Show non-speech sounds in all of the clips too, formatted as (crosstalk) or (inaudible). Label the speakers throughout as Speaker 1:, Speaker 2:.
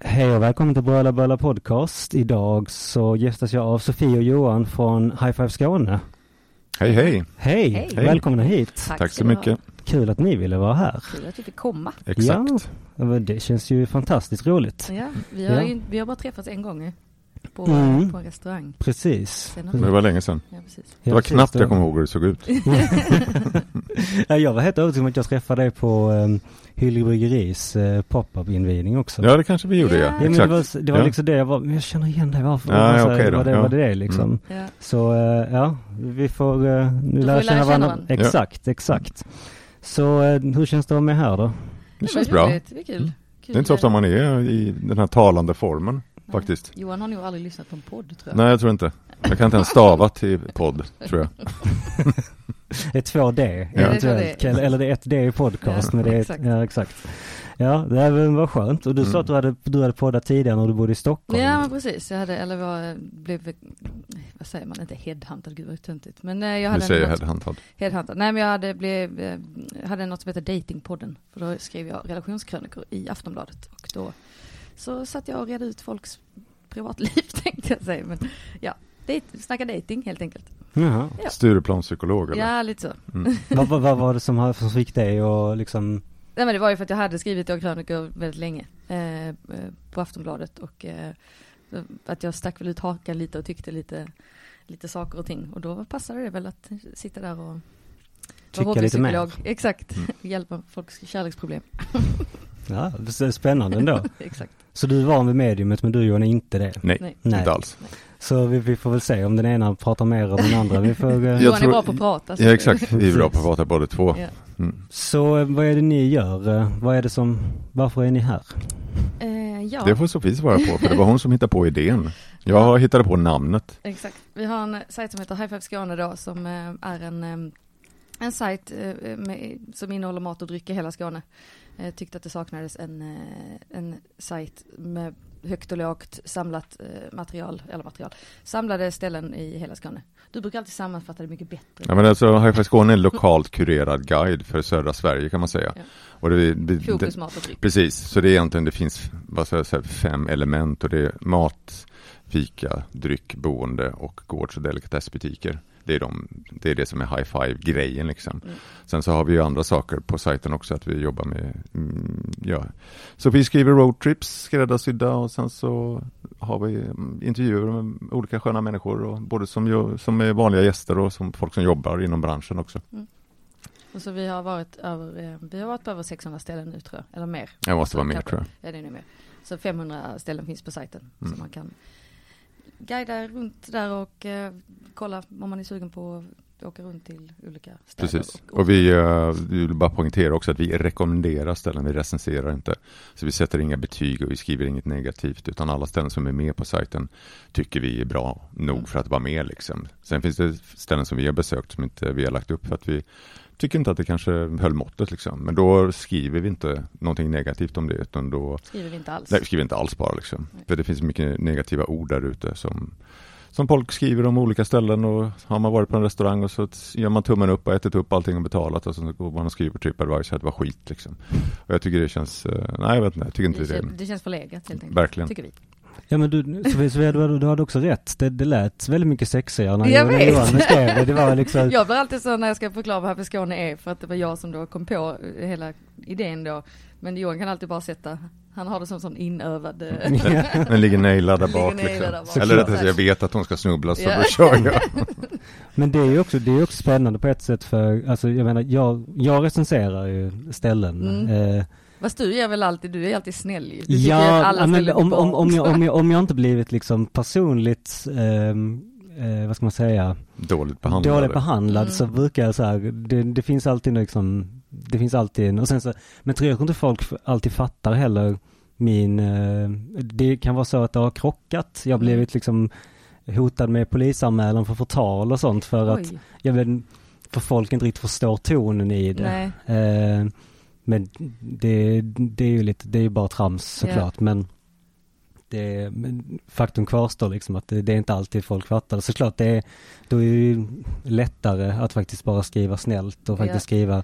Speaker 1: Hej och välkommen till Bröla Bröla Podcast. Idag så gästas jag av Sofie och Johan från High Five Skåne.
Speaker 2: Hej, hej.
Speaker 1: Hej,
Speaker 3: Hej.
Speaker 1: välkomna hit.
Speaker 2: Tack, så mycket.
Speaker 1: Kul att ni ville vara här.
Speaker 3: Kul att vi fick komma.
Speaker 2: Exakt.
Speaker 1: Ja, men det känns ju fantastiskt roligt.
Speaker 3: Ja, vi, har
Speaker 1: Ja.
Speaker 3: ju, vi har bara träffats en gång eh, på,
Speaker 1: Mm.
Speaker 3: på en restaurang.
Speaker 1: Precis.
Speaker 3: Sen
Speaker 2: Men det
Speaker 3: har,
Speaker 2: var länge sedan.
Speaker 3: ja, precis.
Speaker 2: Det var knappt jag kom ihåg hur det såg ut.
Speaker 1: (laughs) Ja, jag var helt övertygad om att jag träffade dig på um, Hyllie Bryggeris eh, pop-up invigning också.
Speaker 2: Ja, det kanske vi gjorde,
Speaker 3: Ja,
Speaker 2: ja.
Speaker 1: Ja, men det
Speaker 2: Exakt.
Speaker 1: var, det var
Speaker 2: Ja.
Speaker 1: liksom det jag var, men jag känner igen dig, varför?
Speaker 2: Ja,
Speaker 1: Alltså,
Speaker 2: okej då.
Speaker 1: var, det,
Speaker 2: Ja.
Speaker 1: var det det liksom?
Speaker 2: Mm.
Speaker 3: Ja.
Speaker 1: Så eh, ja, vi får eh, nu
Speaker 3: vi
Speaker 1: lära känna varandra.
Speaker 3: varandra.
Speaker 2: Ja.
Speaker 1: Exakt, exakt. Så eh, hur känns det att vara med här då?
Speaker 2: Det
Speaker 3: var
Speaker 2: känns bra. Mm.
Speaker 3: roligt. Det var kul.
Speaker 2: Det
Speaker 3: kul.
Speaker 2: är inte så ofta man är i den här talande formen,
Speaker 3: Nej.
Speaker 2: faktiskt.
Speaker 3: Johan har nog aldrig lyssnat på en podd tror jag.
Speaker 2: Nej, jag tror inte. Jag kan inte ens stava till podd, tror jag.
Speaker 1: Det är två D
Speaker 2: Ja.
Speaker 1: eventuellt,
Speaker 3: Det är två D.
Speaker 1: eller, eller det är ett D i podcast.
Speaker 3: Ja,
Speaker 1: men det är,
Speaker 3: exakt.
Speaker 1: Ja, exakt. Ja, det här var skönt. Och du sa
Speaker 2: Mm.
Speaker 1: att du hade, du hade poddat tidigare när du bodde i Stockholm.
Speaker 3: Ja men precis, jag hade, eller var, blev, vad säger man, inte headhuntad, gud vad töntigt. Men eh, (laughs) jag
Speaker 2: Nu
Speaker 3: hade
Speaker 2: säger jag
Speaker 3: något,
Speaker 2: headhuntad.
Speaker 3: headhuntad. Nej men jag hade, blev, eh, hade något som heter Datingpodden. För då skrev jag relationskrönikor i Aftonbladet. Och då så satt jag och redde ut folks privatliv (laughs) tänkte jag säga. Men ja, dejt, snacka dating helt enkelt.
Speaker 1: Jaha.
Speaker 3: Ja.
Speaker 2: Stureplanspsykolog, eller?
Speaker 3: Ja, lite så.
Speaker 1: vad, vad, vad var det som, har- som fick dig och liksom,
Speaker 3: Nej men det var ju för att jag hade skrivit då krönikor väldigt länge eh, eh, på Aftonbladet och eh, att jag stack väl ut hakan lite och tyckte lite, lite saker och ting och då passade det väl att sitta där och
Speaker 1: Tycka lite
Speaker 3: hobbypsykolog. Exakt,
Speaker 2: Mm.
Speaker 3: (laughs) hjälpa folks kärleksproblem.
Speaker 1: ja, det är spännande ändå.
Speaker 3: Exakt.
Speaker 1: Så du är van vid mediumet men du Johan är inte det.
Speaker 2: Nej,
Speaker 3: Nej.
Speaker 1: Nej.
Speaker 2: inte alls.
Speaker 1: Så vi, vi får väl se om den ena pratar mer än den andra. Vi får, eh,
Speaker 2: Jag
Speaker 3: Johan
Speaker 2: tror-
Speaker 3: är bra på att prata. så-
Speaker 2: Ja, exakt. Vi är bra på att prata båda två.
Speaker 3: Alltså, Ja.
Speaker 2: Mm.
Speaker 1: Så eh, vad är det ni gör? Eh, Vad är det som, varför är ni här?
Speaker 3: Eh, ja,
Speaker 2: Det får Sofie svara på, för det var hon som hittade på idén. Jag hittade på namnet.
Speaker 3: exakt. Vi har en eh, sajt som heter High Five Skåne då som eh, är en, eh, en sajt eh, med, som innehåller mat och dryck i hela Skåne. Eh, tyckte att det saknades en, eh, en sajt med högt och lågt samlat eh, material, eller material, samlade ställen i hela Skåne. Du brukar alltid sammanfatta det mycket bättre.
Speaker 2: Ja, men alltså, High Five Skåne är en lokalt kurerad guide för södra Sverige, kan man säga.
Speaker 3: Ja.
Speaker 2: Och det, det, det,
Speaker 3: Fokus mat och dryck.
Speaker 2: Precis, så det är egentligen, det finns vad ska jag säga, fem element och det är mat, fika, dryck, boende och gårds och delikatessbutiker. Det är, de, det är det som är high five-grejen liksom.
Speaker 3: Mm.
Speaker 2: Sen så har vi ju andra saker på sajten också, att vi jobbar med, mm, ja. Så vi skriver roadtrips skräddarsydda och sen så har vi mm, intervjuer med olika sköna människor, och både som, gör- som är vanliga gäster och som folk som jobbar inom branschen också.
Speaker 3: Och så vi har varit över, eh, vi har varit på över 600 ställen nu tror jag, eller mer.
Speaker 2: Jag måste vara med tror jag.
Speaker 3: Ja, det är nog mer. Så 500 ställen finns på sajten
Speaker 2: Mm.
Speaker 3: som man kan guida runt där och eh, kolla om man är sugen på att åka runt till olika städer.
Speaker 2: Precis, och vi eh, vi vill bara poängtera också att vi rekommenderar ställen, vi recenserar inte. Så vi sätter inga betyg och vi skriver inget negativt, utan alla ställen som är med på sajten tycker vi är bra
Speaker 3: Mm.
Speaker 2: nog för att vara med. Liksom. Sen finns det ställen som vi har besökt som inte vi har lagt upp för att vi tycker inte att det kanske höll måttet. Liksom. Men då skriver vi inte någonting negativt om det, utan då
Speaker 3: skriver vi inte alls.
Speaker 2: Nej, vi skriver inte alls bara liksom.
Speaker 3: Nej.
Speaker 2: För det finns mycket negativa ord där ute som, som folk skriver om olika ställen och har man varit på en restaurang och så t- gör man tummen upp och ätit upp allting och betalat och så går man och skriver typ på TripAdvisor att det var skit liksom. Och jag tycker det känns, eh, nej jag vet inte, jag tycker inte
Speaker 3: det,
Speaker 2: det.
Speaker 3: kän- det känns förlegat helt enkelt.
Speaker 2: Verkligen.
Speaker 3: Tycker vi.
Speaker 1: Ja men du, Sofie, Sofie du, du hade också rätt. Det, det lät väldigt mycket sexigare när
Speaker 3: Jag
Speaker 1: när
Speaker 3: vet.
Speaker 1: Johan beskrev det. Det var (laughs) liksom,
Speaker 3: (laughs) Jag blir alltid så när jag ska förklara vad Happy Skåne är för att det var jag som då kom på eh, hela idén då. Men Johan kan alltid bara sätta, han har det som sån inövad. eh,
Speaker 1: Mm.
Speaker 3: (laughs)
Speaker 2: Den ligger nailad där
Speaker 3: Ligger
Speaker 2: bak
Speaker 3: nailad
Speaker 2: liksom.
Speaker 3: där bak.
Speaker 2: Eller rättare sagt, jag
Speaker 3: Såklart.
Speaker 2: vet att hon ska snubbla så
Speaker 3: Ja.
Speaker 2: då kör jag.
Speaker 1: (laughs)
Speaker 2: (laughs)
Speaker 1: men det är ju också, det är ju också spännande på ett sätt för, alltså jag menar, jag, jag recenserar ju ställen.
Speaker 3: Mm.
Speaker 1: Eh,
Speaker 3: Fast du är väl alltid, du är alltid snäll ju. Du tycker ju att
Speaker 1: ja,
Speaker 3: alla
Speaker 1: ja, men
Speaker 3: ställer
Speaker 1: om,
Speaker 3: bra.
Speaker 1: om, om, jag, (laughs) om, jag, om jag inte blivit liksom personligt, ehm, eh, vad ska man säga,
Speaker 2: Dåligt behandlad.
Speaker 1: dåligt behandlad
Speaker 3: Mm.
Speaker 1: så brukar jag så här, det, det finns alltid liksom, det finns alltid en, och sen så, men tror jag inte folk f- alltid fattar heller min, eh, det kan vara så att det har krockat, jag har
Speaker 3: Mm.
Speaker 1: blivit liksom hotad med polisanmälan för förtal och sånt för att
Speaker 3: (laughs) Oj.
Speaker 1: jag blev för folk inte riktigt förstår tonen i det.
Speaker 3: Nej.
Speaker 1: Eh, men det, det är ju lite, det är ju bara trams såklart men det, men faktum kvarstår liksom att det, det är inte alltid folk fattar. Såklart det är, då är det ju lättare att faktiskt bara skriva snällt och faktiskt
Speaker 3: Ja.
Speaker 1: skriva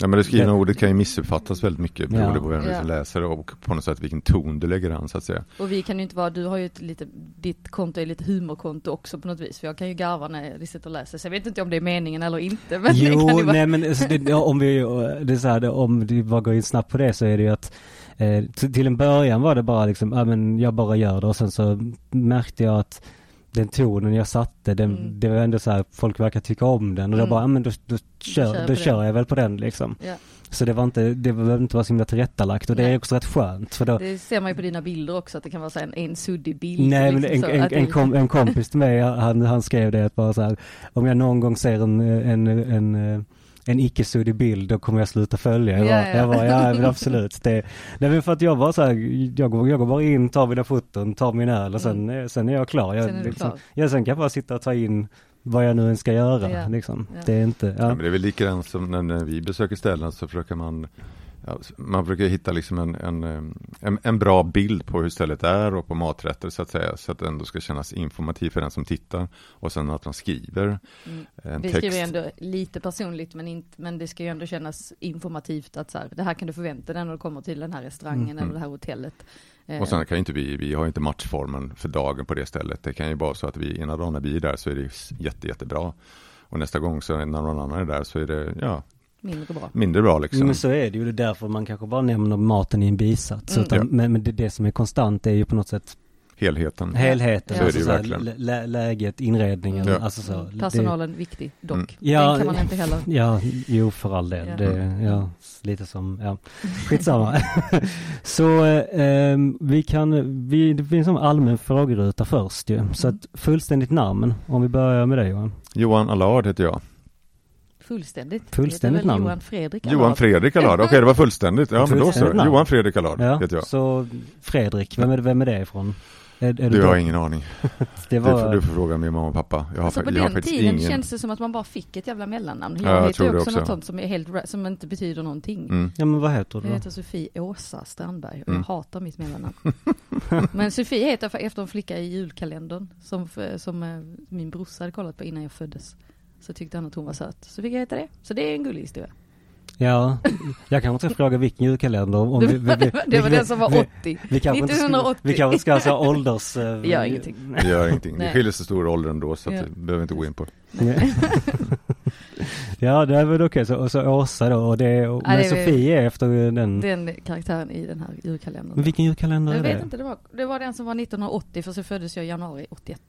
Speaker 2: Ja, men det skrivna
Speaker 1: Det-
Speaker 2: ordet kan ju missuppfattas väldigt mycket beroende
Speaker 1: Ja.
Speaker 2: på vem
Speaker 3: Ja.
Speaker 2: som läser och på något sätt vilken ton du lägger an så att säga.
Speaker 3: Och vi kan ju inte vara, du har ju ett lite, ditt konto är lite humorkonto också på något vis. För jag kan ju garva när jag sitter och läser. Så jag vet inte om det är meningen eller inte. (laughs) Men det kan
Speaker 1: Jo,
Speaker 3: ju vara,
Speaker 1: nej men alltså, det, ja, om vi, det är så här, det, om du bara går in snabbt på det så är det ju att eh, t- till en början var det bara liksom, ja men jag bara gör det och sen så märkte jag att den tonen jag satte, den,
Speaker 3: Mm.
Speaker 1: det var ändå så här, folk verkar tycka om den och då
Speaker 3: Mm.
Speaker 1: bara, ja men då, då, kör,
Speaker 3: kör jag
Speaker 1: då
Speaker 3: på
Speaker 1: kör jag väl på den liksom.
Speaker 3: Ja.
Speaker 1: Så det var inte, det behövde inte vara så himla tillrättalagt och det
Speaker 3: Nej.
Speaker 1: är också rätt skönt för då,
Speaker 3: det ser man ju på dina bilder också att det kan vara så här en, en suddig bild.
Speaker 1: Nej men en,
Speaker 3: liksom, så
Speaker 1: en,
Speaker 3: att det-
Speaker 1: en,
Speaker 3: (laughs)
Speaker 1: kom, en kompis till mig, han, han skrev det att bara så här, om jag någon gång ser en, en, en, en icke-suddig bild då kommer jag sluta följa. Jag
Speaker 3: Ja,
Speaker 1: bara,
Speaker 3: ja.
Speaker 1: jag bara,
Speaker 3: (laughs)
Speaker 1: ja men absolut. Det, nej men för att jag var så här, jag, går- jag går bara in, tar mina foton, tar min öl och sen, eh, sen är jag klar. Jag,
Speaker 3: Mm. Sen är du
Speaker 1: liksom,
Speaker 3: klar.
Speaker 1: Ja, sen kan jag bara sitta och ta in vad jag nu än ska göra.
Speaker 3: Ja.
Speaker 1: Liksom.
Speaker 3: Ja.
Speaker 1: Det är inte,
Speaker 2: Ja.
Speaker 1: ja.
Speaker 2: men det är väl likadant som när, när vi besöker ställen så försöker man ja, man försöker hitta liksom en, en, em, en, en bra bild på hur stället är och på maträtter så att säga. Så att det ändå ska kännas informativt för den som tittar. Och sen att man skriver
Speaker 3: Mm.
Speaker 2: en
Speaker 3: Vi
Speaker 2: text.
Speaker 3: skriver ju ändå lite personligt men, inte, men det ska ju ändå kännas informativt att så här, det här kan du förvänta dig när du kommer till den här restaurangen
Speaker 2: Mm.
Speaker 3: eller det här hotellet. Eh,
Speaker 2: Och sen kan ju inte vi, vi har ju inte matchformen för dagen på det stället. Det kan ju vara så att vi, ena dagen när vi är där så är det s- jätte, jättebra. Och nästa gång så när någon annan är där så är det ja,
Speaker 3: mindre bra.
Speaker 2: mindre bra liksom.
Speaker 3: Mm,
Speaker 1: Men så är det ju, det är därför man kanske bara nämner maten i en bisats.
Speaker 3: Mm.
Speaker 1: Utan,
Speaker 2: Ja.
Speaker 1: Men, men det, det som är konstant är ju på något sätt
Speaker 2: Helheten.
Speaker 1: helheten,
Speaker 3: Ja.
Speaker 1: alltså
Speaker 2: Så
Speaker 1: så
Speaker 2: är det ju
Speaker 1: här, lä, lä, läget, inredningen,
Speaker 2: Ja.
Speaker 1: alltså så.
Speaker 3: Mm,
Speaker 1: Det- Mm.
Speaker 3: Personalen viktig dock.
Speaker 1: Ja,
Speaker 3: Den kan man inte heller.
Speaker 1: Ja, jo för all del.
Speaker 3: Ja.
Speaker 1: Det, ja, lite som, ja.
Speaker 3: (laughs)
Speaker 1: Skitsamma. så eh, ehm, vi kan, vi, det finns en allmän frågeruta först ju. Så att fullständigt namn, om vi börjar med dig Johan.
Speaker 2: Johan Allard heter jag.
Speaker 3: Fullständigt.
Speaker 1: Fullständigt
Speaker 3: Det heter väl
Speaker 1: namn.
Speaker 3: Johan Fredrik
Speaker 2: Johan
Speaker 3: Allard.
Speaker 2: Fredrik Allard, okej det var fullständigt. Ja men då så.
Speaker 1: Fullständigt namn.
Speaker 2: Johan Fredrik Allard
Speaker 1: Ja,
Speaker 2: heter jag.
Speaker 1: så Fredrik, vem är, vem är det ifrån? Är, är det
Speaker 2: Du
Speaker 1: då-
Speaker 2: har ingen aning.
Speaker 1: det
Speaker 2: Du får,
Speaker 1: var,
Speaker 2: du får fråga min mamma och pappa. Jag har,
Speaker 3: Alltså på
Speaker 2: fa- jag har
Speaker 3: den
Speaker 2: faktiskt
Speaker 3: tiden
Speaker 2: ingen.
Speaker 3: känns det som att man bara fick ett jävla mellannamn.
Speaker 2: Ja,
Speaker 3: Jag
Speaker 2: jag
Speaker 3: heter
Speaker 2: tror
Speaker 3: ju
Speaker 2: det
Speaker 3: också,
Speaker 2: också.
Speaker 3: något sånt som, är helt, ra- som inte betyder någonting.
Speaker 2: Mm.
Speaker 1: Ja men vad heter du
Speaker 3: Jag
Speaker 1: då?
Speaker 3: heter Sofie Åsa Strandberg och
Speaker 2: Mm.
Speaker 3: jag hatar
Speaker 2: (laughs)
Speaker 3: mitt mellannamn. Men Sofie heter för- efter en flicka i julkalendern som, f- som eh, min brorsa hade kollat på innan jag föddes. Så tyckte han att hon var söt. Så fick jag heta det. Så det är en gullig historia.
Speaker 1: Ja, jag kanske inte ska fråga vilken julkalender. Om
Speaker 3: Det (laughs)
Speaker 1: vi, vi,
Speaker 3: var,
Speaker 1: vi,
Speaker 3: det var, det var
Speaker 1: vi-
Speaker 3: den som var
Speaker 1: vi-
Speaker 3: 80.
Speaker 1: Vi kanske inte ska,
Speaker 3: 1980.
Speaker 1: vi kanske inte ska ha så här ålders... eh,
Speaker 3: Gör ingenting.
Speaker 2: Det gör ingenting. Det
Speaker 3: Nej.
Speaker 2: skiljer så stor ålder ändå så att
Speaker 3: Ja.
Speaker 2: det behöver inte gå in på.
Speaker 1: Nej. ja, det är väl okej. Så, och så Åsa då och det, och,
Speaker 3: Ja,
Speaker 1: men
Speaker 3: det är väl-
Speaker 1: Sofie är efter den.
Speaker 3: Den karaktären i den här
Speaker 1: Men
Speaker 3: julkalendern.
Speaker 1: vilken julkalender
Speaker 3: Jag
Speaker 1: är
Speaker 3: vet
Speaker 1: det?
Speaker 3: inte, det var, det var den som var 1980 för så föddes jag i januari 81.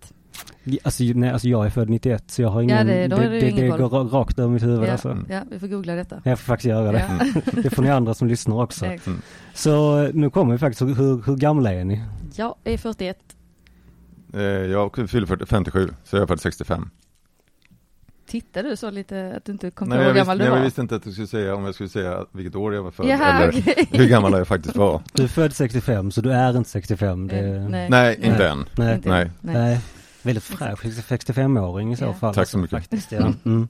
Speaker 1: Alltså, ju- nej, alltså jag är född 91 så jag har ingen,
Speaker 3: Ja, det- då är det ju
Speaker 1: det,
Speaker 3: ingen
Speaker 1: går
Speaker 3: koll.
Speaker 1: ra- rakt över mitt huvud
Speaker 3: Ja.
Speaker 1: alltså.
Speaker 2: Mm.
Speaker 3: Ja, vi får googla detta. Eh,
Speaker 1: Jag får faktiskt göra det.
Speaker 3: Ja,
Speaker 1: Det får ni andra som lyssnar också.
Speaker 3: exakt.
Speaker 1: Så eh, nu kommer vi faktiskt, hur- hur, hur gamla är ni?
Speaker 3: Jag är 41
Speaker 2: Eh, Jag fyller 40 57, så jag är född 65.
Speaker 3: Tittar du så lite att du inte kom på
Speaker 2: Nej, jag,
Speaker 3: hur
Speaker 2: visste,
Speaker 3: gammal
Speaker 2: nej,
Speaker 3: du
Speaker 2: jag
Speaker 3: var?
Speaker 2: visste inte att du skulle säga om jag skulle säga vilket år jag var född.
Speaker 3: Jaha,
Speaker 2: eller
Speaker 3: okej.
Speaker 2: hur gammal jag faktiskt var.
Speaker 1: Du är född 65 så du är inte 65. Det,
Speaker 3: Eh, (laughs) Nej,
Speaker 2: Nej, inte än.
Speaker 1: Nej.
Speaker 3: inte.
Speaker 2: nej.
Speaker 3: Nej.
Speaker 1: Nej. Väldigt fräsch 65-åring i så
Speaker 3: Ja.
Speaker 1: fall. alltså.
Speaker 2: Tack så mycket.
Speaker 1: Faktiskt, ja. Mm.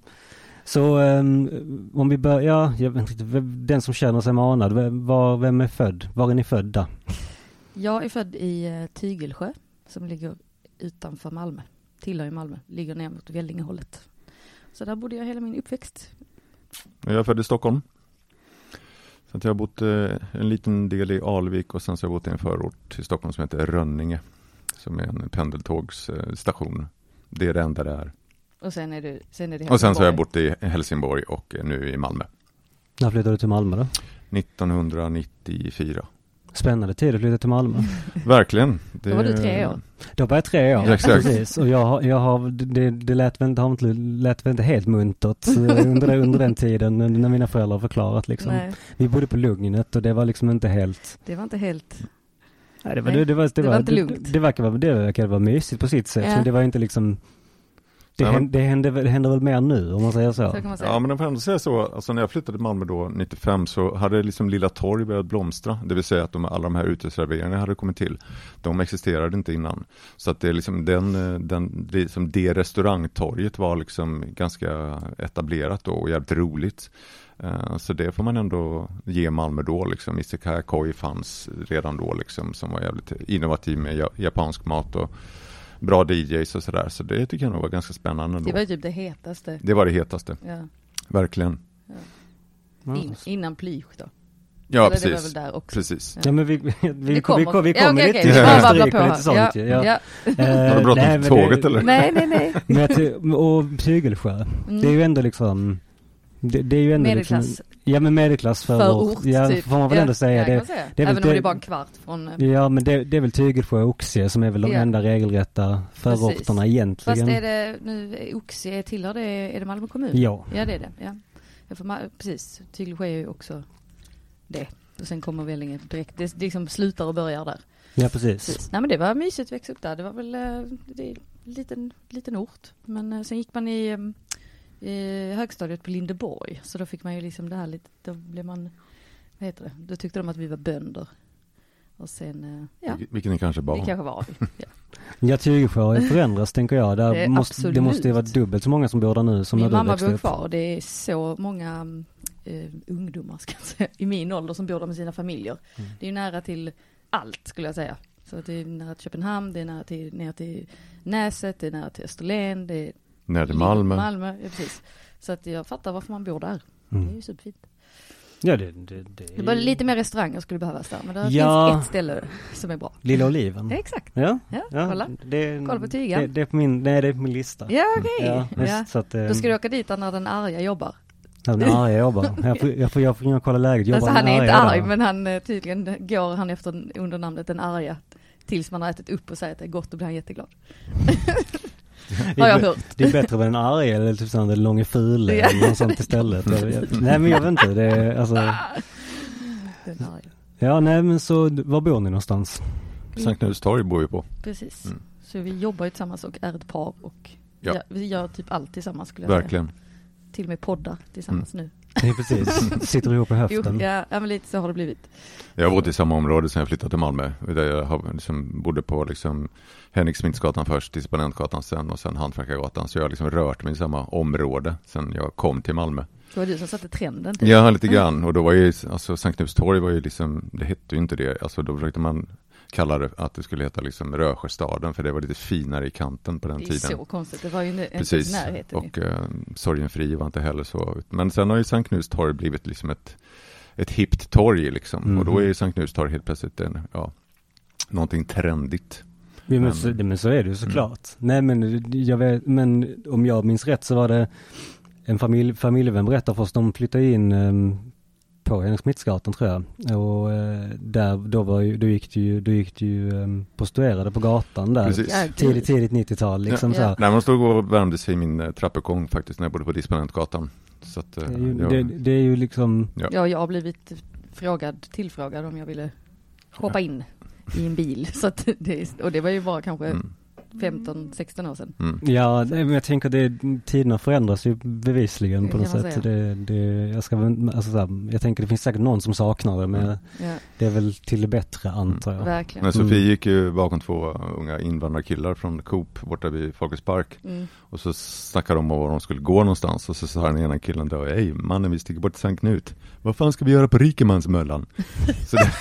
Speaker 1: Så ehm, om vi börjar, jag vet inte, vem- den som känner sig manad, vem, var, vem är född? Var är ni födda?
Speaker 3: Jag är född i eh, Tygelsjö som ligger utanför Malmö. Tillhör ju Malmö, ligger ner mot Vellinge-hållet. Så där bodde jag hela min uppväxt.
Speaker 2: Jag är född i Stockholm. Så att jag har bott eh, en liten del i Alvik och sen så har jag bott i en förort till Stockholm som heter Rönninge. Som är en pendeltågsstation. Det är det enda det är.
Speaker 3: Och sen är, du, sen är det
Speaker 2: Och sen så har jag
Speaker 3: Helsingborg.
Speaker 2: bott i Helsingborg och eh, nu i Malmö.
Speaker 1: När flyttade du till Malmö då?
Speaker 2: 1994.
Speaker 1: Spännande tid att flytta till Malmö.
Speaker 2: Verkligen. Det-
Speaker 3: Då var du tre år.
Speaker 1: Då var jag tre år.
Speaker 2: Ja, exakt.
Speaker 1: Precis. Och jag, har- jag har, det, det lät, väl inte, har inte, lät väl inte helt muntert eh, under, det- under den tiden eh, när mina föräldrar har förklarat liksom.
Speaker 3: Nej,
Speaker 1: Vi bodde på Lugnet och det var liksom inte helt
Speaker 3: det var inte helt...
Speaker 1: Nej, det, var,
Speaker 3: Nej,
Speaker 1: det, var, det, var,
Speaker 3: var inte lugnt.
Speaker 1: Det, det, verkar vara, det verkade vara mysigt på sitt sätt,
Speaker 3: Ja.
Speaker 1: men det var inte liksom Det,
Speaker 2: Ja, men-
Speaker 1: händer, det händer, väl- händer väl mer nu om man säger så.
Speaker 3: Så kan man säga.
Speaker 2: Ja men jag får ändå säga så, alltså när jag flyttade till Malmö då 95 så hade liksom Lilla Torg börjat blomstra, det vill säga att de, alla de här uteserveringarna hade kommit till. De existerade inte innan. Så att det är liksom den, eh, den det, är liksom det restaurangtorget var liksom ganska etablerat då och jävligt roligt. Eh, Så det får man ändå ge Malmö då liksom. Izakaya Koi fanns redan då liksom som var jävligt innovativ med ja- japansk mat och bra DJs och sådär. Så det tycker jag nog var ganska spännande
Speaker 3: Det
Speaker 2: då.
Speaker 3: var ju typ det hetaste.
Speaker 2: Det var det hetaste,
Speaker 3: Ja.
Speaker 2: verkligen.
Speaker 1: Ja.
Speaker 3: In, innan plysch då.
Speaker 2: Ja,
Speaker 3: Eller Det var väl
Speaker 2: precis.
Speaker 3: där också.
Speaker 2: precis.
Speaker 1: Ja men vi, (laughs) vi, vi, vi,
Speaker 3: kom
Speaker 1: vi,
Speaker 3: också.
Speaker 1: vi
Speaker 3: Ja,
Speaker 1: kommer
Speaker 3: okej,
Speaker 1: lite
Speaker 3: okej.
Speaker 1: till
Speaker 2: Ja.
Speaker 3: Bara
Speaker 1: historik
Speaker 3: babbla på
Speaker 1: och lite
Speaker 3: här.
Speaker 1: sånt ju.
Speaker 3: Ja.
Speaker 1: Ja.
Speaker 3: Ja.
Speaker 1: Eh,
Speaker 2: Har du pratat
Speaker 1: nej,
Speaker 2: om
Speaker 1: men
Speaker 2: tåget
Speaker 1: det-
Speaker 2: eller?
Speaker 3: Nej, nej, nej.
Speaker 1: Men jag ty- och Pygelsjö,
Speaker 3: Mm.
Speaker 1: det är ju ändå liksom det, det är ju ändå
Speaker 3: Medelklass
Speaker 1: liksom, ja men medelklass för,
Speaker 3: förort
Speaker 1: ja,
Speaker 3: typ.
Speaker 1: får man väl
Speaker 3: Ja,
Speaker 1: ändå säga.
Speaker 3: ja, kan
Speaker 1: Det,
Speaker 3: man säga.
Speaker 1: det är väl
Speaker 3: Även om det
Speaker 1: det-
Speaker 3: är bara en kvart från... eh,
Speaker 1: ja men det, det är väl Tygelsjö och Oxie som är väl de
Speaker 3: Ja.
Speaker 1: enda regelrätta förorterna
Speaker 3: Fast
Speaker 1: egentligen.
Speaker 3: är det nu, Oxie tillhör det, är det Malmö kommun?
Speaker 1: Ja.
Speaker 3: Ja, det är det. Ja. Ja, för Ma- precis, Tygelsjö är ju också det. Och sen kommer Vellinge direkt, det liksom slutar och börjar där.
Speaker 1: ja precis.
Speaker 3: Precis. Nej men det var mysigt att växa upp där. Det var väl, eh, det är en liten, liten ort. Men eh, sen gick man i, eh, i högstadiet på Lindeborg. Så då fick man ju liksom det här lite, då blev man, vad heter det, då tyckte de att vi var bönder. Och sen, eh, ja,
Speaker 2: Vil- Vilket ni kanske
Speaker 3: det
Speaker 2: var.
Speaker 3: kanske var vi. Ja.
Speaker 1: Ja Tygelsjö har ju förändrats tänker jag. Där
Speaker 3: Det
Speaker 1: det,
Speaker 3: är
Speaker 1: måste, det måste ju vara
Speaker 3: absolut.
Speaker 1: dubbelt så många som bor där nu (laughs) som
Speaker 3: Min
Speaker 1: när du
Speaker 3: mamma
Speaker 1: växte
Speaker 3: bor
Speaker 1: upp.
Speaker 3: kvar och det är så många eh, ungdomar (laughs) ska jag säga, i min ålder som bor där med sina familjer.
Speaker 1: Mm.
Speaker 3: Det är ju nära till allt skulle jag säga. Så att det är nära till Köpenhamn, det är nära till, ner till Näset, det är nära till Österlen, det är
Speaker 2: När det är Malmö.
Speaker 3: Malmö ja, precis. Så att jag fattar varför man bor där. Det är
Speaker 1: Mm.
Speaker 3: ju superfint.
Speaker 1: Ja det, det, det,
Speaker 3: Det
Speaker 1: är
Speaker 3: var
Speaker 1: ju-
Speaker 3: lite mer restauranger skulle behövas där, men det
Speaker 1: Ja.
Speaker 3: finns ett ställe som är bra.
Speaker 1: Lilla Oliven.
Speaker 3: Ja, exakt.
Speaker 1: Ja,
Speaker 3: Ja,
Speaker 1: ja Mm.
Speaker 3: kolla.
Speaker 1: Det,
Speaker 3: Kolla på tygen.
Speaker 1: det, det är på min, nej det är på min lista.
Speaker 3: Ja, okej.
Speaker 1: Ja, visst,
Speaker 3: Ja.
Speaker 1: Så att, eh,
Speaker 3: Då ska du åka dit när den arga jobbar.
Speaker 1: Ja, men arga
Speaker 3: (laughs)
Speaker 1: jobbar. Jag får, jag får, jag får ringa och kolla läget. Jobbar
Speaker 3: alltså han
Speaker 1: den
Speaker 3: är inte
Speaker 1: arga
Speaker 3: arg
Speaker 1: där?
Speaker 3: men han eh, tydligen går han efter under namnet den arga. Tills man har ätit upp och säger att det är gott, då blir han jätteglad.
Speaker 1: Det är
Speaker 3: Har jag
Speaker 1: bä-
Speaker 3: hört.
Speaker 1: Det är bättre med den arga eller typ sån där långe fule
Speaker 3: Ja.
Speaker 1: eller något sånt
Speaker 3: (laughs)
Speaker 1: istället. Jag- jag- Nej men jag vet inte. Det är, alltså,
Speaker 3: Den arga.
Speaker 1: ja nej men så var bor ni någonstans?
Speaker 2: Sankt Knuts torg bor vi på.
Speaker 3: Precis.
Speaker 2: Mm.
Speaker 3: Så vi jobbar ju tillsammans och är ett par och
Speaker 2: Ja.
Speaker 3: ja. vi gör typ allt tillsammans skulle jag
Speaker 2: Verkligen. Mm.
Speaker 3: säga. Till och med poddar tillsammans nu.
Speaker 1: Det är
Speaker 3: (laughs)
Speaker 1: precis, sitter ihop i
Speaker 3: Jo,
Speaker 1: höften.
Speaker 3: ja, ja, men lite så har det blivit.
Speaker 2: Jag har bott i samma område sedan jag flyttade till Malmö. Där jag har liksom bodde på liksom Henrik Smintsgatan först, Disponentgatan sen och sen Hantverkargatan. Så jag har liksom rört mig i samma område sedan jag kom till Malmö.
Speaker 3: Det var du som satte trenden. Typ.
Speaker 2: Ja, lite grann. Och då var ju, alltså Sankt Knuts torg var ju liksom, det hette ju inte det. Alltså då försökte man kalla det att det skulle heta liksom Rösjöstaden, för det var lite finare i kanten på den
Speaker 3: det är
Speaker 2: tiden.
Speaker 3: så konstigt. Det var ju inte ens i
Speaker 2: Precis,
Speaker 3: närheten. ju.
Speaker 2: och eh, Sorgen fri var inte heller så. Men sen har ju Sankt Knuts torg blivit liksom ett, ett hippt torg liksom.
Speaker 1: Mhm.
Speaker 2: Och då är ju Sankt Knuts torg helt plötsligt en, ja, någonting trendigt.
Speaker 1: Jo, men, så, det- men så är det ju såklart. Nej men jag vet, men om jag minns rätt så var det en familj, familjevän berättar för oss, de flyttade in eh, på Henrik Smittsgatan tror jag. Och eh, där, då var ju, då gick det ju, då gick det ju um, prostituerade på gatan där.
Speaker 2: Precis.
Speaker 3: Ja, gud.
Speaker 1: Tidigt, tidigt 90-tal liksom
Speaker 3: Ja.
Speaker 1: så här.
Speaker 2: Nej, man stod och värmde sig i min eh, trappuppgång faktiskt när jag bodde på Disponentgatan. Så att, eh,
Speaker 1: Det är ju,
Speaker 2: jag,
Speaker 1: det, det är ju liksom,
Speaker 3: Ja, jag har blivit frågad, tillfrågad om jag ville hoppa in i en bil. (laughs) Så att det, och det var ju bara kanske
Speaker 2: mm,
Speaker 3: 15-16 år sedan.
Speaker 2: mm.
Speaker 1: ja, nej, men jag tänker det, tiderna förändras ju bevisligen
Speaker 3: Det
Speaker 1: på något
Speaker 3: kan man
Speaker 1: sätt. Det, det, jag, ska, väl- alltså, så här, jag tänker det finns säkert någon som saknar det, men
Speaker 2: Mm.
Speaker 3: Ja,
Speaker 1: det är väl till det bättre antar jag.
Speaker 3: verkligen.
Speaker 2: Men Sofie
Speaker 1: Mm.
Speaker 2: gick ju bakom två unga invandrarkillar från Coop borta vid Folkets Park.
Speaker 3: Mm.
Speaker 2: Och så snackade de om var de skulle gå någonstans och så sa den ena killen då, hej mannen vi sticker bort till Sankt Knut. Vad fan ska vi göra
Speaker 1: (laughs)
Speaker 2: på Rikemansmöllan? Så det,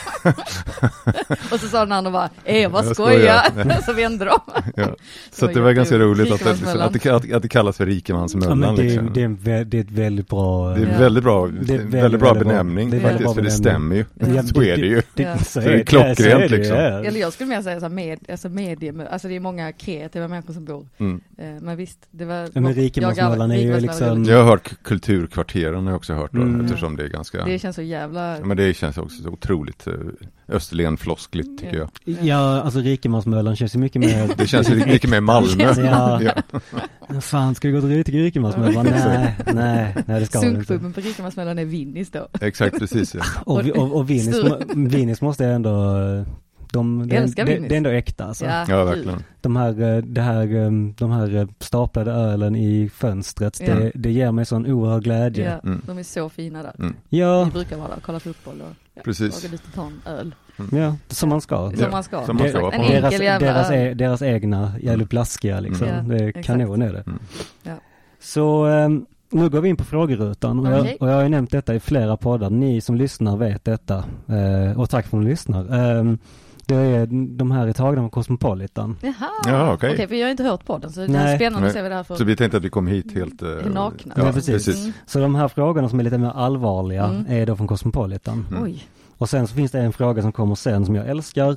Speaker 3: Och så sa den andra bara, eh vad
Speaker 2: Jag
Speaker 3: skojar.
Speaker 2: skojar.
Speaker 3: (laughs) så
Speaker 1: (laughs)
Speaker 3: vände de.
Speaker 2: ja. Så att det var ganska roligt att, att, liksom,
Speaker 3: Rikemansmöllan.
Speaker 2: att, det, att, att det kallas för
Speaker 1: Ja,
Speaker 2: Rikemansmöllan.
Speaker 1: men det, är-
Speaker 2: liksom.
Speaker 1: det, är en vä- det är ett väldigt bra...
Speaker 2: Det
Speaker 1: eh,
Speaker 2: är väldigt bra,
Speaker 1: Det är väldigt,
Speaker 2: väldigt bra
Speaker 1: väldigt bra.
Speaker 2: benämning
Speaker 1: Det är
Speaker 2: faktiskt,
Speaker 1: väldigt
Speaker 2: för
Speaker 1: bra
Speaker 2: det stämmer ju.
Speaker 1: Ja,
Speaker 2: Så är det ju.
Speaker 3: Ja.
Speaker 1: Så
Speaker 2: det är klockrent,
Speaker 1: så är det ju,
Speaker 2: liksom.
Speaker 1: ja.
Speaker 3: Eller jag skulle mer säga så här med, alltså medie, alltså det är många kreativa människor som bor.
Speaker 2: Mm.
Speaker 3: Eh, Men visst, det var...
Speaker 1: Ja, men Rikemansmöllan är ju
Speaker 3: Rikemansmöllan
Speaker 1: liksom-
Speaker 2: Jag har hört Kulturkvarteren har jag också hört då,
Speaker 1: Mm.
Speaker 2: eftersom det är ganska,
Speaker 3: Det känns så jävla...
Speaker 2: ja, men det känns också så otroligt eh, Österlen-floskligt tycker
Speaker 3: Ja.
Speaker 2: jag.
Speaker 1: Ja, alltså Rikemansmöllan känns ju mycket mer...
Speaker 2: Det känns ju mycket mer
Speaker 3: (laughs)
Speaker 2: Malmö.
Speaker 1: Ja.
Speaker 2: (laughs) Ja.
Speaker 1: Fan, ska vi gå till Rik- Rikemansmöllan? Nej, nej, nej det ska vi inte. Alltså.
Speaker 3: Sunkpubben på Rikemansmöllan är Vinnis då.
Speaker 2: Exakt, precis. Ja.
Speaker 1: Och, vi- och, och Vinnis,
Speaker 3: Stor-
Speaker 1: må- Vinnis måste jag ändå eh, de, det,
Speaker 3: Älskar
Speaker 1: är- det,
Speaker 3: Vinnies.
Speaker 1: det är ändå äkta alltså.
Speaker 3: Ja,
Speaker 2: Ja,
Speaker 3: kul.
Speaker 2: verkligen.
Speaker 1: De, här, eh, det här, eh, de här eh, staplade ölen i fönstret,
Speaker 3: Ja.
Speaker 1: det, det ger mig sån oerhörd glädje.
Speaker 3: Ja,
Speaker 2: Mm.
Speaker 3: de är så fina där.
Speaker 2: Mm.
Speaker 3: Vi
Speaker 1: Ja,
Speaker 3: brukar vara där och kolla fotboll och ja,
Speaker 2: Precis.
Speaker 3: laga lite ta en öl.
Speaker 1: ja, som man ska.
Speaker 3: Som
Speaker 2: Ja,
Speaker 3: man ska.
Speaker 2: som man ska
Speaker 1: Det-
Speaker 2: vara på.
Speaker 3: En enkel
Speaker 1: Deras,
Speaker 3: jävla
Speaker 1: deras,
Speaker 3: öl.
Speaker 1: e, deras egna jävligt blaskiga liksom.
Speaker 3: Mm. Ja,
Speaker 1: det är
Speaker 3: exakt.
Speaker 1: kanon är det.
Speaker 2: Mm.
Speaker 3: Ja.
Speaker 1: Så ehm, nu går vi in på frågerutan och,
Speaker 3: Okej.
Speaker 1: jag, och jag har ju nämnt detta i flera poddar. Ni som lyssnar vet detta. Eh, och tack för att ni lyssnar. Ehm, det är de här är tagna från Cosmopolitan.
Speaker 3: Jaha,
Speaker 2: Ja, okej.
Speaker 3: för jag har inte hört podden så det är
Speaker 1: Nej.
Speaker 3: spännande
Speaker 2: Nej. Typ.
Speaker 3: att se vad det här för
Speaker 2: Så vi tänkte att vi kom hit helt... eh,
Speaker 3: nakna.
Speaker 2: Ja,
Speaker 1: Ja,
Speaker 2: precis.
Speaker 1: precis.
Speaker 3: Mm.
Speaker 1: Så de här frågorna som är lite mer allvarliga
Speaker 3: Mm.
Speaker 1: är då från Cosmopolitan.
Speaker 2: Mm.
Speaker 3: Oj,
Speaker 1: Och sen så finns det en fråga som kommer sen som jag älskar.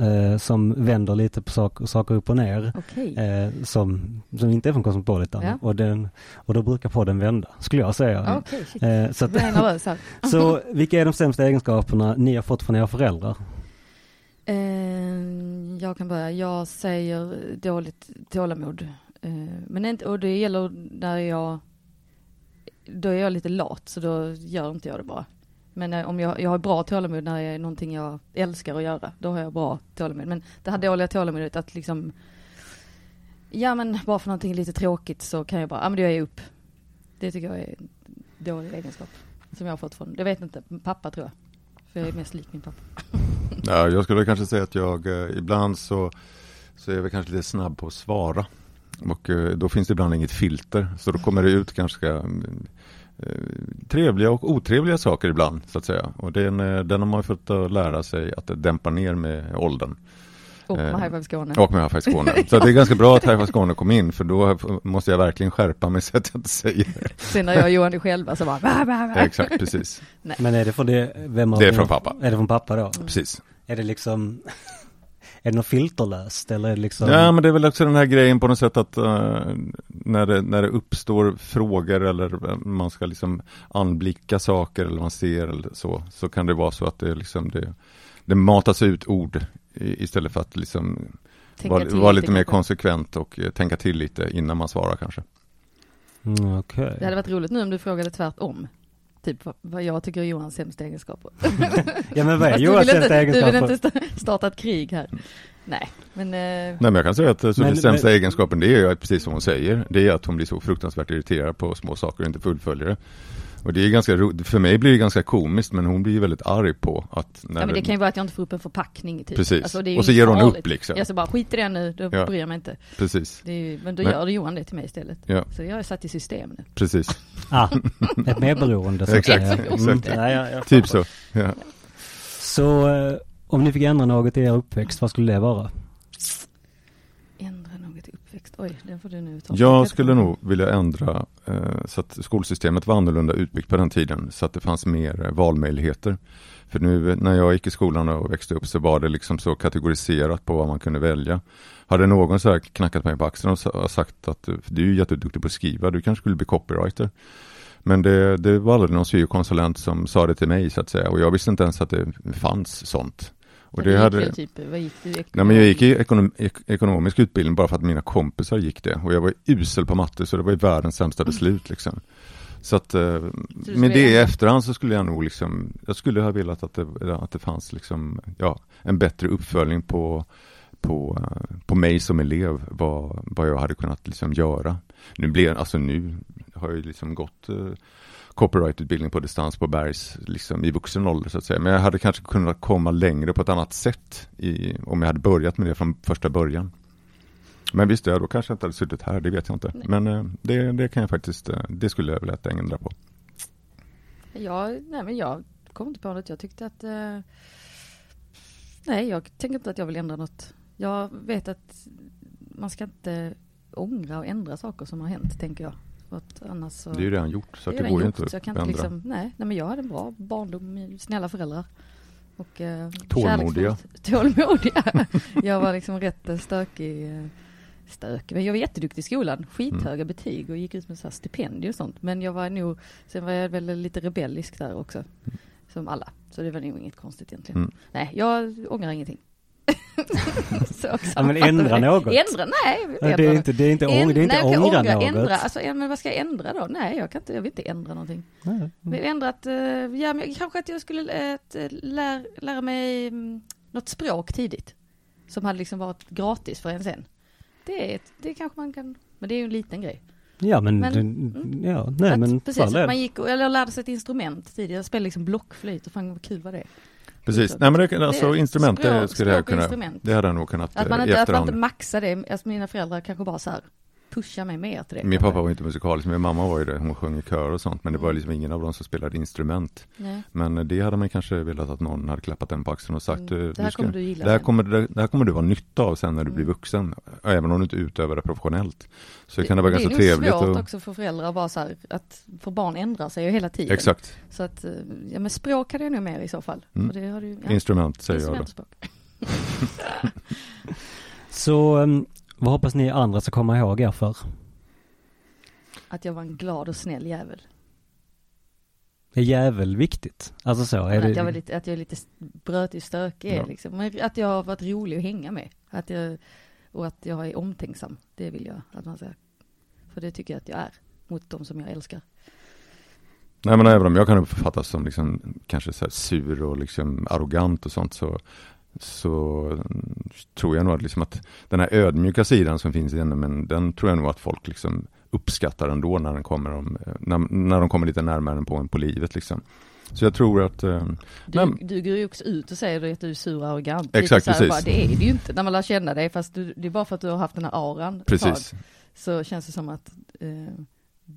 Speaker 1: Eh, som vänder lite på sak, saker upp och ner.
Speaker 3: okej.
Speaker 1: eh, som, som inte är från Cosmopolitan.
Speaker 3: Ja.
Speaker 1: Och, den, och då brukar podden vända, skulle jag säga.
Speaker 3: Okej, shit.
Speaker 1: Eh, så,
Speaker 3: (laughs)
Speaker 1: att,
Speaker 3: Jag är nervös här.
Speaker 1: så vilka är de sämsta egenskaperna ni har fått från era föräldrar?
Speaker 3: Eh, jag kan börja. Jag säger dåligt tålamod. Eh, men inte, och det gäller när jag, då är jag lite lat så då gör inte jag det bara. Men eh, om jag, jag har bra tålamod när det är någonting jag älskar att göra, då har jag bra tålamod. Men det här dåliga tålamodet att liksom, ja men bara för någonting lite tråkigt så kan jag bara, ja men då är jag upp. Det tycker jag är en dålig egenskap som jag har fått från, jag vet inte, pappa tror jag. För jag är mest lik min pappa.
Speaker 2: Ja, jag skulle kanske säga att jag eh, ibland så, så är jag väl kanske lite snabb på att svara. Och eh, då finns det ibland inget filter. Så då kommer det ut ganska mm, eh, trevliga och otrevliga saker ibland. så att säga. Och den, eh, den har man ju fått att lära sig att dämpa ner med åldern.
Speaker 3: Och med
Speaker 2: Eh,
Speaker 3: High Five Skåne.
Speaker 2: Och med High Five Skåne. Så att det är ganska bra att High Five Skåne kom in. För då måste jag verkligen skärpa mig så att jag inte säger
Speaker 3: Sen när jag och Johan är själva så bara bah, bah, bah.
Speaker 2: Exakt, precis.
Speaker 1: Men är det från det, vem av
Speaker 2: Det är
Speaker 1: dina-
Speaker 2: från pappa.
Speaker 1: Är det från pappa då?
Speaker 3: Mm.
Speaker 2: precis.
Speaker 1: Är det liksom, (laughs) är det något filterlöst eller är det liksom?
Speaker 2: Ja, men det är väl också den här grejen på något sätt att eh, när, det, när det uppstår frågor eller man ska liksom anblicka saker eller man ser eller så, så kan det vara så att det liksom det, det matas ut ord i, istället för att liksom
Speaker 3: Tänka
Speaker 2: vara
Speaker 3: till
Speaker 2: var lite mer
Speaker 3: kanske.
Speaker 2: konsekvent och eh, tänka till lite innan man svarar kanske.
Speaker 1: Mm, Okej.
Speaker 3: Det hade varit roligt nu om du frågade tvärtom. Typ vad- vad jag tycker är Johans sämsta egenskaper.
Speaker 1: Ja men vad är
Speaker 3: (laughs) Fast
Speaker 1: Johans
Speaker 3: du, vill
Speaker 1: sämsta
Speaker 3: inte, du vill
Speaker 1: egenskaper?
Speaker 3: inte sta- starta ett krig här. Nej, men eh,
Speaker 2: Nej, men jag kan säga att eh, så
Speaker 1: Men-
Speaker 2: den sämsta
Speaker 1: men-
Speaker 2: egenskapen det är ju att, precis som hon säger, det är att hon blir så fruktansvärt irriterad på små saker och inte fullföljer det. Och det är ganska, ro- för mig blir det ganska komiskt, men hon blir ju väldigt arg på att när
Speaker 3: ja, men det
Speaker 2: det-
Speaker 3: kan ju vara att jag inte får upp en förpackning. Typ.
Speaker 2: Precis,
Speaker 3: Alltså, det är ju
Speaker 2: och så
Speaker 3: inte
Speaker 2: ger hon
Speaker 3: farligt.
Speaker 2: upp liksom.
Speaker 3: Jag så bara skit i det nu, då
Speaker 2: Ja.
Speaker 3: bryr jag mig inte.
Speaker 2: Precis,
Speaker 3: Det är ju, men då
Speaker 2: Men-
Speaker 3: gör det Johan det till mig istället.
Speaker 2: Ja.
Speaker 3: Så jag är satt i system nu.
Speaker 2: precis.
Speaker 1: Ah, ett medberoende. så att
Speaker 2: Exakt,
Speaker 1: säga.
Speaker 2: exakt.
Speaker 1: ja, ja, ja.
Speaker 2: Typ så. Ja.
Speaker 1: Så eh, om ni fick ändra något i er uppväxt, vad skulle det vara?
Speaker 3: Ändra något i uppväxt. Oj, den får du nu ta.
Speaker 2: Jag skulle nog vilja ändra eh, så att skolsystemet var annorlunda utbyggt på den tiden så att det fanns mer eh, valmöjligheter. För nu eh, när jag gick i skolan och växte upp så var det liksom så kategoriserat på vad man kunde välja. Hade någon så här knackat mig på axeln och sa- och sagt att eh, du är ju jätteduktig på att skriva, du kanske skulle bli copywriter. Men det, det var aldrig någon syokonsulent som sa det till mig så att säga och jag visste inte ens att det fanns sånt. Och
Speaker 3: Men du
Speaker 2: det
Speaker 3: gick
Speaker 2: hade,
Speaker 3: väl Typ, vad gick du?
Speaker 2: Nej, men jag gick i ekonom ek ekonomisk utbildning bara för att mina kompisar gick det. Och jag var usel på matte, så det var ju världens sämsta beslut. Liksom. Så att, eh,
Speaker 3: skulle
Speaker 2: med det i
Speaker 3: ändra?
Speaker 2: efterhand så skulle jag nog liksom, jag skulle ha velat att det, att det fanns liksom, ja, en bättre uppföljning på, på, eh, på mig som elev, vad, vad jag hade kunnat liksom göra. Nu, blev, alltså nu har jag ju liksom gått eh, copyrightutbildning på distans på Bergs liksom, i vuxen ålder så att säga. Men jag hade kanske kunnat komma längre på ett annat sätt i, om jag hade börjat med det från första början. Men visst, ja, då kanske jag inte hade suttit här, det vet jag inte.
Speaker 3: Nej.
Speaker 2: Men eh, det, det kan jag faktiskt, eh, det skulle jag vilja att jag ändra på.
Speaker 3: Ja, nej men jag kom inte på något. Jag tyckte att... Eh, nej, jag tänker inte att jag vill ändra något. Jag vet att man ska inte ångra och ändra saker som har hänt, tänker jag. För att annars så...
Speaker 2: Det är ju redan gjort, så
Speaker 3: det
Speaker 2: att
Speaker 3: är
Speaker 2: det,
Speaker 3: redan
Speaker 2: går ju
Speaker 3: gjort,
Speaker 2: inte
Speaker 3: så jag
Speaker 2: att
Speaker 3: kan inte
Speaker 2: ändra.
Speaker 3: liksom, nej, nej, men jag hade en bra barndom, med snälla föräldrar. Och, eh,
Speaker 2: Tålmodiga.
Speaker 3: kärleksfullt- Tålmodiga. (laughs) jag var liksom rätt eh, stökig. eh, Stök. Men jag var jätteduktig i skolan, skithöga
Speaker 2: Mm.
Speaker 3: betyg och gick ut med så här stipendier och sånt. Men jag var nog, sen var jag väl lite rebellisk där också. Som alla. Så det var nog inget konstigt egentligen.
Speaker 2: Mm.
Speaker 3: Nej, jag ångrar ingenting. (laughs) så
Speaker 1: Ja, men ändra något.
Speaker 3: Ändra, nej. jag vill
Speaker 1: Ja, det
Speaker 3: ändra
Speaker 1: är
Speaker 3: något.
Speaker 1: inte, det är inte,
Speaker 3: Änd-
Speaker 1: ång, det är inte
Speaker 3: nej, jag kan
Speaker 1: ångra, något.
Speaker 3: Ändra. Alltså, ja, men vad ska jag ändra då? Nej, jag, kan inte, jag vill inte ändra någonting.
Speaker 1: Nej.
Speaker 3: Men ändrat, eh, ja, men kanske att jag skulle eh, att, eh, lär, lära mig mm, något språk tidigt. Som hade liksom varit gratis för en sen. Det, är ett, det kanske man kan, men det är ju en liten grej.
Speaker 1: Ja men,
Speaker 3: Men-
Speaker 1: det-
Speaker 3: mm.
Speaker 1: ja, nej
Speaker 3: att,
Speaker 1: men
Speaker 3: precis,
Speaker 1: fall är
Speaker 3: att
Speaker 1: det.
Speaker 3: man gick och, eller jag lärde sig ett instrument tidigt. Jag spelade liksom blockflöjt och fan vad kul var det. är.
Speaker 2: Precis, nej men det, kan- alltså
Speaker 3: Det-
Speaker 2: instrument, det
Speaker 3: språk-
Speaker 2: skulle jag
Speaker 3: språk och
Speaker 2: kunna,
Speaker 3: instrument.
Speaker 2: det hade jag nog kunnat
Speaker 3: Att man
Speaker 2: eh, i
Speaker 3: inte, att man
Speaker 2: efterhand.
Speaker 3: inte maxar det. Alltså mina föräldrar kanske bara så här pushar mig mer till det.
Speaker 2: Min pappa var inte musikalisk, min mamma var ju det, hon sjöng i kör och sånt, men det
Speaker 3: Mm.
Speaker 2: var liksom ingen av dem som spelade instrument.
Speaker 3: Nej.
Speaker 2: Men eh, det hade man kanske velat att någon hade klappat den på axeln och sagt,
Speaker 3: Mm.
Speaker 2: eh,
Speaker 3: Det här
Speaker 2: ska-
Speaker 3: kommer du gilla
Speaker 2: det här
Speaker 3: sen."
Speaker 2: kommer, du- det här kommer du ha nytta av sen när du blir
Speaker 3: Mm.
Speaker 2: vuxen, även om du inte utövar det professionellt. Så det kan vara ganska trevligt.
Speaker 3: Det är nog svårt
Speaker 2: Och,
Speaker 3: också för föräldrar att vara så här, att för barn ändrar sig ju hela tiden.
Speaker 2: exakt,
Speaker 3: Så att, eh, ja men språk hade jag nog mer i så fall.
Speaker 2: Mm.
Speaker 3: Och det har du, ja.
Speaker 2: instrument säger jag då.
Speaker 3: Instrumentspråk.
Speaker 1: Så ehm, vad hoppas ni andra ska komma ihåg er för?
Speaker 3: Att jag var en glad och snäll jävel.
Speaker 1: Är jävel viktigt? Alltså så, är
Speaker 3: Men
Speaker 1: det,
Speaker 3: att, jag var lite, att jag är lite brötig och stökig
Speaker 2: Ja.
Speaker 3: liksom. Men Att jag har varit rolig att hänga med. Att jag, och att jag är omtänksam. Det vill jag att man säger. För det tycker jag att jag är. Mot de som jag älskar.
Speaker 2: Nej men även om jag kan uppfattas som liksom kanske så här sur och liksom arrogant och sånt så, så mm, tror jag nog att, liksom att den här ödmjuka sidan som finns i henne, men den tror jag nog att folk liksom uppskattar ändå när, den kommer om, eh, när, när de kommer lite närmare en på en på livet liksom. Så jag tror att, eh,
Speaker 3: Du,
Speaker 2: Nej, men-
Speaker 3: du går ju också ut och säger att du är sur och arrogant.
Speaker 2: Exakt,
Speaker 3: Lite så här
Speaker 2: precis.
Speaker 3: Bara, det är det ju inte när man lär känna dig. Fast du, det är bara för att du har haft den här auran ett tag,
Speaker 2: precis.
Speaker 3: Så känns det som att eh,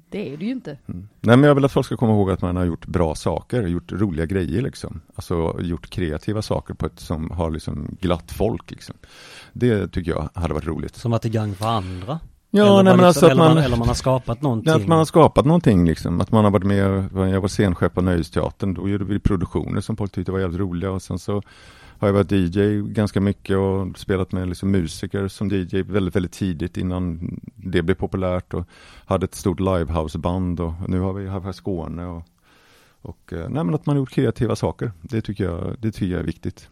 Speaker 3: det är det ju inte.
Speaker 2: Mm. Nej men jag vill att folk ska komma ihåg att man har gjort bra saker, gjort roliga grejer liksom. Alltså gjort kreativa saker på ett som har liksom glatt folk liksom. Det tycker jag hade varit roligt.
Speaker 1: som att det är gagn för andra?
Speaker 2: Ja,
Speaker 1: eller, bara
Speaker 2: nej men
Speaker 1: liksom,
Speaker 2: alltså att
Speaker 1: eller,
Speaker 2: man,
Speaker 1: man, eller man har skapat någonting?
Speaker 2: Nej, att man har skapat någonting liksom, att man har varit med, jag var scenchef på Nöjesteatern, då gjorde vi produktioner som folk tyckte var jävligt roliga och sen så har jag varit DJ ganska mycket och spelat med liksom musiker som DJ väldigt, väldigt tidigt innan det blev populärt och hade ett stort livehouseband och nu har vi High Skåne och, och eh, nej men att man har gjort kreativa saker, det tycker jag, det tycker jag är viktigt.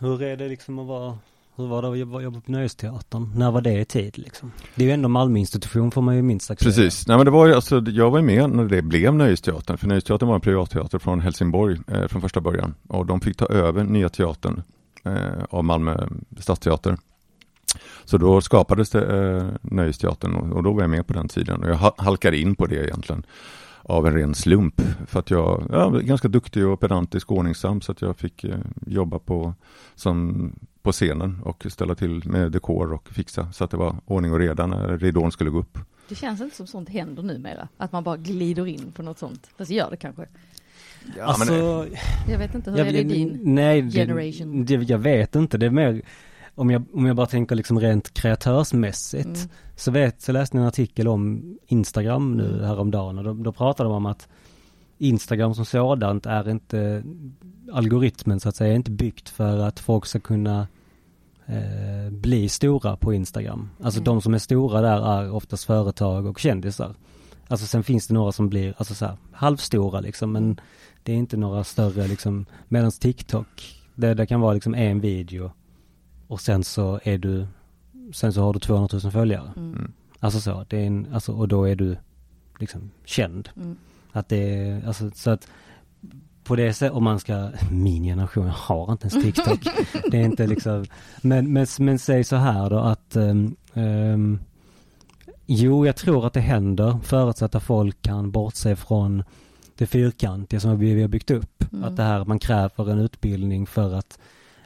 Speaker 1: Hur är det liksom att vara, hur var det att jobba, jobba på Nöjesteatern? När var det i tid liksom? Det är ju ändå Malmö institution får man ju minst sagt säga.
Speaker 2: Precis, nej men det var ju alltså, jag var ju med när det blev Nöjesteatern, för Nöjesteatern var en privatteater från Helsingborg eh, från första början och de fick ta över Nya Teatern eh, av Malmö Stadsteater. Så då skapades det eh, Nöjesteatern och, och då var jag med på den tiden och jag ha- halkade in på det egentligen av en ren slump för att jag, jag var ganska duktig och pedantisk och ordningsam så att jag fick eh, jobba på, som, på scenen och ställa till med dekor och fixa så att det var ordning och reda när ridån skulle gå upp.
Speaker 3: Det känns inte som sånt händer numera. Att man bara glider in på något sånt. Fast det gör det kanske.
Speaker 2: Ja,
Speaker 1: Alltså,
Speaker 3: Jag vet inte, hur
Speaker 1: jag,
Speaker 3: är det i din?
Speaker 1: nej, det-
Speaker 3: generation?
Speaker 1: Det, jag vet inte, det är mer om jag, om jag bara tänker liksom rent kreatörsmässigt
Speaker 3: Mm.
Speaker 1: så, vet, så läste jag en artikel om Instagram nu
Speaker 3: Mm.
Speaker 1: häromdagen och då, då pratade de om att Instagram som sådant är inte, algoritmen så att säga, är inte byggt för att folk ska kunna eh, bli stora på Instagram. Alltså
Speaker 3: Mm.
Speaker 1: de som är stora där är oftast företag och kändisar. Alltså sen finns det några som blir, alltså så här, halvstora liksom,
Speaker 3: Mm.
Speaker 1: men det är inte några större liksom, medan TikTok, det, det kan vara liksom en video och sen så är du, sen så har du 200 000 följare.
Speaker 3: Mm.
Speaker 1: Alltså så, det är en, alltså, och då är du liksom känd.
Speaker 3: Mm.
Speaker 1: Att det är, alltså så att på det sättet, om man ska, (laughs) min generation har inte ens TikTok. det är inte liksom, men, men, men säg så här då att ehm, ehm, Jo, jag tror att det händer förutsatt att folk kan bortse från det fyrkantiga som vi vi har byggt upp.
Speaker 3: Mm.
Speaker 1: Att det här, man kräver en utbildning för att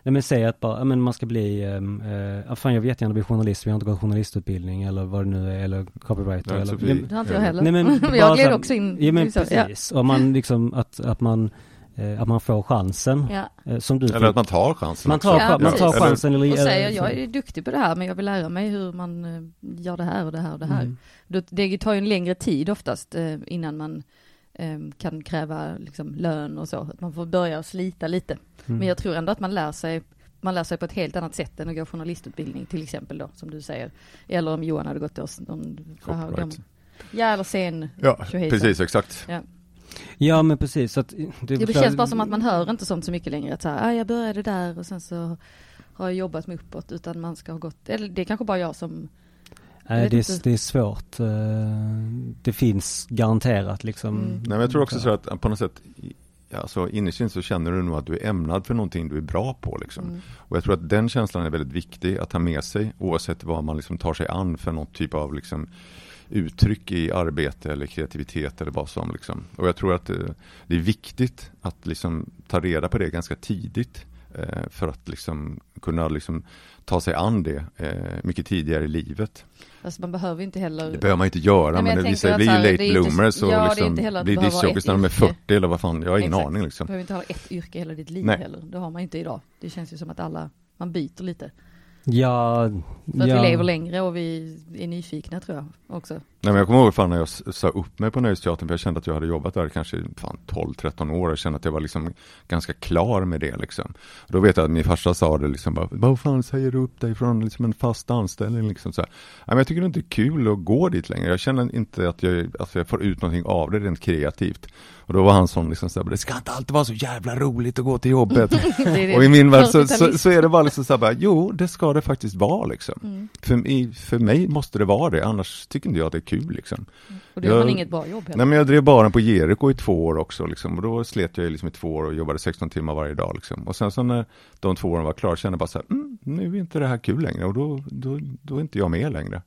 Speaker 1: Nej men säg att bara, ja, men man ska bli, ehm, eh, ja, fan jag vet gärna bli journalist, men jag har inte gått journalistutbildning eller vad det nu är, eller copywriter
Speaker 2: Nej,
Speaker 1: eller
Speaker 2: Sofie.
Speaker 1: Nej,
Speaker 3: Det har inte jag heller.
Speaker 1: Nej, men bara
Speaker 3: (laughs) jag
Speaker 1: så
Speaker 3: gled
Speaker 1: här-
Speaker 3: också in.
Speaker 1: Ja men
Speaker 3: Så,
Speaker 1: precis, och man liksom att, att man eh, att man får chansen
Speaker 3: Ja.
Speaker 1: eh, som du
Speaker 2: Eller
Speaker 1: fick.
Speaker 2: att man tar chansen.
Speaker 1: man tar,
Speaker 2: också.
Speaker 3: Ja,
Speaker 1: chan- man tar
Speaker 3: precis.
Speaker 1: chansen eller, Mm.
Speaker 3: Och säger
Speaker 1: eller-
Speaker 3: jag är duktig på det här men jag vill lära mig hur man eh, gör det här och det här och det här.
Speaker 1: Mm.
Speaker 3: Då, det tar ju en längre tid oftast eh, innan man eh, kan kräva liksom, lön och så. Att man får börja slita lite.
Speaker 1: Mm.
Speaker 3: Men jag tror ändå att man lär sig man lär sig på ett helt annat sätt än att gå journalistutbildning till exempel då, som du säger. Eller om Johan hade gått oss någon... vad har
Speaker 2: Copyright.
Speaker 3: de- Ja, eller sen.
Speaker 2: Ja,
Speaker 3: Tjohejsan.
Speaker 2: precis, exakt.
Speaker 1: Ja men precis, så att eh,
Speaker 3: Det, känns bara som att man hör inte sånt så mycket längre. Att så här, ah, jag började där och sen så har jag jobbat mig uppåt. Utan man ska ha gått, eller det är kanske bara jag som, jag
Speaker 1: Nej,
Speaker 3: vet
Speaker 1: det, är,
Speaker 3: inte.
Speaker 1: det är svårt. eh, Det finns garanterat liksom. Mm.
Speaker 3: Mm.
Speaker 2: Nej, men jag tror också så att på något sätt alltså innerst inne så känner du nog att du är ämnad för någonting du är bra på. Liksom.
Speaker 3: Mm.
Speaker 2: Och jag tror att den känslan är väldigt viktig att ha med sig oavsett vad man liksom tar sig an för någon typ av liksom, uttryck i arbete eller kreativitet eller vad som. Liksom. Och jag tror att eh, det är viktigt att liksom, ta reda på det ganska tidigt eh, för att liksom, kunna liksom, ta sig an det eh, mycket tidigare i livet.
Speaker 3: Alltså man behöver ju inte heller...
Speaker 2: Det behöver man inte göra,
Speaker 3: men
Speaker 2: men,
Speaker 3: jag
Speaker 2: det,
Speaker 3: tänker
Speaker 2: vissa
Speaker 3: att
Speaker 2: blir
Speaker 3: så
Speaker 2: ju
Speaker 3: här,
Speaker 2: late
Speaker 3: det är inte-
Speaker 2: bloomers och
Speaker 3: ja, det är
Speaker 2: liksom
Speaker 3: inte heller att
Speaker 2: blir
Speaker 3: det behöver vara
Speaker 2: discjockeys när de är
Speaker 3: ett
Speaker 2: 40 eller vad fan, jag har ingen
Speaker 3: Exakt.
Speaker 2: aning liksom.
Speaker 3: behöver inte ha ett yrke hela ditt liv
Speaker 2: Nej.
Speaker 3: heller. Det har man ju inte idag. Det känns ju som att alla, man byter lite.
Speaker 1: Ja,
Speaker 3: För att
Speaker 1: ja.
Speaker 3: vi lever längre och vi är nyfikna tror
Speaker 2: (laughs)
Speaker 3: jag också.
Speaker 2: Nej, men jag kommer ihåg fan när jag s- sa upp mig på Nöjesteatern, för jag kände att jag hade jobbat där kanske fan 12-13 år, jag kände att jag var liksom ganska klar med det liksom. Och då vet jag att min farsa sa det liksom, bara, vad fan säger du upp dig från liksom en fast anställning liksom så här. Nej, men jag tycker det är inte kul att gå dit längre, jag känner inte att jag, att jag får ut någonting av det rent kreativt. Och då var han som liksom så här, det ska inte alltid vara så jävla roligt att gå till jobbet.
Speaker 3: Det är (laughs) det.
Speaker 2: Och i min värld så, så,
Speaker 3: Kapitalism.
Speaker 2: så är det bara liksom så här bara, jo det ska det faktiskt vara liksom.
Speaker 3: Mm.
Speaker 2: För, i, för mig måste det vara det, annars tycker inte jag att det är kul liksom.
Speaker 3: Och då gör man
Speaker 2: Jag-
Speaker 3: inget bra jobb heller.
Speaker 2: Nej men jag drev baren på Jericho i två år också liksom. Och då slet jag ju liksom i två år och jobbade 16 timmar varje dag liksom. Och sen så när de två åren var klara kände jag bara så här, mm, nu är inte det här kul längre och då, då, då är inte jag med längre.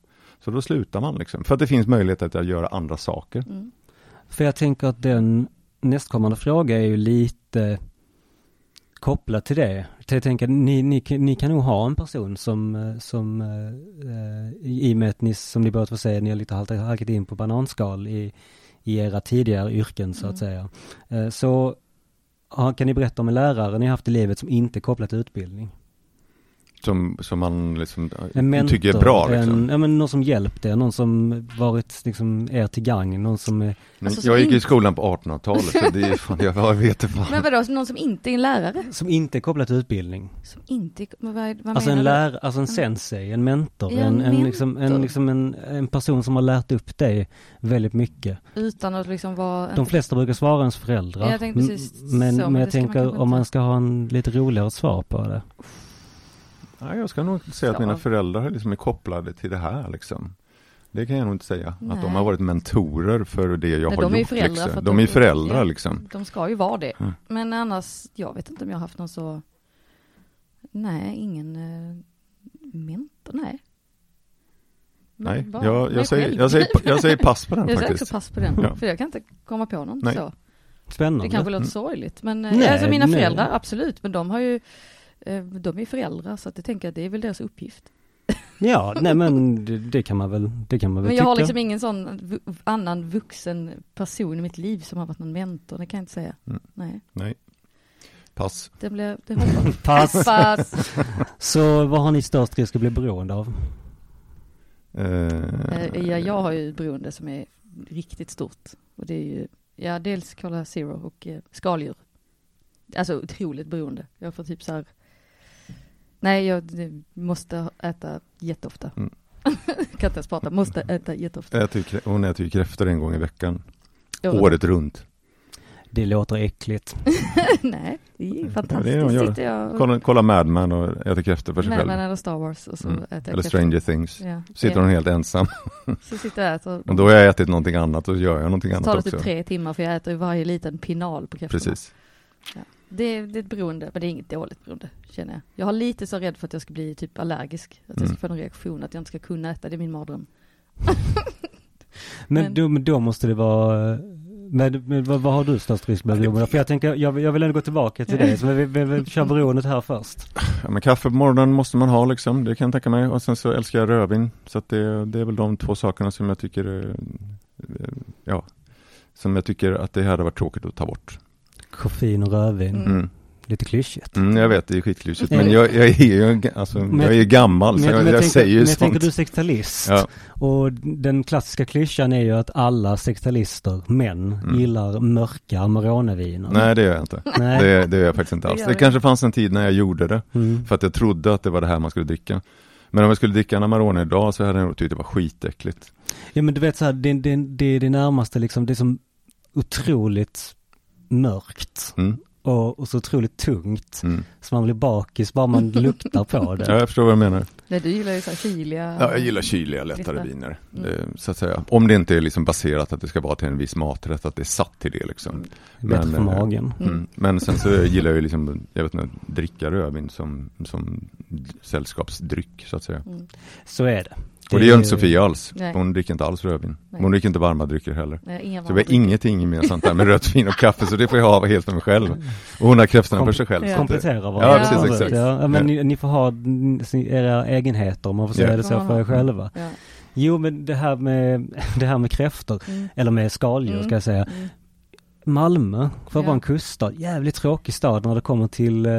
Speaker 2: Så då slutar man liksom. För att det finns möjlighet att göra andra saker.
Speaker 3: Mm.
Speaker 1: För jag tänker att den nästkommande fråga är ju lite kopplad till det. Så Jag tänker, ni, ni, ni kan nog ha en person som, eh, som eh, eh, i i och med att ni, som ni båda två säger, ni har lite halkat, halkat in på bananskal i, i era tidigare yrken så
Speaker 2: Mm.
Speaker 1: att säga. Eh, så ja, kan ni berätta om en lärare ni har haft i livet som inte är kopplat till utbildning?
Speaker 2: Som, som man liksom
Speaker 1: En mentor,
Speaker 2: tycker är bra liksom.
Speaker 1: en, ja, men någon som hjälpt er, någon som varit liksom, er till gagn, någon som eh, är
Speaker 2: Men
Speaker 3: Alltså, som
Speaker 2: jag gick i
Speaker 3: inte-
Speaker 2: skolan på 1800-talet, så det är fan, jag, jag vet inte fan.
Speaker 3: Men vadå, någon som inte är en lärare?
Speaker 1: som inte är kopplad till utbildning.
Speaker 3: Som inte, men vad, vad
Speaker 1: Alltså en
Speaker 3: menar du?
Speaker 1: lärare, alltså en sensei, en mentor,
Speaker 3: Ja,
Speaker 1: en, en,
Speaker 3: en mentor.
Speaker 1: Liksom, en, liksom en, en person som har lärt upp dig väldigt mycket.
Speaker 3: Utan att liksom vara...
Speaker 1: De flesta brukar svara ens föräldrar.
Speaker 3: Ja, jag tänkte precis
Speaker 1: M- men,
Speaker 3: så, men
Speaker 1: men
Speaker 3: det
Speaker 1: jag
Speaker 3: ska man
Speaker 1: tänker
Speaker 3: kanske
Speaker 1: om man
Speaker 3: inte-
Speaker 1: ska ha en lite roligare svar på det.
Speaker 2: Nej, jag ska nog säga att
Speaker 3: Ja.
Speaker 2: mina föräldrar liksom är kopplade till det här liksom. Det kan jag nog inte säga, att de
Speaker 3: Nej.
Speaker 2: har varit mentorer för det jag
Speaker 3: Nej,
Speaker 2: har
Speaker 3: de är ju
Speaker 2: gjort.
Speaker 3: föräldrar för
Speaker 2: liksom.
Speaker 3: att
Speaker 2: De
Speaker 3: de-
Speaker 2: är ju föräldrar
Speaker 3: ja.
Speaker 2: liksom.
Speaker 3: De ska ju vara det.
Speaker 2: Mm.
Speaker 3: Men annars, jag vet inte om jag har haft någon så... Nej, ingen eh, mentor, nej. Men
Speaker 2: Nej,
Speaker 3: bara
Speaker 2: jag,
Speaker 3: mig
Speaker 2: jag, säger,
Speaker 3: själv.
Speaker 2: jag, säger, jag säger pass på den
Speaker 3: (laughs) Jag säger också
Speaker 2: faktiskt.
Speaker 3: pass på den,
Speaker 2: Ja.
Speaker 3: för jag kan inte komma på någon
Speaker 2: Nej. Mm.
Speaker 3: så.
Speaker 1: Spännande.
Speaker 3: Det kanske låter sorgligt, men
Speaker 1: Nej,
Speaker 3: nej, alltså mina
Speaker 1: nej.
Speaker 3: föräldrar, absolut, men de har ju eh, de är ju föräldrar så att jag tänker att det är väl deras uppgift.
Speaker 1: Ja, nej men det, det kan man väl, det kan man väl
Speaker 3: Men jag har
Speaker 1: tycka.
Speaker 3: liksom ingen sån vu- annan vuxen person i mitt liv som har varit någon mentor, det kan jag inte säga.
Speaker 2: Mm.
Speaker 3: Nej,
Speaker 2: Pass.
Speaker 3: det blev, det hoppar.
Speaker 2: (laughs)
Speaker 1: Pass.
Speaker 3: Pass.
Speaker 1: Så vad har ni störst risk att bli beroende av?
Speaker 2: Eh,
Speaker 3: Eh, Ja, jag har ju ett beroende som är riktigt stort. Och det är ju, ja, dels Cola Zero och eh, skaldjur. Alltså otroligt beroende. Jag får typ så här, nej, jag det- måste äta jätteofta.
Speaker 2: Mm.
Speaker 3: (laughs) kan inte ens prata, måste äta jätteofta.
Speaker 2: jag äter ju krä- hon äter ju kräftor en gång i veckan,
Speaker 3: Och-
Speaker 2: året runt.
Speaker 1: Det låter äckligt.
Speaker 3: (laughs) nej, det är
Speaker 2: det är det de
Speaker 3: fantastiskt.
Speaker 2: gör.
Speaker 3: Sitter jag och
Speaker 2: Kolla, kolla Mad Men och äter kräftor för sig
Speaker 3: med
Speaker 2: själv.
Speaker 3: eller Star Wars och så
Speaker 2: Mm.
Speaker 3: äter jag
Speaker 2: Eller
Speaker 3: kräftor.
Speaker 2: Stranger Things.
Speaker 3: Ja,
Speaker 2: Sitter
Speaker 3: ja.
Speaker 2: hon helt ensam. (laughs)
Speaker 3: Så sitter jag och äter.
Speaker 2: Och då har jag ätit någonting annat och gör jag någonting
Speaker 3: så
Speaker 2: annat
Speaker 3: tar det
Speaker 2: också.
Speaker 3: typ tre timmar för jag äter ju varje liten pinal på kräftorna.
Speaker 2: Precis.
Speaker 3: Det, det är ett beroende, men det är inget dåligt beroende känner jag. Jag har lite så rädd för att jag ska bli typ allergisk, att jag ska
Speaker 2: Mm.
Speaker 3: få någon reaktion, att jag inte ska kunna äta, det är min mardröm.
Speaker 1: Men,
Speaker 3: Men-
Speaker 1: Då, men då måste det vara men, men vad, vad har du störst risk med beroende? För jag tänker, jag, vill- jag vill ändå gå tillbaka till det, så vi, vi, vi kör beroendet här först.
Speaker 2: Ja, men kaffe på morgonen måste man ha liksom, det kan jag tänka mig. Och sen så älskar jag rödvin. Så att det, det är väl de två sakerna som jag tycker, eh, eh, ja, som jag tycker att det här hade varit tråkigt att ta bort.
Speaker 1: Koffein och rödvin,
Speaker 3: Mm.
Speaker 2: Mm.
Speaker 1: lite klyschigt.
Speaker 2: Mm, jag vet, det är skitklyschigt,
Speaker 1: Mm.
Speaker 2: men jag, jag är ju en ga- alltså,
Speaker 1: Men-
Speaker 2: jag är ju gammal, så alltså, jag, jag
Speaker 1: tänker,
Speaker 2: säger ju
Speaker 1: men jag tänker
Speaker 2: sånt.
Speaker 1: du är sexualist.
Speaker 2: Ja,
Speaker 1: Och den klassiska klyschan är ju att alla sexualister, män,
Speaker 2: Mm.
Speaker 1: gillar mörka Amaroneviner.
Speaker 2: nej, det gör jag inte.
Speaker 1: Nej.
Speaker 2: Det, det gör jag faktiskt inte
Speaker 3: Det
Speaker 2: alls.
Speaker 3: gör
Speaker 2: Det
Speaker 3: vi.
Speaker 2: kanske fanns en tid när jag gjorde det,
Speaker 1: Mm.
Speaker 2: för att jag trodde att det var det här man skulle dricka. Men om jag skulle dricka en Amarone idag så hade jag nog tyckt det var skitäckligt.
Speaker 1: Ja men du vet så här, det, det, det är det närmaste liksom, det är som otroligt mörkt.
Speaker 2: Mm.
Speaker 1: och, och så otroligt tungt.
Speaker 2: Mm.
Speaker 1: Så man blir bakis bara man luktar på
Speaker 2: Ja,
Speaker 1: det.
Speaker 2: jag förstår vad du menar.
Speaker 3: Nej, du gillar ju så här kyliga.
Speaker 2: Ja, jag gillar kyliga, lättare
Speaker 3: Lista.
Speaker 2: viner.
Speaker 3: Mm.
Speaker 2: Det, så att säga. Om det inte är liksom baserat att det ska vara till en viss maträtt, att det är satt till det liksom.
Speaker 1: Bättre
Speaker 2: Men,
Speaker 1: för
Speaker 2: eh,
Speaker 1: magen.
Speaker 3: Mm.
Speaker 2: Mm. Men sen så gillar jag ju liksom, jag vet inte, dricka rödvin som, som sällskapsdryck så att säga.
Speaker 3: Mm.
Speaker 1: Så är det.
Speaker 2: Och det gör inte Sofia alls.
Speaker 3: Nej.
Speaker 2: Hon dricker inte alls rödvin.
Speaker 3: Nej.
Speaker 2: Hon dricker inte varma drycker heller.
Speaker 3: Nej, inga
Speaker 2: Så vi har
Speaker 3: vanliga
Speaker 2: ingenting gemensamt där med rött vin och kaffe, så det får jag ha helt för mig själv. Och hon har kräftorna för sig själv. så att det-
Speaker 1: Komplettera varandra.
Speaker 2: Ja, precis,
Speaker 1: Så,
Speaker 2: exakt.
Speaker 1: Ja, men ni, ni får ha n- sin- era egenheter om man får säga
Speaker 2: Ja.
Speaker 1: det så för er själva.
Speaker 3: Ja.
Speaker 1: Jo, men det här med, (laughs) det här med kräftor,
Speaker 3: Mm.
Speaker 1: eller med skaldjur
Speaker 3: Mm.
Speaker 1: ska jag säga.
Speaker 3: Mm.
Speaker 1: Malmö, för att
Speaker 3: Ja.
Speaker 1: vara en kuststad, jävligt tråkig stad när det kommer till eh,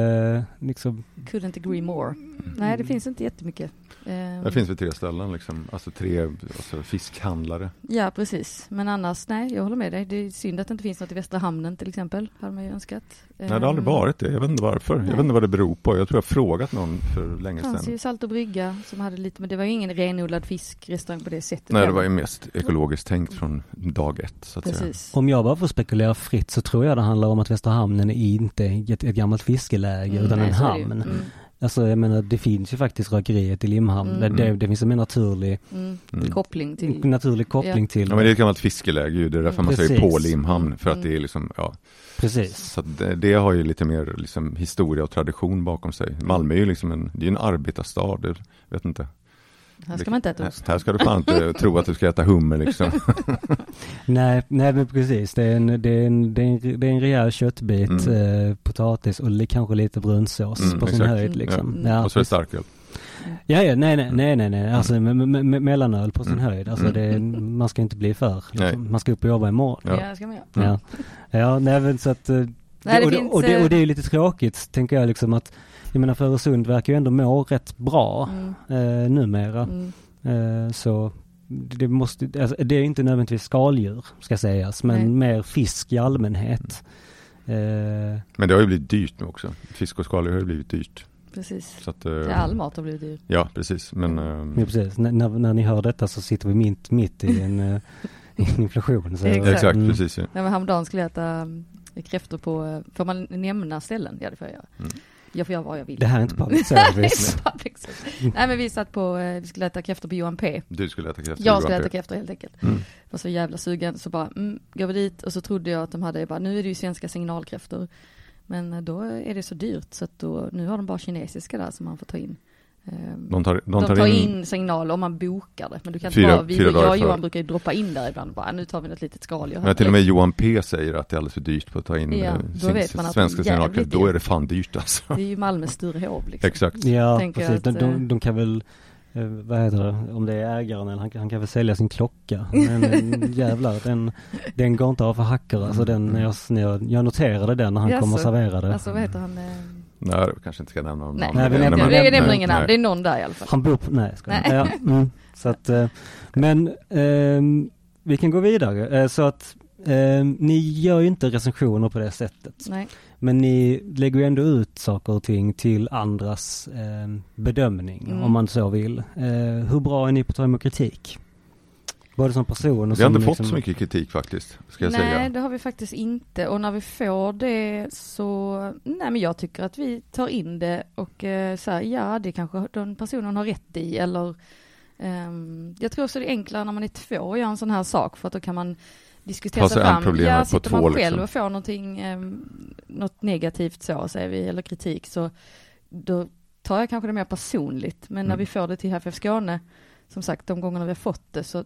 Speaker 1: liksom,
Speaker 3: Couldn't agree more. Nej, det finns inte jättemycket. Ehm,
Speaker 2: Mm. Det finns väl tre ställen liksom, alltså tre alltså fiskhandlare.
Speaker 3: Ja, precis. Men annars, nej, jag håller med dig. Det är synd att det inte finns något i Västra Hamnen till exempel. Hade man ju önskat. Ehm,
Speaker 2: Nej, det har aldrig varit det. Jag vet inte varför. Jag
Speaker 3: Eh, Nej.
Speaker 2: vet inte vad det beror på. Jag tror jag har frågat någon för länge
Speaker 3: Det fanns
Speaker 2: sedan.
Speaker 3: ju Salt och Brygga som hade lite, men det var ju ingen renodlad fiskrestaurang på det sättet.
Speaker 2: Nej, det
Speaker 3: heller.
Speaker 2: var ju mest ekologiskt tänkt från dag ett, så att säga.
Speaker 3: Precis.
Speaker 1: om jag bara får spekulera fritt så tror jag det handlar om att Västra hamnen är inte ett, ett gammalt fiskeläge
Speaker 3: Mm,
Speaker 1: utan
Speaker 3: nej,
Speaker 1: en
Speaker 3: så är det ju.
Speaker 1: hamn.
Speaker 3: Mm,
Speaker 1: Alltså jag menar det finns ju faktiskt rökeriet i Limhamn.
Speaker 3: Mm.
Speaker 1: Det- Det, det finns en mer naturlig,
Speaker 3: mm.
Speaker 2: Mm.
Speaker 3: Koppling till...
Speaker 1: naturlig koppling till
Speaker 2: Ja, men det är ett gammalt fiskeläge ju. Det är därför man
Speaker 1: Precis.
Speaker 2: säger på Limhamn, för att
Speaker 3: Mm.
Speaker 2: det är liksom, ja.
Speaker 1: Precis.
Speaker 2: Så att det, det har ju lite mer liksom historia och tradition bakom sig. Malmö är ju liksom en, det är ju en arbetarstad, jag vet inte.
Speaker 3: Här ska man inte äta ost.
Speaker 2: Här ska du fan
Speaker 3: (laughs)
Speaker 2: inte tro att du ska äta hummer liksom.
Speaker 1: Nej, nej men precis. Det är en, det är en, det är en, det är en rejäl köttbit,
Speaker 2: Mm.
Speaker 1: eh, potatis och li, kanske lite brunsås
Speaker 2: Mm,
Speaker 1: på sin
Speaker 2: exakt.
Speaker 1: höjd liksom.
Speaker 3: Mm.
Speaker 1: Ja,
Speaker 2: och så är det starköl.
Speaker 1: ja, ja, nej, nej, nej, nej, nej. Alltså me, me, me, mellanöl på sin
Speaker 2: Mm.
Speaker 1: höjd. Alltså
Speaker 2: Mm.
Speaker 1: det, är- man ska inte bli för.
Speaker 2: Nej.
Speaker 1: Liksom. Man ska upp och jobba imorgon.
Speaker 2: Ja.
Speaker 3: Ja, det ska man göra.
Speaker 2: Mm.
Speaker 1: Ja, ja nej, men så att eh,
Speaker 3: Nej, det
Speaker 1: och, det,
Speaker 3: finns,
Speaker 1: och, det,
Speaker 3: eh,
Speaker 1: och det är ju lite tråkigt, tänker jag liksom att, jag menar för Öresund verkar ju ändå må rätt bra
Speaker 3: Mm,
Speaker 1: eh, numera.
Speaker 3: mm,
Speaker 1: Eh, så det måste, alltså, det är inte nödvändigtvis skaldjur ska sägas, men
Speaker 3: Nej.
Speaker 1: mer fisk i allmänhet.
Speaker 2: Mm.
Speaker 1: Eh,
Speaker 2: Men det har ju blivit dyrt nu också. Fisk och skaldjur har ju blivit dyrt.
Speaker 3: precis.
Speaker 2: Så att, eh,
Speaker 3: Ja, all mat har blivit dyr.
Speaker 2: Ja, precis. Men, ehm,
Speaker 1: ja, precis, N- när, när ni hör detta så sitter vi mitt, mitt i en
Speaker 3: (laughs)
Speaker 1: eh, i en inflation. Så,
Speaker 3: Exakt.
Speaker 2: exakt,
Speaker 1: Mm.
Speaker 2: precis. Ja.
Speaker 3: Nej, men häromdagen skulle jag äta mm, kräftor på... eh, Får man nämna ställen? Ja, det får jag göra.
Speaker 2: Mm.
Speaker 3: Jag får göra vad jag vill.
Speaker 1: Det här är inte public
Speaker 3: Nej, (laughs)
Speaker 1: service.
Speaker 3: public service. liksom. Nej, men vi satt på... eh, Vi skulle äta kräftor på Johan P.
Speaker 2: Du skulle äta kräftor.
Speaker 3: Jag
Speaker 2: Johan
Speaker 3: skulle
Speaker 2: P.
Speaker 3: äta kräftor helt enkelt.
Speaker 2: Mm.
Speaker 3: Var så jävla sugen så bara, mm, går vi dit och så trodde jag att de hade, jag bara, nu är det ju svenska signalkräftor. Men eh, då är det så dyrt så att då, nu har de bara kinesiska där som man får ta in. Ehm,
Speaker 2: De tar, de
Speaker 3: de
Speaker 2: tar, in,
Speaker 3: signaler om man bokar det. Men du kan inte
Speaker 2: Fyra-
Speaker 3: bara, vi,
Speaker 2: fyra dagar
Speaker 3: jag och
Speaker 2: före.
Speaker 3: Johan brukar ju droppa in där ibland bara, nu tar vi något litet skaldjur. här
Speaker 2: Ja, till och med
Speaker 3: direkt.
Speaker 2: Johan P säger att det är alldeles för dyrt på att ta in
Speaker 3: Ja,
Speaker 2: eh,
Speaker 3: då
Speaker 2: sin-
Speaker 3: vet man att
Speaker 2: svenska
Speaker 3: det är jävligt
Speaker 2: signalkräftor. Då
Speaker 3: dyrt.
Speaker 2: är det fan dyrt alltså.
Speaker 3: Det är ju Malmös Sturehov liksom.
Speaker 2: Exakt.
Speaker 1: Ja,
Speaker 3: tänker
Speaker 1: precis.
Speaker 3: jag
Speaker 1: De,
Speaker 3: att, eh,
Speaker 1: de, de kan väl, eh, vad heter det, om det är ägaren eller han, han kan väl sälja sin klocka. Men eh, jävlar, den, den går inte av för hackor. Alltså den, när jag, när jag, jag noterade den när han kom och
Speaker 3: Jaså?
Speaker 1: serverade.
Speaker 3: Alltså vad heter han? ehm,
Speaker 2: Nej, vi kanske inte ska nämna någon
Speaker 3: Nej,
Speaker 2: namn.
Speaker 1: Nej, vi
Speaker 3: vi
Speaker 1: nämner-
Speaker 2: Men-
Speaker 1: vi
Speaker 3: nämner
Speaker 2: nej,
Speaker 3: ingen namn.
Speaker 2: nej.
Speaker 3: Det är någon där i alla fall.
Speaker 1: Han bor på, nej, ska jag
Speaker 3: Nej.
Speaker 1: ja, mm, Så att, eh, men ehm, vi kan gå vidare. Eh, så att ehm, ni gör ju inte recensioner på det sättet.
Speaker 3: Nej,
Speaker 1: Men ni lägger ju ändå ut saker och ting till andras ehm, bedömning
Speaker 3: Mm.
Speaker 1: om man så vill. Eh, hur bra är ni på att ta emot kritik? Både som person och
Speaker 2: Vi har
Speaker 1: som...
Speaker 2: inte fått
Speaker 1: liksom-
Speaker 2: så mycket kritik faktiskt, ska jag
Speaker 3: nej
Speaker 2: säga.
Speaker 3: det har vi faktiskt inte. Och när vi får det så, nej men jag tycker att vi tar in det och eh, så här, ja det kanske den personen har rätt i eller ehm, jag tror också det är enklare när man är två att göra en sån här sak för att då kan man diskutera
Speaker 2: Ta sig
Speaker 3: sig
Speaker 2: an
Speaker 3: fram.
Speaker 2: problemet på
Speaker 3: ja, sitter man
Speaker 2: två,
Speaker 3: själv
Speaker 2: liksom.
Speaker 3: och får någonting, ehm, något negativt så säger vi, eller kritik så då tar jag kanske det mer personligt. Men när
Speaker 2: Mm.
Speaker 3: vi får det till HFF Skåne, som sagt de gångerna vi har fått det så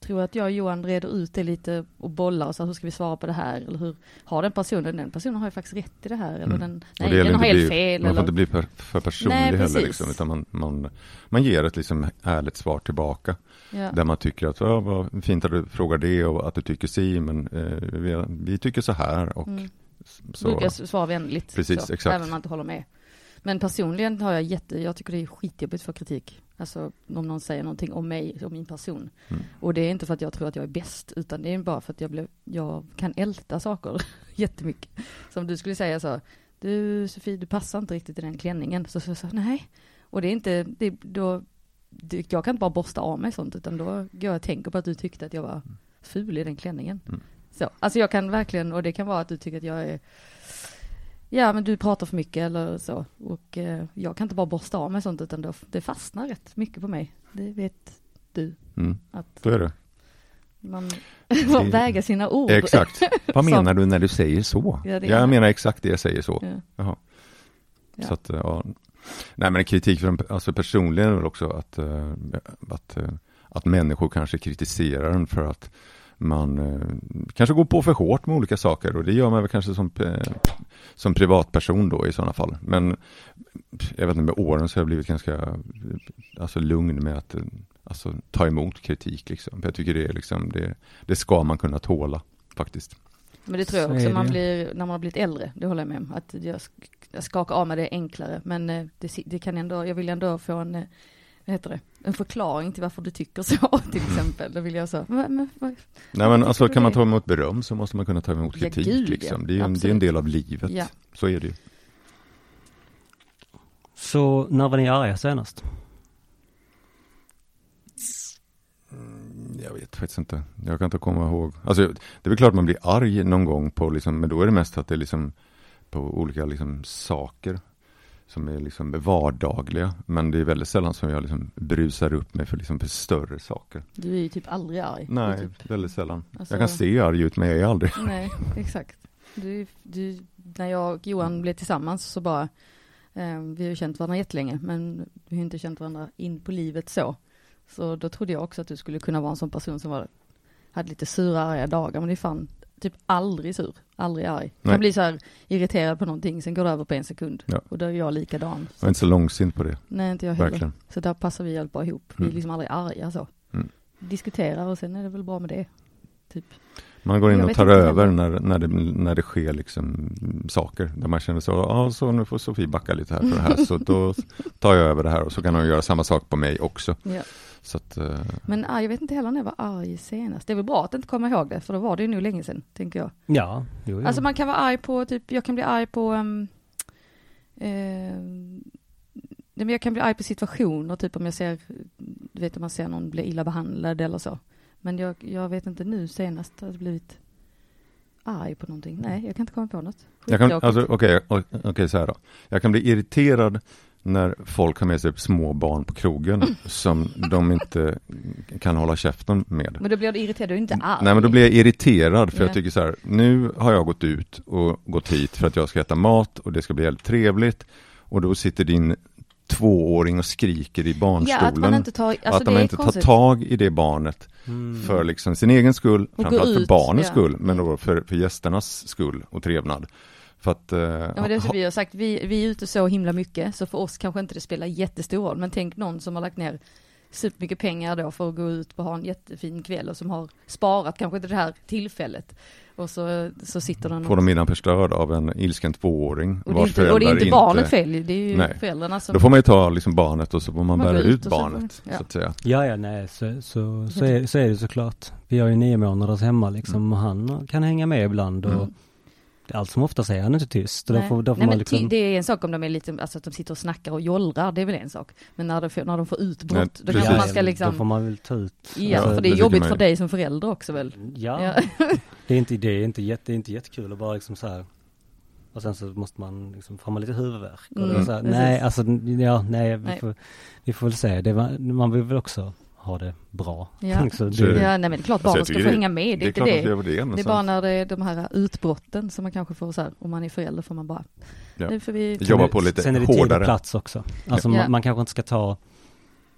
Speaker 3: tror jag att jag och Johan reder ut det lite och bollar och så här, hur ska vi svara på det här eller hur har den personen, den personen har ju faktiskt rätt i det här eller
Speaker 2: Mm.
Speaker 3: den,
Speaker 2: Och
Speaker 3: nej
Speaker 2: det gäller
Speaker 3: den har
Speaker 2: inte
Speaker 3: helt
Speaker 2: bli-
Speaker 3: fel
Speaker 2: Man får
Speaker 3: eller
Speaker 2: inte bli för, för personlig
Speaker 3: Nej,
Speaker 2: heller,
Speaker 3: precis.
Speaker 2: liksom, utan man, man, man ger ett liksom ärligt svar tillbaka.
Speaker 3: ja.
Speaker 2: Där man tycker att, ja, vad fint att du frågar det och att du tycker si, men eh, vi, vi tycker så här. Och
Speaker 3: Mm.
Speaker 2: så.
Speaker 3: brukar jag svara vänligt.
Speaker 2: Precis,
Speaker 3: så,
Speaker 2: exakt.
Speaker 3: Även om man inte håller med. Men personligen har jag jätte, jag tycker det är skitjobbigt för kritik. Alltså om någon säger någonting om mig, om min person.
Speaker 2: Mm.
Speaker 3: Och det är inte för att jag tror att jag är bäst, utan det är bara för att jag, blev, jag kan älta saker (laughs) jättemycket. Som du skulle säga så, du Sofie, du passar inte riktigt i den klänningen. Så så jag sa nej. Och det är inte, det, då, det, jag kan inte bara borsta av mig sånt, utan då går jag och tänker på att du tyckte att jag var ful i den klänningen.
Speaker 2: Mm.
Speaker 3: Så, alltså jag kan verkligen, och det kan vara att du tycker att jag är ja men du pratar för mycket eller så. Och eh, jag kan inte bara borsta av mig sånt utan det, det fastnar rätt mycket på mig. Det vet du
Speaker 2: Mm.
Speaker 3: att
Speaker 2: Så är det.
Speaker 3: man, man väger sina ord. (laughs)
Speaker 2: Exakt. Vad
Speaker 3: Som-
Speaker 2: menar du när du säger så?
Speaker 3: Ja, det är-
Speaker 2: jag menar exakt det jag säger så.
Speaker 3: Ja.
Speaker 2: Jaha.
Speaker 3: Ja.
Speaker 2: Så att, eh, ja. Nej men kritik från, alltså personligen är väl också att, eh, att, eh, att människor kanske kritiserar en för att man eh, kanske går på för hårt med olika saker och det gör man väl kanske som, eh, som privatperson då i sådana fall. Men jag vet inte, med åren så har jag blivit ganska eh, alltså, lugn med att eh, alltså, ta emot kritik. Liksom. För jag tycker det, är liksom, det, det ska man kunna tåla faktiskt.
Speaker 3: Men det tror jag
Speaker 1: Så
Speaker 3: också
Speaker 1: är
Speaker 3: man
Speaker 1: det.
Speaker 3: blir, när man har blivit äldre, det håller jag med om, att jag, sk- jag skakar av mig det enklare, men eh, det, si- det kan ändå, jag vill ändå få en, eh, vad heter det, en förklaring till varför du tycker så (laughs) till
Speaker 2: Mm.
Speaker 3: exempel, då vill jag så, men, men, vad-
Speaker 2: Nej men alltså
Speaker 3: tycker du
Speaker 2: kan man
Speaker 3: det?
Speaker 2: ta emot beröm så måste man kunna ta emot
Speaker 3: Ja,
Speaker 2: kritik.
Speaker 3: gud, ja.
Speaker 2: liksom. det, är ju en, det är en
Speaker 3: Absolut.
Speaker 2: del av livet.
Speaker 3: Ja.
Speaker 2: Så är det ju.
Speaker 1: Så när var ni arga senast?
Speaker 2: Jag vet faktiskt inte. Jag kan inte komma ihåg. Alltså, det är väl klart man blir arg någon gång på, liksom, men då är det mest att det är liksom på olika liksom, saker som är liksom vardagliga. Men det är väldigt sällan som jag liksom brusar upp mig för, liksom, för större saker.
Speaker 3: du är ju typ aldrig arg. Du är
Speaker 2: Nej,
Speaker 3: Typ,
Speaker 2: väldigt sällan.
Speaker 3: Alltså-
Speaker 2: Jag kan se arg ut, men jag är aldrig (laughs)
Speaker 3: nej, exakt. Du, du, när jag och Johan blev tillsammans så bara, eh, vi har ju känt varandra jättelänge, men vi har inte känt varandra in på livet så. Så då trodde jag också att du skulle kunna vara en sån person som var, hade lite sura, arga dagar, men det är fan typ aldrig sur, aldrig arg.
Speaker 2: Nej.
Speaker 3: Jag blir så här irriterad på någonting, sen går det över på en sekund.
Speaker 2: Ja.
Speaker 3: Och då är jag likadan.
Speaker 2: Jag är inte så långsint på
Speaker 3: (laughs)
Speaker 2: det,
Speaker 3: Nej, inte jag heller.
Speaker 2: verkligen.
Speaker 3: Så där passar vi jävligt bra ihop. Vi är
Speaker 2: Mm.
Speaker 3: liksom aldrig arga så.
Speaker 2: Mm.
Speaker 3: Diskuterar och sen är det väl bra med det.
Speaker 2: Man går in
Speaker 3: Jag
Speaker 2: och
Speaker 3: vet
Speaker 2: tar
Speaker 3: inte
Speaker 2: över
Speaker 3: heller.
Speaker 2: när, när, det, när det sker liksom mm, saker, där man känner så, ja så nu får Sofie backa lite här för det här, så då tar jag över det här och så kan hon göra samma sak på mig också.
Speaker 3: Ja.
Speaker 2: Så att, eh,
Speaker 3: Men arg, jag vet inte heller när jag var arg senast. Det är väl bra att inte komma ihåg det, för då var det ju nog länge sedan, tänker jag.
Speaker 1: Ja, jo, jo.
Speaker 3: Alltså man kan vara arg på, typ, jag kan bli arg på, um, eh, nej, men jag kan bli arg på situationer, typ om jag ser, du vet om man ser någon bli illa behandlad eller så. Men jag, jag vet inte nu senast har jag blivit arg på någonting. Nej, jag kan inte komma på något.
Speaker 2: jag kan,
Speaker 3: Skittråkigt.
Speaker 2: alltså, okej, o- okej, så här då. Jag kan bli irriterad när folk har med sig små barn på krogen
Speaker 3: (laughs)
Speaker 2: som de inte kan hålla käften med.
Speaker 3: men då blir du irriterad, du är inte arg.
Speaker 2: Nej men då blir jag irriterad för
Speaker 3: Ja.
Speaker 2: jag tycker så här, nu har jag gått ut och gått hit för att jag ska äta mat och det ska bli helt trevligt och då sitter din tvååring och skriker i
Speaker 3: Ja, att
Speaker 2: barnstolen.
Speaker 3: man inte tar, alltså
Speaker 2: att
Speaker 3: det
Speaker 2: de
Speaker 3: är
Speaker 2: inte tar
Speaker 3: konstigt.
Speaker 2: tag i det barnet
Speaker 1: Mm.
Speaker 2: för liksom sin egen skull,
Speaker 3: gå
Speaker 2: framförallt för
Speaker 3: ut,
Speaker 2: barnens
Speaker 3: ja.
Speaker 2: skull, men då för, för gästernas skull och trevnad. För att, eh,
Speaker 3: Ja, men det är
Speaker 2: ha-
Speaker 3: som vi har sagt, vi, vi är ute så himla mycket, så för oss kanske inte det spelar jättestor roll, men tänk någon som har lagt ner supermycket pengar då för att gå ut och ha en jättefin kväll och som har sparat kanske inte det här tillfället. Och så, så sitter den
Speaker 2: får de middagen förstörd av en ilsken tvååring.
Speaker 3: och, det är
Speaker 2: vars
Speaker 3: inte, och det är
Speaker 2: föräldrar
Speaker 3: inte barnet fel, det är ju
Speaker 2: Nej.
Speaker 3: föräldrarna som...
Speaker 2: Då får man ju ta liksom barnet och så får man,
Speaker 3: Man
Speaker 2: bära
Speaker 3: går ut
Speaker 2: ut
Speaker 3: och så får man-
Speaker 2: barnet,
Speaker 3: ja.
Speaker 2: så att säga.
Speaker 1: Ja, ja, nej, så, så, så,
Speaker 3: Mm.
Speaker 1: är, så är det såklart. Vi har ju nio månaders hemma liksom och han kan hänga med ibland och
Speaker 2: Mm.
Speaker 1: allt som ofta säger han inte tyst. Och Då
Speaker 3: Nej.
Speaker 1: får, då får
Speaker 3: Nej,
Speaker 1: man
Speaker 3: men
Speaker 1: liksom...
Speaker 3: ty- Det är en sak om de är lite, alltså att de sitter och snackar och jollrar, det är väl en sak. Men när de får, när de får
Speaker 2: Nej,
Speaker 3: utbrott, då
Speaker 2: precis.
Speaker 3: kanske man ska
Speaker 1: ja,
Speaker 3: liksom...
Speaker 1: Då får man väl ta ut.
Speaker 3: Ja,
Speaker 2: Ja, det
Speaker 3: för det är
Speaker 2: tycker
Speaker 3: jobbigt
Speaker 2: man ju.
Speaker 3: för dig som förälder också väl?
Speaker 1: Ja,
Speaker 3: Ja.
Speaker 1: Det, är inte, det, är inte jätte, det är inte jättekul att bara liksom så här. Och sen så måste man liksom, får man lite huvudvärk. Och
Speaker 3: Mm,
Speaker 1: det är så här,
Speaker 3: precis.
Speaker 1: nej, alltså, ja, nej, vi,
Speaker 3: Nej.
Speaker 1: Får, vi får väl se. Det, var- man vill väl också ha det bra. (laughs)
Speaker 3: Ja.
Speaker 1: Liksom,
Speaker 2: (laughs) Så är det.
Speaker 1: det,
Speaker 3: Ja, nej men det är klart barnen
Speaker 2: jag
Speaker 3: ska
Speaker 2: tycker
Speaker 3: få
Speaker 2: det-
Speaker 3: hänga med, det är inte
Speaker 2: klart att
Speaker 3: det.
Speaker 2: vi gör det, men
Speaker 3: Det är
Speaker 2: sen-
Speaker 3: bara när det är de här utbrotten som man kanske får så här, om man är förälder får man bara,
Speaker 2: Ja.
Speaker 3: nu får vi,
Speaker 2: Jobba på lite
Speaker 1: Sen är det tid och
Speaker 2: hårdare.
Speaker 1: plats också. Alltså
Speaker 3: Ja.
Speaker 1: man, man kanske inte ska ta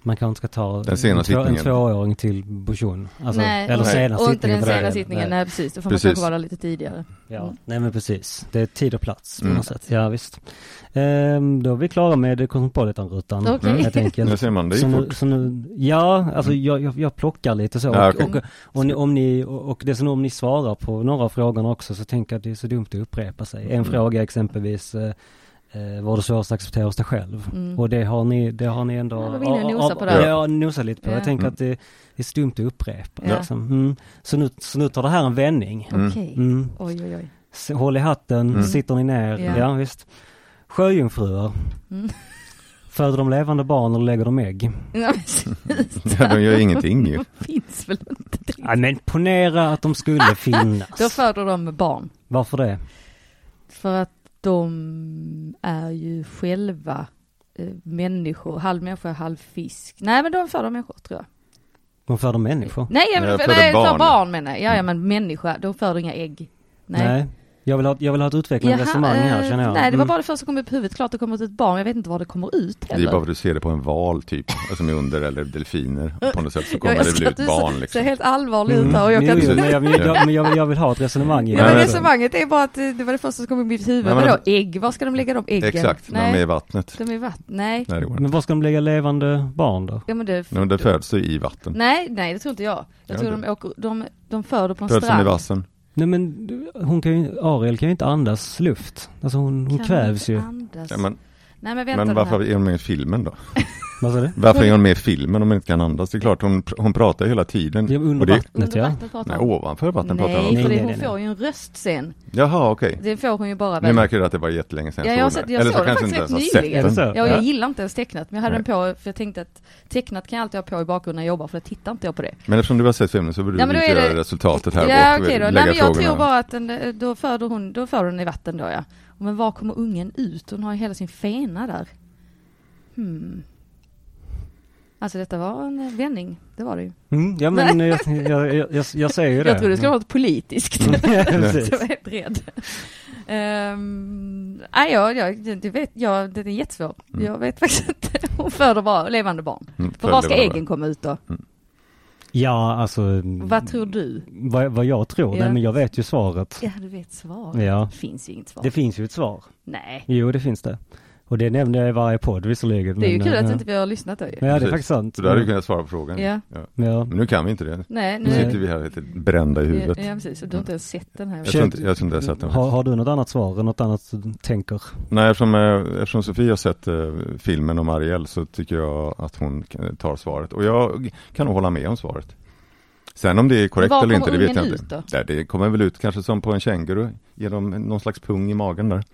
Speaker 1: man kanske inte ska ta
Speaker 2: Den sena
Speaker 1: en, två, en
Speaker 2: sittningen.
Speaker 1: tvååring till Bushun. Alltså,
Speaker 3: nej,
Speaker 1: eller
Speaker 3: och-
Speaker 1: sena
Speaker 3: och inte
Speaker 1: sittningen.
Speaker 3: den
Speaker 1: för det är
Speaker 3: sena
Speaker 1: det.
Speaker 3: sittningen, nej.
Speaker 1: Nej.
Speaker 3: precis, då får
Speaker 2: Precis.
Speaker 3: man kanske vara där lite tidigare.
Speaker 1: Ja,
Speaker 3: Mm.
Speaker 1: nej men precis. Det är tid och plats på
Speaker 2: Mm.
Speaker 1: något sätt. Ja visst. Ehm, då är vi klara med Cosmopolitan-rutan.
Speaker 2: (laughs)
Speaker 3: Okej.
Speaker 1: Helt enkelt.
Speaker 2: Nu ser man, det
Speaker 1: så
Speaker 2: gick
Speaker 1: nu,
Speaker 2: fort. Mm.
Speaker 1: så nu, ja, alltså jag, jag, jag plockar lite så.
Speaker 2: Ja,
Speaker 1: och,
Speaker 2: okej.
Speaker 1: och, och, ni, om ni, och och dessutom om ni svarar på några av frågorna också så tänker jag att det är så dumt att upprepa sig. En
Speaker 2: Mm.
Speaker 1: fråga exempelvis, eh, eh, var det svårast att acceptera hos dig själv?
Speaker 3: Mm.
Speaker 1: Och det har ni, det har ni ändå...
Speaker 3: Ja, då vill jag
Speaker 1: av-
Speaker 3: nosa på det.
Speaker 1: av- Ja, nosa lite på. det.
Speaker 3: Ja.
Speaker 1: Jag tänker
Speaker 2: Mm.
Speaker 1: att det, det är så dumt att upprepa.
Speaker 3: Ja.
Speaker 1: Liksom. Mm. Så, nu, så nu tar det här en vändning.
Speaker 2: Mm.
Speaker 3: Okej,
Speaker 1: Mm.
Speaker 3: oj oj oj.
Speaker 2: (laughs)
Speaker 1: S- Håll i hatten,
Speaker 2: Mm.
Speaker 1: sitter ni ner?
Speaker 3: Ja.
Speaker 1: Ja, visst. Sjöjungfrur,
Speaker 3: Mm.
Speaker 1: (laughs) föder de levande barn eller lägger de ägg?
Speaker 3: Ja, men sluta.
Speaker 2: Ja, (laughs) de gör ingenting ju.
Speaker 3: (laughs) De finns väl inte.
Speaker 1: Ja, men
Speaker 3: (laughs)
Speaker 1: ponera att de skulle finnas.
Speaker 3: Då föder de barn,
Speaker 1: Varför det?
Speaker 3: för att de är ju själva eh, människor, halv människa, halv fisk. Nej men de föder människor tror jag.
Speaker 1: De föder människor.
Speaker 3: Nej, jag,
Speaker 2: Nej,
Speaker 3: nej,
Speaker 2: jag
Speaker 3: föder,
Speaker 2: föder
Speaker 3: nej, barn.
Speaker 2: barn.
Speaker 3: barn menar jag. Ja, ja
Speaker 2: Mm.
Speaker 3: men människa, de föder inga ägg.
Speaker 1: Nej. Jag, vill ha, jag vill ha ett utvecklande
Speaker 3: Jaha,
Speaker 1: resonemang här
Speaker 3: eh,
Speaker 1: känner jag.
Speaker 3: Nej, det var
Speaker 1: Mm.
Speaker 3: bara det första som kom upp i huvudet. Klart det kommer ut ett barn, jag vet inte var det kommer ut
Speaker 2: Det är
Speaker 3: heller.
Speaker 2: bara för att du ser det på en val typ, som är under eller delfiner. På något sätt så kommer
Speaker 3: jag
Speaker 2: det bli
Speaker 3: tror att
Speaker 2: ett
Speaker 3: du så-
Speaker 2: barn.
Speaker 3: ser
Speaker 2: Liksom.
Speaker 3: helt allvarlig ut här och jag
Speaker 1: Jo,
Speaker 3: kan
Speaker 1: Mm. jo,
Speaker 2: inte-
Speaker 1: men, jag, men,
Speaker 3: (laughs)
Speaker 1: jag, men jag, jag vill ha ett resonemang i
Speaker 3: Ja,
Speaker 2: Nej,
Speaker 3: men
Speaker 2: men-
Speaker 3: resonemanget är bara att eh, det var det första som kom i mitt huvud.
Speaker 2: Nej,
Speaker 3: Men
Speaker 2: men-
Speaker 3: Vadå, ägg? Var ska de lägga de äggen?
Speaker 2: Exakt, när de är
Speaker 3: Nej,
Speaker 2: i vattnet.
Speaker 3: de är i vatten. Nej.
Speaker 2: Nej, det går inte.
Speaker 1: Men var ska de lägga levande barn då?
Speaker 3: Ja, men det,
Speaker 2: Men de föds ju i vatten.
Speaker 3: nej, nej, det tror inte jag. Jag
Speaker 2: Ja,
Speaker 3: tror
Speaker 2: det-
Speaker 3: de, åker, de, de föder på en
Speaker 2: Föds som i
Speaker 3: strand.
Speaker 2: vassen.
Speaker 1: Nej men du, hon kan ju, Ariel kan ju inte andas luft. Alltså hon, hon
Speaker 3: Kan
Speaker 1: kvävs
Speaker 3: inte
Speaker 1: ju.
Speaker 3: Andas.
Speaker 2: Ja, men,
Speaker 3: nej, men vänta
Speaker 2: men
Speaker 3: den här.
Speaker 2: varför är hon med i filmen då?
Speaker 1: Vad sa du?
Speaker 2: Varför är hon med i filmen om hon inte kan andas? Det är klart, hon, hon pratar hela tiden.
Speaker 1: Ja,
Speaker 2: Och
Speaker 1: under
Speaker 2: det-
Speaker 1: vattnet
Speaker 3: Under
Speaker 1: ja.
Speaker 3: vattnet pratar
Speaker 2: Nej,
Speaker 3: hon.
Speaker 2: ovanför vatten pratar hon
Speaker 3: Nej,
Speaker 2: också.
Speaker 3: för
Speaker 1: Nej,
Speaker 3: det,
Speaker 1: nej,
Speaker 3: hon
Speaker 1: nej.
Speaker 3: får ju en röst sen.
Speaker 2: Jaha, okej.
Speaker 3: Det får hon ju bara
Speaker 2: Nu
Speaker 3: väl.
Speaker 2: märker du att det var jättelänge sedan
Speaker 3: Ja, jag
Speaker 2: jag
Speaker 3: har
Speaker 2: såg
Speaker 3: sett-
Speaker 2: den.
Speaker 3: jag
Speaker 2: Eller så
Speaker 3: såg den
Speaker 2: kanske inte ens
Speaker 3: faktiskt
Speaker 2: har
Speaker 3: nyligen.
Speaker 1: Är
Speaker 2: sett
Speaker 1: det så?
Speaker 2: den.
Speaker 3: Ja, jag
Speaker 1: Ja.
Speaker 3: gillar inte ens tecknat, men jag hade
Speaker 2: Nej.
Speaker 3: den på för jag tänkte att tecknat kan jag alltid ha på i bakgrunden när jag jobbar, för det tittar inte jag på det.
Speaker 2: Men eftersom du har sett filmen så vill du
Speaker 3: Ja, men då
Speaker 2: inte
Speaker 3: är
Speaker 2: göra
Speaker 3: det-
Speaker 2: resultatet här
Speaker 3: Ja
Speaker 2: och
Speaker 3: okej då,
Speaker 2: lägga
Speaker 3: Nej, men jag
Speaker 2: frågorna.
Speaker 3: tror bara att den, eh, då föder hon, då föder hon i vatten då ja. Men var kommer ungen ut? Hon har ju hela sin fena där. Hmm. Alltså detta var en eh, vändning, det var det ju.
Speaker 1: Mm, ja men jag, jag, jag, jag, jag säger ju det. Mm.
Speaker 3: (laughs) Jag trodde det skulle vara något politiskt.
Speaker 1: (laughs) Ja,
Speaker 3: (laughs) Så jag
Speaker 1: precis.
Speaker 3: var helt rädd. Ehm, nej, jag, jag, du vet, jag, det är jättesvårt.
Speaker 2: Mm.
Speaker 3: Jag vet faktiskt inte. Hon föder bara levande barn.
Speaker 2: Mm,
Speaker 3: För
Speaker 2: följ
Speaker 3: var ska
Speaker 2: det bara.
Speaker 3: äggen komma ut då?
Speaker 1: Ja alltså.
Speaker 2: Mm.
Speaker 3: Vad tror du?
Speaker 1: Vad, vad jag tror?
Speaker 3: Ja.
Speaker 1: Nej men jag vet ju svaret.
Speaker 3: Ja, du vet svar.
Speaker 1: Ja.
Speaker 3: Det finns ju inget svar.
Speaker 1: Det finns ju ett svar.
Speaker 3: nej.
Speaker 1: Jo, det finns det. Och det nämnde jag i varje podd visserligen.
Speaker 3: Det är ju
Speaker 1: men,
Speaker 3: kul
Speaker 1: eh,
Speaker 3: att inte vi har lyssnat då ju.
Speaker 1: Men ja, det är
Speaker 2: Precis.
Speaker 1: faktiskt sant.
Speaker 2: Så du hade ju kunnat svara på frågan.
Speaker 3: Ja.
Speaker 1: Ja.
Speaker 2: Men nu kan vi inte det.
Speaker 3: Nej,
Speaker 2: Nu
Speaker 3: nu...
Speaker 1: Nej.
Speaker 2: sitter vi här helt brända i huvudet.
Speaker 3: Ja, ja, precis. Och du har inte ens sett den här.
Speaker 2: Jag tror inte jag, tror inte jag har sett den.
Speaker 1: Har, har du något annat svar? Något annat du tänker?
Speaker 2: Nej, eftersom, eh, eftersom Sofie har sett eh, filmen om Ariel så tycker jag att hon k- tar svaret. Och jag kan nog hålla med om svaret. Sen om det är korrekt
Speaker 3: Var
Speaker 2: eller inte, det
Speaker 3: kommer
Speaker 2: vet jag
Speaker 3: ungen
Speaker 2: inte.
Speaker 3: ut då?
Speaker 2: Nej, det kommer väl ut kanske som på en känguru, genom någon slags pung i magen där.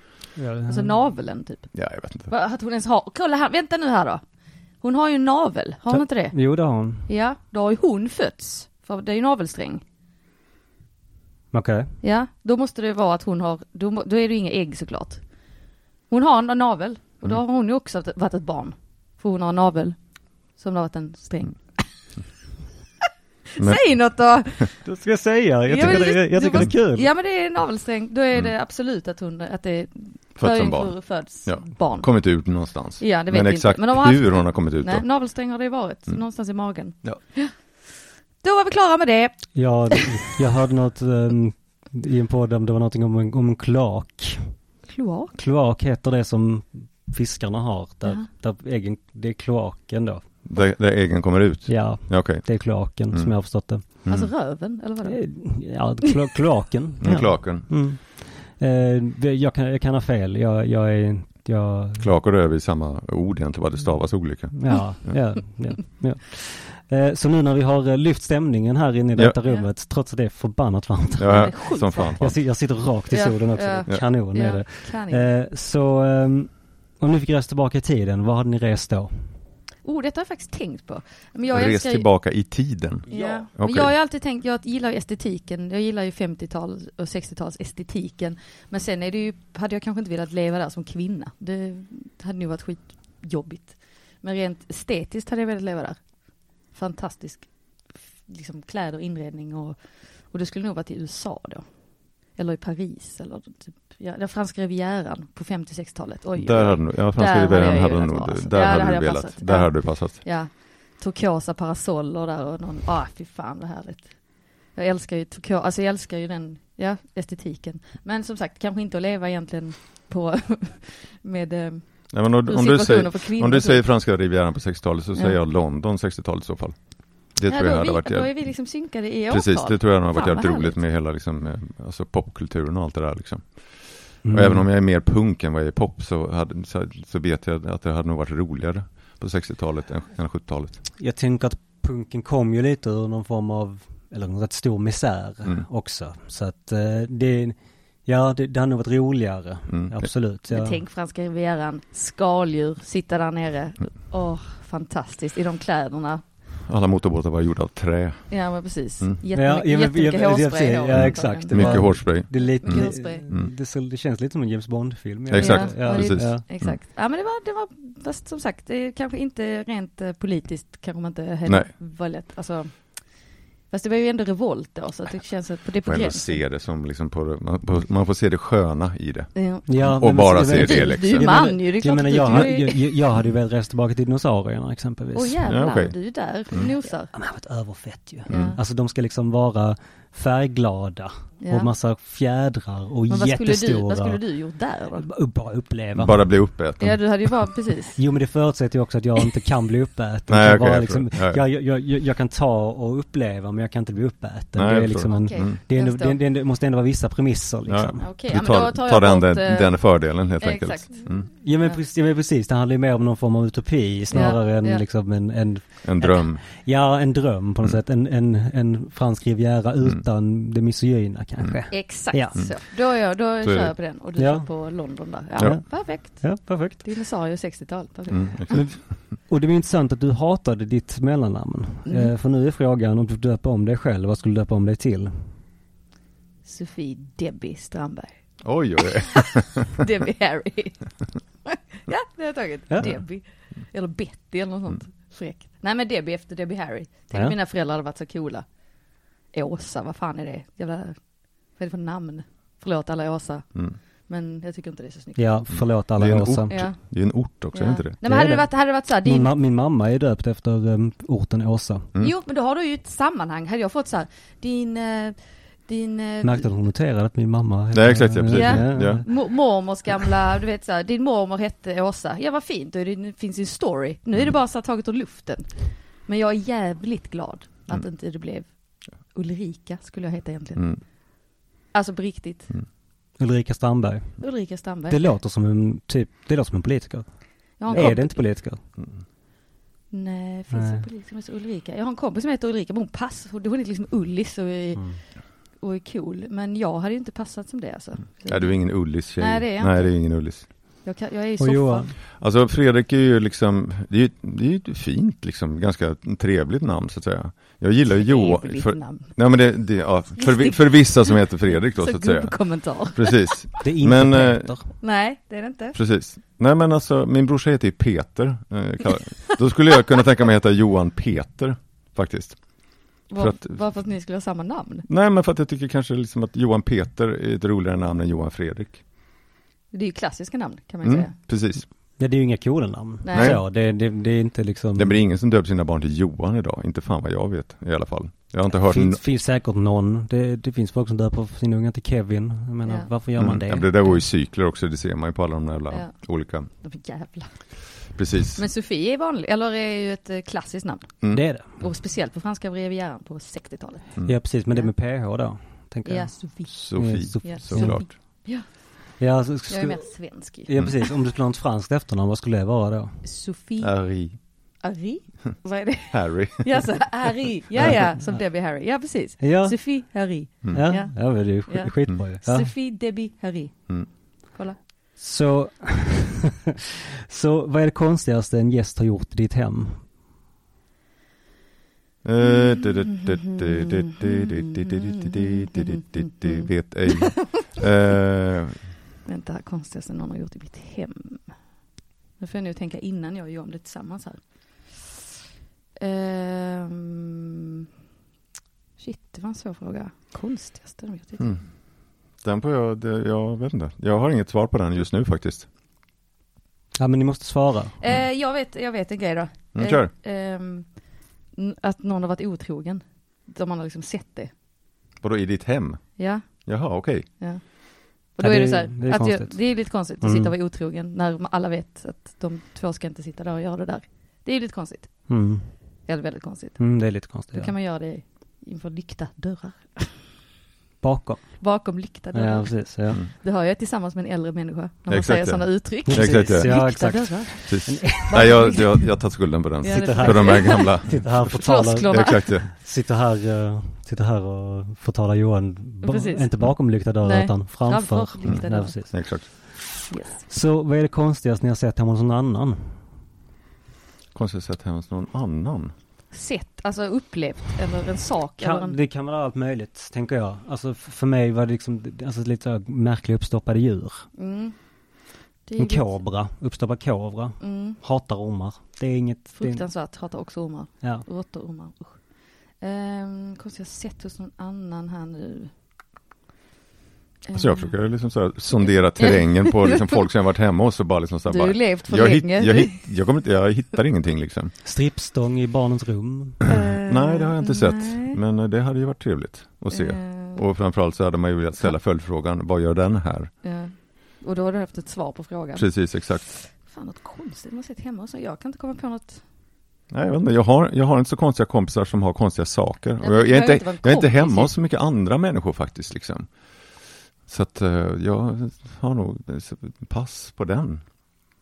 Speaker 3: Alltså naveln typ.
Speaker 2: Ja, jag vet inte.
Speaker 3: Va, Att hon ens har... Kolla här, vänta nu här då. Hon har ju en navel, har hon
Speaker 1: Ta-
Speaker 3: inte det?
Speaker 1: Jo, det har hon.
Speaker 3: Ja, då har ju hon fötts. För det är ju navelsträng.
Speaker 1: Okej.
Speaker 3: Ja, då måste det vara att hon har, då, må- då är det ju inga ägg såklart. Hon har en navel och då
Speaker 2: Mm.
Speaker 3: har hon ju också varit ett barn. För hon har en navel som har varit en sträng.
Speaker 2: Men-
Speaker 3: Säg något då!
Speaker 1: Du ska jag säga. Jag
Speaker 3: Ja,
Speaker 1: tycker,
Speaker 3: men
Speaker 1: det, jag
Speaker 3: du
Speaker 1: tycker det är kul.
Speaker 3: Ja men det är en navelsträng, då är det absolut att hon, att det är
Speaker 2: Född Mm. som
Speaker 3: föring
Speaker 2: barn.
Speaker 3: för- föds
Speaker 2: Ja.
Speaker 3: barn.
Speaker 2: Kommit ut någonstans.
Speaker 3: Ja, det vet
Speaker 2: Men
Speaker 3: vi
Speaker 2: exakt
Speaker 3: inte. Men de har haft-
Speaker 2: hur hon har kommit ut
Speaker 3: Nej,
Speaker 2: då? Mm.
Speaker 3: navelsträng har det ju varit, någonstans i magen.
Speaker 2: Ja.
Speaker 3: Då var vi klara med det.
Speaker 1: Jag, jag hörde något ehm, i en podd om det var någonting om en, om en kloak.
Speaker 3: Kloak.
Speaker 1: Kloak heter det som fiskarna har.
Speaker 3: Jaha.
Speaker 1: Där, där äggen, det är kloaken då.
Speaker 2: Där, där äggen kommer ut?
Speaker 1: Ja,
Speaker 2: Ja, okej.
Speaker 1: det är kloaken
Speaker 2: Mm.
Speaker 1: som jag har förstått det.
Speaker 2: Mm.
Speaker 3: Alltså röven, eller vad det är.
Speaker 1: Eh, Ja, klo, kloaken.
Speaker 2: (laughs) Mm,
Speaker 1: ja.
Speaker 2: Klaken.
Speaker 1: Mm. Eh, det- jag, kan, jag kan ha fel. Jag, jag är... Jag,
Speaker 2: Klak och röv är samma ord egentligen,
Speaker 3: Mm.
Speaker 2: bara det stavas olika.
Speaker 3: (laughs)
Speaker 1: Ja, ja, ja, ja. Eh, Så nu när vi har eh, lyft stämningen här inne i detta
Speaker 3: Ja.
Speaker 1: rummet, trots att det är förbannat varmt.
Speaker 2: Ja,
Speaker 3: sjukt
Speaker 2: som fan.
Speaker 1: Jag, si- jag sitter rakt i
Speaker 3: Ja,
Speaker 1: solen också,
Speaker 3: ja.
Speaker 1: Det är kanon är
Speaker 3: Ja,
Speaker 1: det.
Speaker 3: kan inte.
Speaker 1: Eh, Så ehm, om ni fick resa tillbaka i tiden, vad hade ni rest då?
Speaker 3: Oh, detta har jag faktiskt tänkt på. Men jag
Speaker 2: Res
Speaker 3: älskar ju-
Speaker 2: tillbaka i tiden.
Speaker 3: Ja. Men
Speaker 2: Okej.
Speaker 3: jag har ju alltid tänkt, jag gillar ju estetiken, jag gillar ju 50-tal och 60-tals estetiken. Men sen är det ju, hade jag kanske inte velat leva där som kvinna. Det hade nog varit skitjobbigt. Men rent estetiskt hade jag velat leva där. Fantastisk, f- liksom kläder, inredning och, och det skulle nog varit i USA då. Eller i Paris eller typ, ja, den franska rivieran på 50-60-talet. Oj,
Speaker 2: Där
Speaker 3: oj, oj.
Speaker 2: hade du, ja franska
Speaker 3: Där hade
Speaker 2: rivieran
Speaker 3: jag
Speaker 2: hade
Speaker 3: gillat
Speaker 2: nog,
Speaker 3: vara, alltså.
Speaker 2: där
Speaker 3: Ja, det
Speaker 2: hade
Speaker 3: hade
Speaker 2: du
Speaker 3: jag
Speaker 2: velat,
Speaker 3: passat.
Speaker 2: där
Speaker 3: Ja.
Speaker 2: hade du passat.
Speaker 3: Ja, turkosa parasoller där och någon, ah fy fan vad härligt. Jag älskar ju turkos, alltså jag älskar ju den, ja, estetiken. Men som sagt, kanske inte att leva egentligen på, (laughs) med eh,
Speaker 2: Nej, men om, om, du
Speaker 3: situationer
Speaker 2: säger,
Speaker 3: för kvinnor.
Speaker 2: om du säger franska rivieran på 60-talet så
Speaker 3: Ja.
Speaker 2: säger jag London 60-talet i så fall. Det
Speaker 3: Ja,
Speaker 2: tror
Speaker 3: då
Speaker 2: jag
Speaker 3: är
Speaker 2: hade
Speaker 3: vi,
Speaker 2: varit
Speaker 3: Då är
Speaker 2: jävligt,
Speaker 3: vi liksom synkade i årtal.
Speaker 2: precis, det tror jag nog hade varit
Speaker 3: Fan,
Speaker 2: jävligt
Speaker 3: vad
Speaker 2: roligt
Speaker 3: härligt.
Speaker 2: med hela liksom, eh, alltså popkulturen och allt det där liksom.
Speaker 1: Mm.
Speaker 2: Och även om jag är mer punk än vad jag är pop så, hade, så, så vet jag att det hade nog varit roligare på 60-talet än, än 70-talet.
Speaker 1: Mm. Jag tänker att punken kom ju lite ur någon form av, eller en rätt stor misär
Speaker 2: Mm.
Speaker 1: också. Så att eh, det, ja det, det hade nog varit roligare.
Speaker 2: Mm.
Speaker 1: Absolut.
Speaker 3: Men
Speaker 1: ja.
Speaker 3: tänk franska rivieran, skaldjur, sitta där nere. Åh, fantastiskt, i de kläderna.
Speaker 2: Alla motorbåtar var gjorda av trä.
Speaker 3: Ja men precis.
Speaker 2: Mm.
Speaker 1: Ja,
Speaker 3: Jätte,
Speaker 1: ja, men-
Speaker 3: jättemycket
Speaker 1: ja, precis.
Speaker 3: hårspray då,
Speaker 1: Ja, exakt. Det
Speaker 2: Mycket
Speaker 1: var-
Speaker 2: hårspray.
Speaker 1: Det, är lite,
Speaker 2: Mm.
Speaker 1: det,
Speaker 2: Mm.
Speaker 1: så, det känns lite som en James Bond-film.
Speaker 2: Exakt,
Speaker 3: Ja,
Speaker 2: precis.
Speaker 1: Ja.
Speaker 2: Mm.
Speaker 3: Exakt. Ja men det var, det var, fast som sagt, det är kanske inte rent eh, politiskt kanske man inte
Speaker 2: Nej.
Speaker 3: heller var lätt, alltså. Fast det var ju ändå revolt då, så att det känns att det är på
Speaker 2: Får ändå
Speaker 3: gränsen.
Speaker 2: se det som liksom på, man, på, man får se det sköna i det.
Speaker 3: Ja.
Speaker 1: Ja,
Speaker 2: Och
Speaker 1: men-
Speaker 2: bara
Speaker 1: men-
Speaker 2: se det,
Speaker 1: men-
Speaker 2: liksom.
Speaker 3: Du är
Speaker 1: Jag
Speaker 3: ju man
Speaker 1: menar-
Speaker 3: ju, det är
Speaker 1: Jag
Speaker 3: klart
Speaker 1: menar,
Speaker 3: att du-
Speaker 1: jag,
Speaker 3: du
Speaker 1: hade-
Speaker 3: är-
Speaker 1: jag, jag- jag hade ju velat resa tillbaka till dinosaurierna exempelvis.
Speaker 3: Åh jävlar,
Speaker 2: Ja, okej.
Speaker 3: du är där och
Speaker 2: Mm.
Speaker 3: nosar.
Speaker 1: De har varit överfett ju.
Speaker 3: Ja.
Speaker 1: Alltså de ska liksom vara färgglada
Speaker 3: Ja.
Speaker 1: och massa fjädrar och
Speaker 3: Men vad skulle, du,
Speaker 1: jättestora. Mm.
Speaker 3: vad skulle du gjort där då?
Speaker 1: du? Bara uppleva.
Speaker 2: Bara bli uppäten.
Speaker 3: Ja du hade ju bara, precis.
Speaker 1: Jo men det förutsätter ju också att jag inte kan bli uppäten.
Speaker 2: Nej,
Speaker 1: jag,
Speaker 2: okej,
Speaker 1: bara
Speaker 2: jag
Speaker 1: liksom,
Speaker 2: förstår. Ja.
Speaker 1: jag, jag, jag, jag kan ta och uppleva men jag kan inte bli uppäten.
Speaker 2: Nej,
Speaker 1: det,
Speaker 2: jag
Speaker 1: är
Speaker 2: förstår.
Speaker 1: liksom en,
Speaker 3: Okej.
Speaker 2: Mm.
Speaker 1: det, är ändå,
Speaker 3: jag
Speaker 1: det,
Speaker 3: förstår.
Speaker 1: det- det måste ändå vara vissa premisser liksom. Ja,
Speaker 3: Okej, ja,
Speaker 2: Du
Speaker 3: men
Speaker 2: tar,
Speaker 3: då tar
Speaker 2: tar
Speaker 3: jag
Speaker 2: den,
Speaker 3: bort,
Speaker 2: den,
Speaker 3: eh,
Speaker 2: den fördelen helt enkelt.
Speaker 3: exakt.
Speaker 2: Mm.
Speaker 1: men,
Speaker 3: Ja.
Speaker 1: precis, ja, men precis, det handlar ju mer om någon form av utopi snarare än
Speaker 3: ja.
Speaker 1: liksom en, en,
Speaker 2: En dröm.
Speaker 1: ja, en dröm på något
Speaker 2: Mm.
Speaker 1: sätt. En, en, en fransk riviera
Speaker 2: Mm.
Speaker 1: utan det misogyna kanske.
Speaker 3: Exakt
Speaker 1: Ja.
Speaker 3: så. Då, är jag, då
Speaker 2: är
Speaker 3: kör
Speaker 2: det.
Speaker 3: jag på den och du
Speaker 1: Ja.
Speaker 3: kör på London där. Ja,
Speaker 2: Ja.
Speaker 3: Perfekt.
Speaker 1: Ja, perfekt.
Speaker 3: Dinosaurier 60-tal. Perfekt.
Speaker 2: Mm, exakt.
Speaker 1: Men, och det var intressant att du hatade ditt mellannamn.
Speaker 3: Mm.
Speaker 1: Eh, för nu är frågan om du döper om dig själv, vad skulle du döpa om dig till?
Speaker 3: Sofie Debbie Strandberg.
Speaker 2: Oj, oj, oj.
Speaker 3: Debbie Harry. (laughs) ja, det har jag tagit.
Speaker 1: Ja.
Speaker 3: Debbie. Eller Betty eller något sånt. Fräckt. Nej men Debbie efter Debbie Harry. Tänk
Speaker 1: Ja.
Speaker 3: om mina föräldrar hade varit så coola. Åsa, vad fan är det? Jävla, vad är det för namn? Förlåt alla Åsa,
Speaker 2: Mm.
Speaker 3: men jag tycker inte det är så snyggt.
Speaker 1: Ja, Mm. förlåt alla
Speaker 2: Det är en
Speaker 1: Åsa.
Speaker 2: ort.
Speaker 3: Ja.
Speaker 2: Det är en ort också, är
Speaker 3: Ja.
Speaker 2: inte det?
Speaker 3: Nej men hade det varit, hade det varit så här,
Speaker 1: Min,
Speaker 3: din,
Speaker 1: ma- min mamma är döpt efter um, orten Åsa.
Speaker 2: Mm.
Speaker 3: jo men då har du ju ett sammanhang. Hade jag fått så här, din, eh, din eh,
Speaker 1: Märkte att hon noterade att min mamma eh,
Speaker 2: Nej, exakt, ja, precis.
Speaker 1: Ja.
Speaker 2: Ja.
Speaker 3: Mo- mormors gamla, du vet så här, din mormor hette Åsa. Ja vad fint, då är det, nu finns ju en story. Nu
Speaker 1: Mm.
Speaker 3: är det bara så här taget ur luften. Men jag är jävligt glad att
Speaker 2: Mm.
Speaker 3: inte det blev Ulrika skulle jag heta egentligen.
Speaker 2: Mm.
Speaker 3: Alltså på riktigt.
Speaker 1: Ulrika Strandberg.
Speaker 3: Ulrika Strandberg.
Speaker 1: Det låter som en typ, det låter som en politiker.
Speaker 3: jag har en
Speaker 1: är
Speaker 3: kompis.
Speaker 1: det inte politiker?
Speaker 3: Nej, finns
Speaker 1: Nej.
Speaker 3: det en polis som heter Ulrika? Jag har en kompis som heter Ulrika, men hon passar. Hon hon är liksom Ullis och är,
Speaker 1: Mm.
Speaker 3: och är cool. Men jag hade ju inte passat som det alltså.
Speaker 1: Mm.
Speaker 3: Så
Speaker 2: Ja, du är ingen Ullis-tjej.
Speaker 3: Nej, det är jag
Speaker 2: Nej,
Speaker 3: inte.
Speaker 2: det är ingen Ullis.
Speaker 3: jag, kan, jag är ju
Speaker 1: Och Johan?
Speaker 3: soffan.
Speaker 2: Alltså Fredrik är ju liksom, det är ju, det är ju ett fint liksom, ganska trevligt namn så att säga. Jag gillar ju Johan,
Speaker 3: Trevligt
Speaker 2: för,
Speaker 3: namn.
Speaker 2: nej men det, det ja, för, vi- för vissa som heter Fredrik då så
Speaker 3: Så
Speaker 2: att säga.
Speaker 3: gubbkommentar.
Speaker 2: Precis,
Speaker 1: Det är inte
Speaker 2: Men, eh,
Speaker 1: Peter.
Speaker 3: Nej, det är det inte.
Speaker 2: precis. Nej men alltså, min brorsa heter ju Peter. Eh, kallar- då skulle jag kunna tänka mig att heta Johan Peter, faktiskt.
Speaker 3: Var,
Speaker 2: att-
Speaker 3: bara för att ni skulle ha samma namn.
Speaker 2: Nej men för att jag tycker kanske liksom att Johan Peter är ett roligare namn än Johan Fredrik.
Speaker 3: Det är ju klassiska namn kan man ju
Speaker 2: Mm,
Speaker 3: säga.
Speaker 2: precis.
Speaker 1: Ja, det är ju inga coola namn.
Speaker 3: Nej.
Speaker 1: Så, det, det, det är inte liksom...
Speaker 2: Det blir ingen som döper sina barn till Johan idag, inte fan vad jag vet i alla fall. Jag har inte hört
Speaker 1: finns, finns säkert någon. Det, det finns folk som döper sina ungar till Kevin. Jag menar,
Speaker 3: Ja.
Speaker 1: varför gör man
Speaker 2: Mm,
Speaker 1: det?
Speaker 2: ja, men det där går ju i cykler också, det ser man ju på alla de där jävla
Speaker 3: Ja.
Speaker 2: olika.
Speaker 3: De är jävla.
Speaker 2: Precis.
Speaker 3: Men Sofie är vanlig, eller är ju ett eh, klassiskt namn.
Speaker 2: Mm.
Speaker 1: Det är det.
Speaker 3: Och speciellt på franska rivieran på 60-talet.
Speaker 2: Mm.
Speaker 1: Ja, precis. Men det med PH då, tänker
Speaker 3: Ja,
Speaker 1: jag. Eh,
Speaker 3: Sofie.
Speaker 2: Sofie,
Speaker 1: Sof-
Speaker 3: Ja.
Speaker 2: såklart. Mm.
Speaker 1: Ja, så,
Speaker 3: Jag är mer
Speaker 1: sku,
Speaker 3: svensk ju.
Speaker 1: ja, precis. Om du skulle ha ett franskt efternamn, vad skulle det vara då?
Speaker 3: Sofie
Speaker 2: Harry. (laughs)
Speaker 3: Harry? Vad är det?
Speaker 2: Harry.
Speaker 3: Ja, så Harry. Ja, ja, som Debbie Harry. Ja, precis.
Speaker 1: Ja,
Speaker 3: Sofie Harry.
Speaker 2: Mm.
Speaker 1: ja,
Speaker 3: ja.
Speaker 1: ja. men det är ju sk-
Speaker 3: Ja.
Speaker 1: skitbra ju. Ja.
Speaker 3: Sofie Debbie Harry.
Speaker 2: Mm.
Speaker 3: Kolla.
Speaker 1: Så, (laughs) så vad är det konstigaste en gäst har gjort i ditt hem?
Speaker 2: Eh, du- du- du- du- du- du- du- du- du- du- du- du- du- du- du- Vet
Speaker 3: (laughs)
Speaker 2: ej. Eh,
Speaker 3: Vänta, här, konstigaste någon har gjort i mitt hem. Nu får jag nu tänka innan jag gör om det tillsammans här. Ehm, shit, det var en svår fråga. Konstigaste de gjort i mitt hem.
Speaker 2: mm. Den får jag, det, jag vet inte. Jag har inget svar på den just nu faktiskt.
Speaker 1: Ja, men ni måste svara.
Speaker 3: Eh, jag, vet, jag vet en grej då.
Speaker 2: Mm, kör.
Speaker 3: Eh, ehm, n- att någon har varit otrogen. De har liksom sett det.
Speaker 2: Vadå i ditt hem?
Speaker 3: Ja,
Speaker 2: Jaha, okej.
Speaker 3: ja. Och
Speaker 1: Ja,
Speaker 3: då
Speaker 1: det
Speaker 3: är
Speaker 1: är-
Speaker 3: det så här,
Speaker 1: det är
Speaker 3: att jag,
Speaker 1: konstigt.
Speaker 3: det är lite konstigt att
Speaker 1: Mm.
Speaker 3: sitta och vara otrogen när alla vet att de två ska inte sitta där och göra det där. Det är lite konstigt.
Speaker 1: Mm.
Speaker 3: Eller väldigt konstigt.
Speaker 1: Mm, det är lite
Speaker 3: Då
Speaker 1: konstigt.
Speaker 3: kan
Speaker 1: Ja.
Speaker 3: man göra det inför lyckta dörrar.
Speaker 1: Bakom.
Speaker 3: Bakom lyckta dörrar.
Speaker 1: Ja, precis. Ja.
Speaker 2: Mm.
Speaker 3: Det hör jag tillsammans med en äldre människa. När man
Speaker 2: Exakt,
Speaker 3: säger
Speaker 2: ja.
Speaker 3: sådana uttryck.
Speaker 2: Exakt, ja.
Speaker 1: Precis, ja,
Speaker 3: Lyckta
Speaker 1: exakt.
Speaker 3: dörrar.
Speaker 2: Precis. (laughs) Nej, jag, jag, jag tar skulden på den.
Speaker 3: Ja, det
Speaker 1: Sitter
Speaker 2: För
Speaker 1: här.
Speaker 3: är
Speaker 2: de här gamla.
Speaker 1: Sitter här och förtalar,
Speaker 3: Floskler.
Speaker 2: Exakt, ja.
Speaker 1: sitter här, eh, sitter här och förtalar Johan, ba,
Speaker 3: Precis.
Speaker 1: inte bakom lyckta dörrar
Speaker 3: Nej,
Speaker 1: utan framför.
Speaker 3: framför lyckta
Speaker 1: Ja,
Speaker 3: dörrar.
Speaker 1: precis.
Speaker 2: Exakt.
Speaker 3: Yes.
Speaker 1: Så vad är det konstigaste ni har sett hemma hos någon annan?
Speaker 2: Konstigt sett hemma hos någon annan.
Speaker 3: sett, alltså upplevt eller en sak? eller
Speaker 1: Kan,
Speaker 3: en...
Speaker 1: det kan vara allt möjligt, tänker jag. Alltså f- för mig var det liksom, alltså lite så här märkliga uppstoppade djur.
Speaker 3: Mm. Det är
Speaker 1: En
Speaker 3: ju
Speaker 1: kobra, uppstoppad kobra.
Speaker 3: lite- Mm.
Speaker 1: Hatar ormar. Det är inget... Det är,
Speaker 3: Fruktansvärt, hatar också ormar.
Speaker 1: ja.
Speaker 3: Råttormar, usch. Ehm, konstigt, jag har sett hos någon annan här nu.
Speaker 2: Alltså jag
Speaker 3: Ehm,
Speaker 2: försöker liksom så här sondera terrängen på liksom folk som har varit hemma och så bara liksom så här
Speaker 3: Du har ju
Speaker 2: bara,
Speaker 3: levt för
Speaker 2: jag, hitt,
Speaker 3: länge.
Speaker 2: jag,
Speaker 3: (laughs)
Speaker 2: hitt, jag, kommer inte, jag hittar ingenting liksom.
Speaker 1: Strippstång i barnens rum.
Speaker 3: Ehm,
Speaker 2: Nej, det har jag inte sett.
Speaker 3: nej.
Speaker 2: Men eh, det hade ju varit trevligt att se.
Speaker 3: Ehm,
Speaker 2: Och framförallt så hade man ju velat ställa följdfrågan, vad gör den här?
Speaker 3: ja. och då har du haft ett svar på frågan.
Speaker 2: Precis, exakt.
Speaker 3: Fan, något konstigt man har sett hemma och så. Jag kan inte komma på något.
Speaker 2: Nej, jag, vet inte, jag, har, jag har inte så konstiga kompisar som har konstiga saker.
Speaker 3: men
Speaker 2: Och jag,
Speaker 3: det
Speaker 2: jag, är
Speaker 3: behöver
Speaker 2: inte,
Speaker 3: inte vara en
Speaker 2: jag är inte
Speaker 3: kompis, liksom.
Speaker 2: hemma
Speaker 3: ju.
Speaker 2: hos så mycket andra människor faktiskt. Liksom. Så att eh, jag har nog eh, pass på den.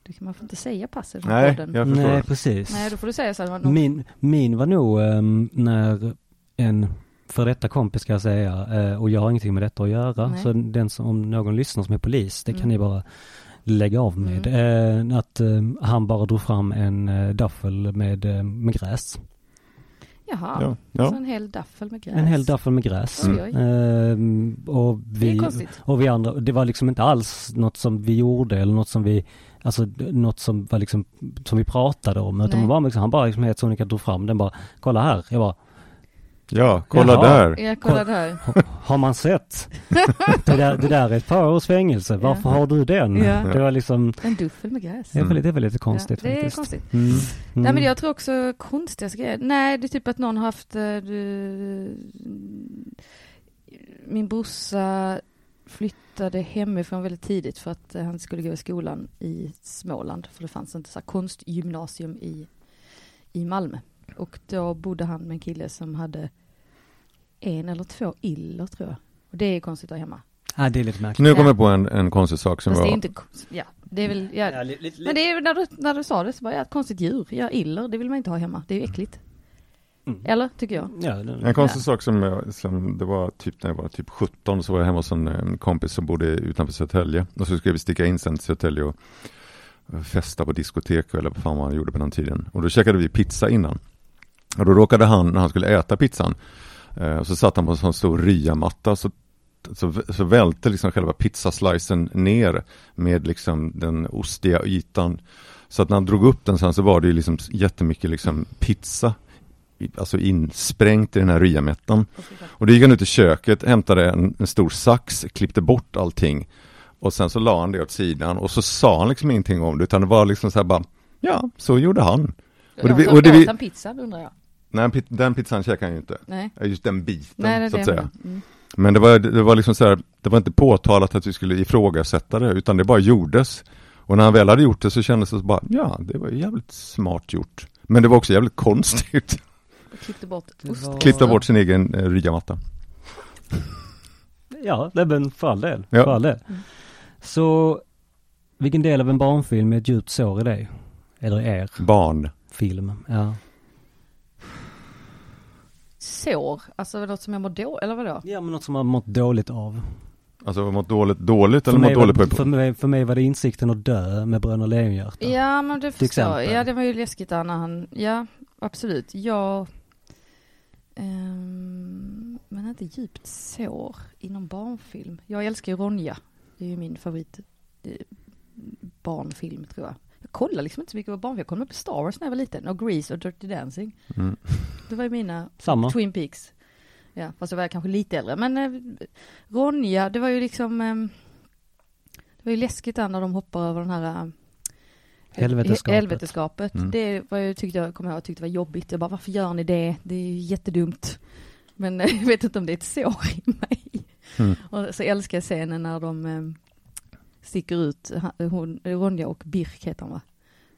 Speaker 3: Det kan man får inte säga pass i den här
Speaker 2: Nej,
Speaker 3: podden.
Speaker 2: jag förstår.
Speaker 1: Nej, precis.
Speaker 3: Nej, då får du säga så här. Någon...
Speaker 1: Min, min var nog ehm, när en för detta kompis ska jag säga, eh, och jag har ingenting med detta att göra,
Speaker 3: Nej.
Speaker 1: så den som, om någon lyssnar som är polis, det kan
Speaker 3: Mm.
Speaker 1: ni bara lägga av med. Eh, att eh, han bara drog fram en eh, daffel med, eh, med gräs.
Speaker 3: Jaha,
Speaker 2: Ja,
Speaker 3: så
Speaker 2: ja.
Speaker 3: en hel daffel med gräs.
Speaker 1: En hel Mm. daffel med gräs.
Speaker 3: Oj, oj.
Speaker 1: Ehm, och
Speaker 3: Det är
Speaker 1: vi,
Speaker 3: konstigt.
Speaker 1: och vi andra, det var liksom inte alls något som vi gjorde eller något som vi, alltså d- något som var liksom, som vi pratade om. Utan
Speaker 3: Nej.
Speaker 1: det var liksom, han bara liksom helt sonika drog fram den bara, kolla här. Jag bara,
Speaker 2: ja kolla
Speaker 1: Jaha.
Speaker 2: där.
Speaker 3: Jag kollade här.
Speaker 1: har man sett? det, där, det där är ett par års fängelse, varför har du den?
Speaker 3: Ja.
Speaker 1: Det var liksom,
Speaker 3: En duffel med gräs.
Speaker 1: det
Speaker 2: Mm.
Speaker 1: var, lite- det var lite konstigt
Speaker 3: ja, det
Speaker 1: faktiskt.
Speaker 3: är konstigt.
Speaker 1: Mm.
Speaker 3: Nej
Speaker 1: Mm.
Speaker 3: men jag tror också konstigaste grejer. Nej det är typ att någon har haft eh, du, Min brorsa flyttade hemifrån väldigt tidigt för att eh, han skulle gå i skolan i Småland. För det fanns inte så här konstgymnasium i, i Malmö. Och då bodde han med en kille som hade en eller två iller tror jag. Och det är konstigt att ha hemma.
Speaker 1: Ja, det är lite märkligt.
Speaker 2: Nu kommer jag på en, en konstig sak som
Speaker 3: Fast det är
Speaker 2: var...
Speaker 3: inte, konst- ja det är väl, ja.
Speaker 1: Ja, li- lite-
Speaker 3: Men det är ju när du, när du sa det så var jag ett konstigt djur. Ja, iller, det vill man inte ha hemma. Det är ju äckligt.
Speaker 1: Mm.
Speaker 3: Eller, tycker jag.
Speaker 1: Ja, det-
Speaker 2: En konstig sak som, jag- som det var typ när jag var typ 17 så var jag hemma hos en, en kompis som bodde utanför Södertälje och så skulle vi sticka in sen till Södertälje och festa på diskotek eller vad fan man gjorde på den tiden. Och då käkade vi pizza innan. Och då råkade han, när han skulle äta pizzan, eh, så satt han på en sån stor ryamatta så, så, så välte liksom själva pizzaslicen ner med liksom den ostiga ytan. Så att när han drog upp den sen så var det ju liksom jättemycket liksom pizza i- alltså insprängt i den här ryamättan. Och då gick han ut i köket, hämtade en, en stor sax, klippte bort allting och sen så la han det åt sidan och så sa han liksom ingenting om det utan det var liksom så här bara, ja, så gjorde han. Och det vi- och det vi-
Speaker 3: Åt han pizza, undrar jag.
Speaker 2: Nej, pit- den pizzan käkade han ju inte.
Speaker 3: Nej.
Speaker 2: Ja, Just den biten,
Speaker 3: Nej, det är
Speaker 2: så
Speaker 3: det
Speaker 2: att
Speaker 3: jag
Speaker 2: säga.
Speaker 3: menar. Mm.
Speaker 2: Men det var, det var liksom så här, det var inte påtalat att vi skulle ifrågasätta det, utan det bara gjordes. Och när han väl hade gjort det så kändes det så bara, ja, det var ju jävligt smart gjort. Men det var också jävligt konstigt. (laughs)
Speaker 3: Och klippte bort
Speaker 1: Det
Speaker 3: ost.
Speaker 1: var-
Speaker 2: Klippte bort sin egen eh, ryamatta.
Speaker 1: Ja, nej, men för all del.
Speaker 2: Ja.
Speaker 1: För all del.
Speaker 3: Mm.
Speaker 1: Så vilken del av en barnfilm är ett djupt sår i dig? Eller er
Speaker 2: Barn.
Speaker 1: film? Ja,
Speaker 3: Sår, alltså något som jag mår då, eller vadå?
Speaker 1: ja men något som man mått dåligt av.
Speaker 2: Alltså mått dåligt, dåligt eller
Speaker 1: för, mig
Speaker 2: mått dåligt
Speaker 1: var,
Speaker 2: på...
Speaker 1: för, mig, för mig var det insikten att dö med Bröderna Lejonhjärta.
Speaker 3: Ja, men det
Speaker 1: Till
Speaker 3: förstår jag.
Speaker 1: exempel.
Speaker 3: Ja, det var ju läskigt där när han, ja, absolut. Jag, ehm, men inte djupt sår inom barnfilm. Jag älskar ju Ronja. Det är ju min favorit eh, barnfilm, tror jag. Jag kollar liksom inte så mycket på barnfilm. Jag kollade upp på Star Wars när jag var liten och Grease och Dirty Dancing.
Speaker 2: Mm.
Speaker 3: Det var ju mina
Speaker 1: Samma.
Speaker 3: Twin Peaks. Ja, fast då var jag kanske lite äldre. Men eh, Ronja, det var ju liksom... ehm, det var ju läskigt där när de hoppar över den här... eh,
Speaker 1: Helveteskapet.
Speaker 3: he- helveteskapet.
Speaker 2: Mm.
Speaker 3: Det var ju, tyckte jag, kommer jag ihåg, tyckte det var jobbigt. Jag bara, varför gör ni det? Det är ju jättedumt. Men eh, (laughs) jag vet inte om det är ett sår i mig.
Speaker 2: Mm.
Speaker 3: Och så älskar jag scenen när de ehm, sticker ut, ha- hon, Ronja och Birk heter han va?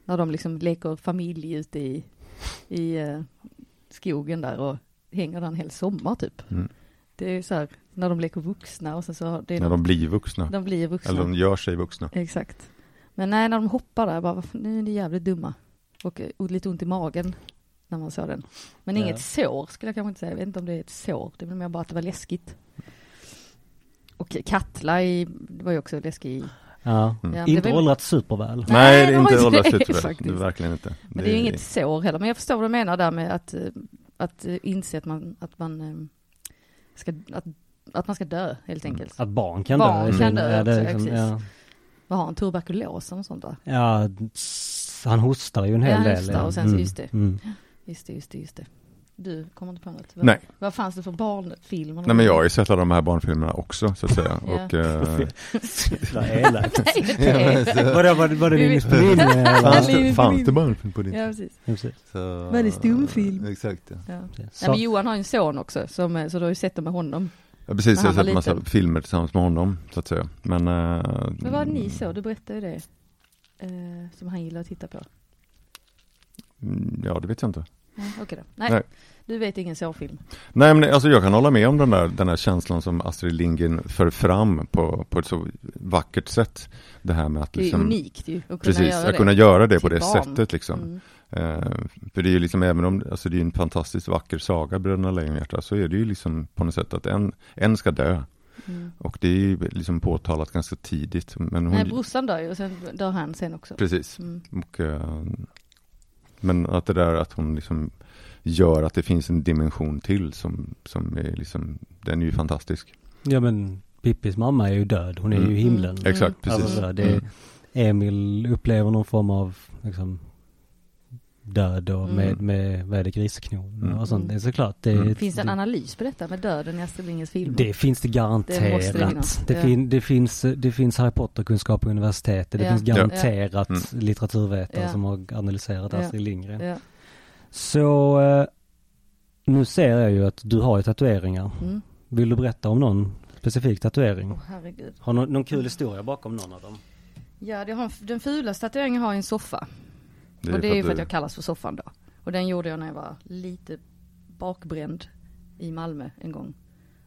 Speaker 3: När de liksom leker familj ute i, i eh, skogen där och hänger där en hel sommar typ.
Speaker 2: Mm.
Speaker 3: Det är ju så här, när de leker vuxna och sen så, har- det är
Speaker 2: När de blir vuxna.
Speaker 3: de blir vuxna.
Speaker 2: Eller de gör sig vuxna.
Speaker 3: Exakt. Men nej, när de hoppar där, jag bara, "Varför- nu är ni jävligt dumma. Och, eh, och lite ont i magen när man såg den. Men
Speaker 1: Ja.
Speaker 3: inget sår skulle jag kanske inte säga. Jag vet inte om det är ett sår. Det är väl mer bara att det var läskigt. Och Katla i, det var ju också läskig.
Speaker 1: Ja.
Speaker 2: Mm.
Speaker 3: Ja, det
Speaker 1: Inte
Speaker 3: var ju-
Speaker 1: åldrats superväl.
Speaker 3: Nej,
Speaker 2: Nej, det
Speaker 3: det
Speaker 2: är
Speaker 3: har
Speaker 2: inte
Speaker 3: inte
Speaker 2: åldras
Speaker 3: det
Speaker 2: superväl.
Speaker 3: (laughs) faktiskt.
Speaker 2: Det är verkligen inte.
Speaker 3: Men det är ju inget sår heller, men jag förstår vad du menar där med att, eh, att eh, inse att man, att man eh, ska, att, att man ska dö helt
Speaker 2: Mm.
Speaker 3: enkelt.
Speaker 1: Att barn kan
Speaker 3: Barn
Speaker 1: dö. i
Speaker 3: kan
Speaker 1: Kina,
Speaker 3: dö
Speaker 1: ja, det är
Speaker 3: också,
Speaker 1: liksom,
Speaker 3: ja,
Speaker 1: ja.
Speaker 3: Vad har han, tuberkulos och sånt där?
Speaker 1: ja, s- han hostar ju en
Speaker 3: Ja,
Speaker 1: hel
Speaker 3: han
Speaker 1: del.
Speaker 3: hostar
Speaker 1: ja.
Speaker 3: och sen så just
Speaker 2: (laughs)
Speaker 3: det.
Speaker 1: Mm.
Speaker 3: Just det, just det, just det. Du kommer inte på något? Vad-
Speaker 2: Nej,
Speaker 3: Vad fanns det för barnfilmer?
Speaker 2: nej men jag har ju sett alla de här barnfilmerna också så att säga.
Speaker 3: Ja. (laughs)
Speaker 1: (laughs)
Speaker 2: Och, eh,
Speaker 1: Vad elakt.
Speaker 3: Nej, det är det.
Speaker 1: Vadå, var, det- var det
Speaker 3: Vi
Speaker 1: din
Speaker 3: vet-
Speaker 1: inspiration?
Speaker 2: fanns,
Speaker 1: eller?
Speaker 2: det, fanns det barnfilm på din
Speaker 3: Ja, precis.
Speaker 1: Ja, precis.
Speaker 2: Så,
Speaker 3: Men det är stumfilm.
Speaker 2: Exakt. Ja,
Speaker 3: Ja. Nej,
Speaker 1: Så-
Speaker 3: men Johan har ju en son också, som, eh, så du har ju sett det med honom.
Speaker 2: ja precis.
Speaker 3: Men
Speaker 2: Jag
Speaker 3: han
Speaker 2: har
Speaker 3: var
Speaker 2: sett massa
Speaker 3: liten.
Speaker 2: filmer tillsammans med honom så att säga. Men, eh,
Speaker 3: Men vad ni så? Du berättade ju det. Eh, som han gillar att titta på.
Speaker 2: mm, Ja, det vet jag inte.
Speaker 3: Ja, Okej då. Nej,
Speaker 2: Nej.
Speaker 3: du vet ingen sårfilm.
Speaker 2: Nej men alltså jag kan hålla med om den där, den där känslan som Astrid Lindgren för fram på, på ett så vackert sätt. Det här med att
Speaker 3: Det är
Speaker 2: liksom,
Speaker 3: unikt ju att kunna
Speaker 2: precis,
Speaker 3: göra
Speaker 2: att
Speaker 3: det.
Speaker 2: kunna göra det på det
Speaker 3: till barn.
Speaker 2: sättet liksom.
Speaker 3: Mm.
Speaker 2: Eh, för det är ju liksom, även om, alltså det är ju en fantastiskt vacker saga, Bröderna Lejonhjärta, så är det ju liksom på något sätt att en, en ska dö.
Speaker 3: Mm.
Speaker 2: Och det är ju liksom påtalat ganska tidigt. Men hon,
Speaker 3: Nej, brorsan dör ju och sen dör han sen också.
Speaker 2: precis.
Speaker 3: Mm.
Speaker 2: Och, eh, men att det där att hon liksom gör att det finns en dimension till som, som är liksom, den är ju fantastisk.
Speaker 1: Ja men Pippis mamma är ju död, hon är
Speaker 2: Mm.
Speaker 1: ju i himlen.
Speaker 3: Mm.
Speaker 2: Exakt, precis.
Speaker 1: Alltså, det,
Speaker 2: Mm.
Speaker 1: Emil upplever någon form av liksom, död och
Speaker 3: Mm.
Speaker 1: med, med väder griseknon
Speaker 2: Mm.
Speaker 1: och sånt. Det är såklart. Det,
Speaker 2: Mm.
Speaker 3: Finns det
Speaker 1: det,
Speaker 3: en analys på detta med döden i Astrid Lindgrens film?
Speaker 1: det finns det
Speaker 3: Det måste
Speaker 1: garanterat.
Speaker 3: det
Speaker 1: Det,
Speaker 3: finnas, ja.
Speaker 1: fin, det, finns, det finns Harry Potter-kunskap på universitetet. Det
Speaker 3: Ja.
Speaker 1: finns
Speaker 2: Ja.
Speaker 1: garanterat
Speaker 2: Mm.
Speaker 1: litteraturvetare
Speaker 3: Ja.
Speaker 1: som har analyserat
Speaker 3: Ja.
Speaker 1: Astrid Lindgren.
Speaker 3: Ja.
Speaker 1: Så eh, nu ser jag ju att du har ju tatueringar.
Speaker 3: Mm.
Speaker 1: Vill du berätta om någon specifik tatuering?
Speaker 3: Åh, herregud.
Speaker 1: Har någon, någon kul historia bakom någon av dem?
Speaker 3: Ja, det har, en- den fulaste tatueringen har jag i en soffa.
Speaker 2: Det
Speaker 3: och det är ju för att
Speaker 2: du-
Speaker 3: jag kallas för soffan då. Och den gjorde jag när jag var lite bakbränd i Malmö en gång.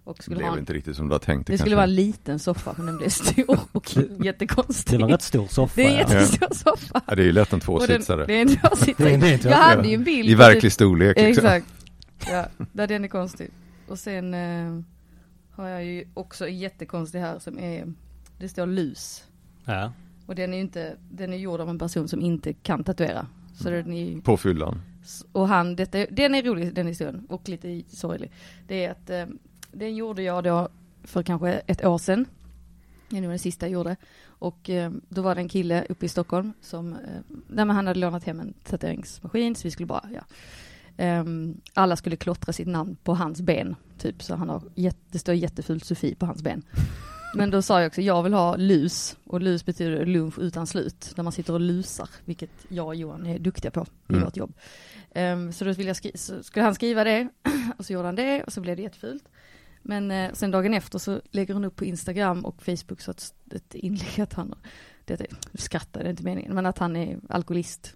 Speaker 3: Och
Speaker 2: Det
Speaker 3: skulle ha
Speaker 2: blev
Speaker 3: en,
Speaker 2: inte riktigt som du har tänkt
Speaker 3: det skulle vara en liten soffa, men den blev stor
Speaker 2: (laughs)
Speaker 3: och
Speaker 1: Det
Speaker 3: jättekonstig.
Speaker 1: var en rätt stor soffa.
Speaker 3: (laughs) Det är en
Speaker 1: ja.
Speaker 3: jättestor soffa.
Speaker 2: ja, det är ju lätt en
Speaker 3: Och den,
Speaker 2: tvåsitsare.
Speaker 3: det är
Speaker 1: (laughs)
Speaker 3: en
Speaker 1: Det är en
Speaker 3: tvåsitsare. Jag
Speaker 1: tvåsitsare.
Speaker 3: hade ju en bild.
Speaker 2: I verklig storlek. liksom.
Speaker 3: Exakt. Ja, där den är konstig. Och sen eh, har jag ju också en jättekonstig här som är, det står lus.
Speaker 1: Ja.
Speaker 3: Och den är ju inte, den är gjord av en person som inte kan tatuera. Så
Speaker 2: Mm.
Speaker 3: den är ju,
Speaker 2: På fyllan.
Speaker 3: och han, detta, är- den är rolig den historien och lite sorglig. Det är att eh, den gjorde jag då för kanske ett år sedan. Det var den sista jag gjorde. Och eh, då var det en kille uppe i Stockholm som, eh, nej men han hade lånat hem en tatueringsmaskin så vi skulle bara, ja. Ehm, alla skulle klottra sitt namn på hans ben, typ så han har, jätte, det står jättefult Sofie på hans ben. Men då sa jag också, jag vill ha lus och lus betyder lunch utan slut, när man sitter och lusar, vilket jag och Johan är duktiga på i
Speaker 2: Mm.
Speaker 3: vårt jobb. Ehm, så då ville jag skri- så skulle han skriva det (clears throat) och så gjorde han det och så blev det jättefult. Men eh, sen dagen efter så lägger hon upp på Instagram och Facebook så att ett inlägg att han, det skrattar, det är inte meningen, men att han är alkoholist.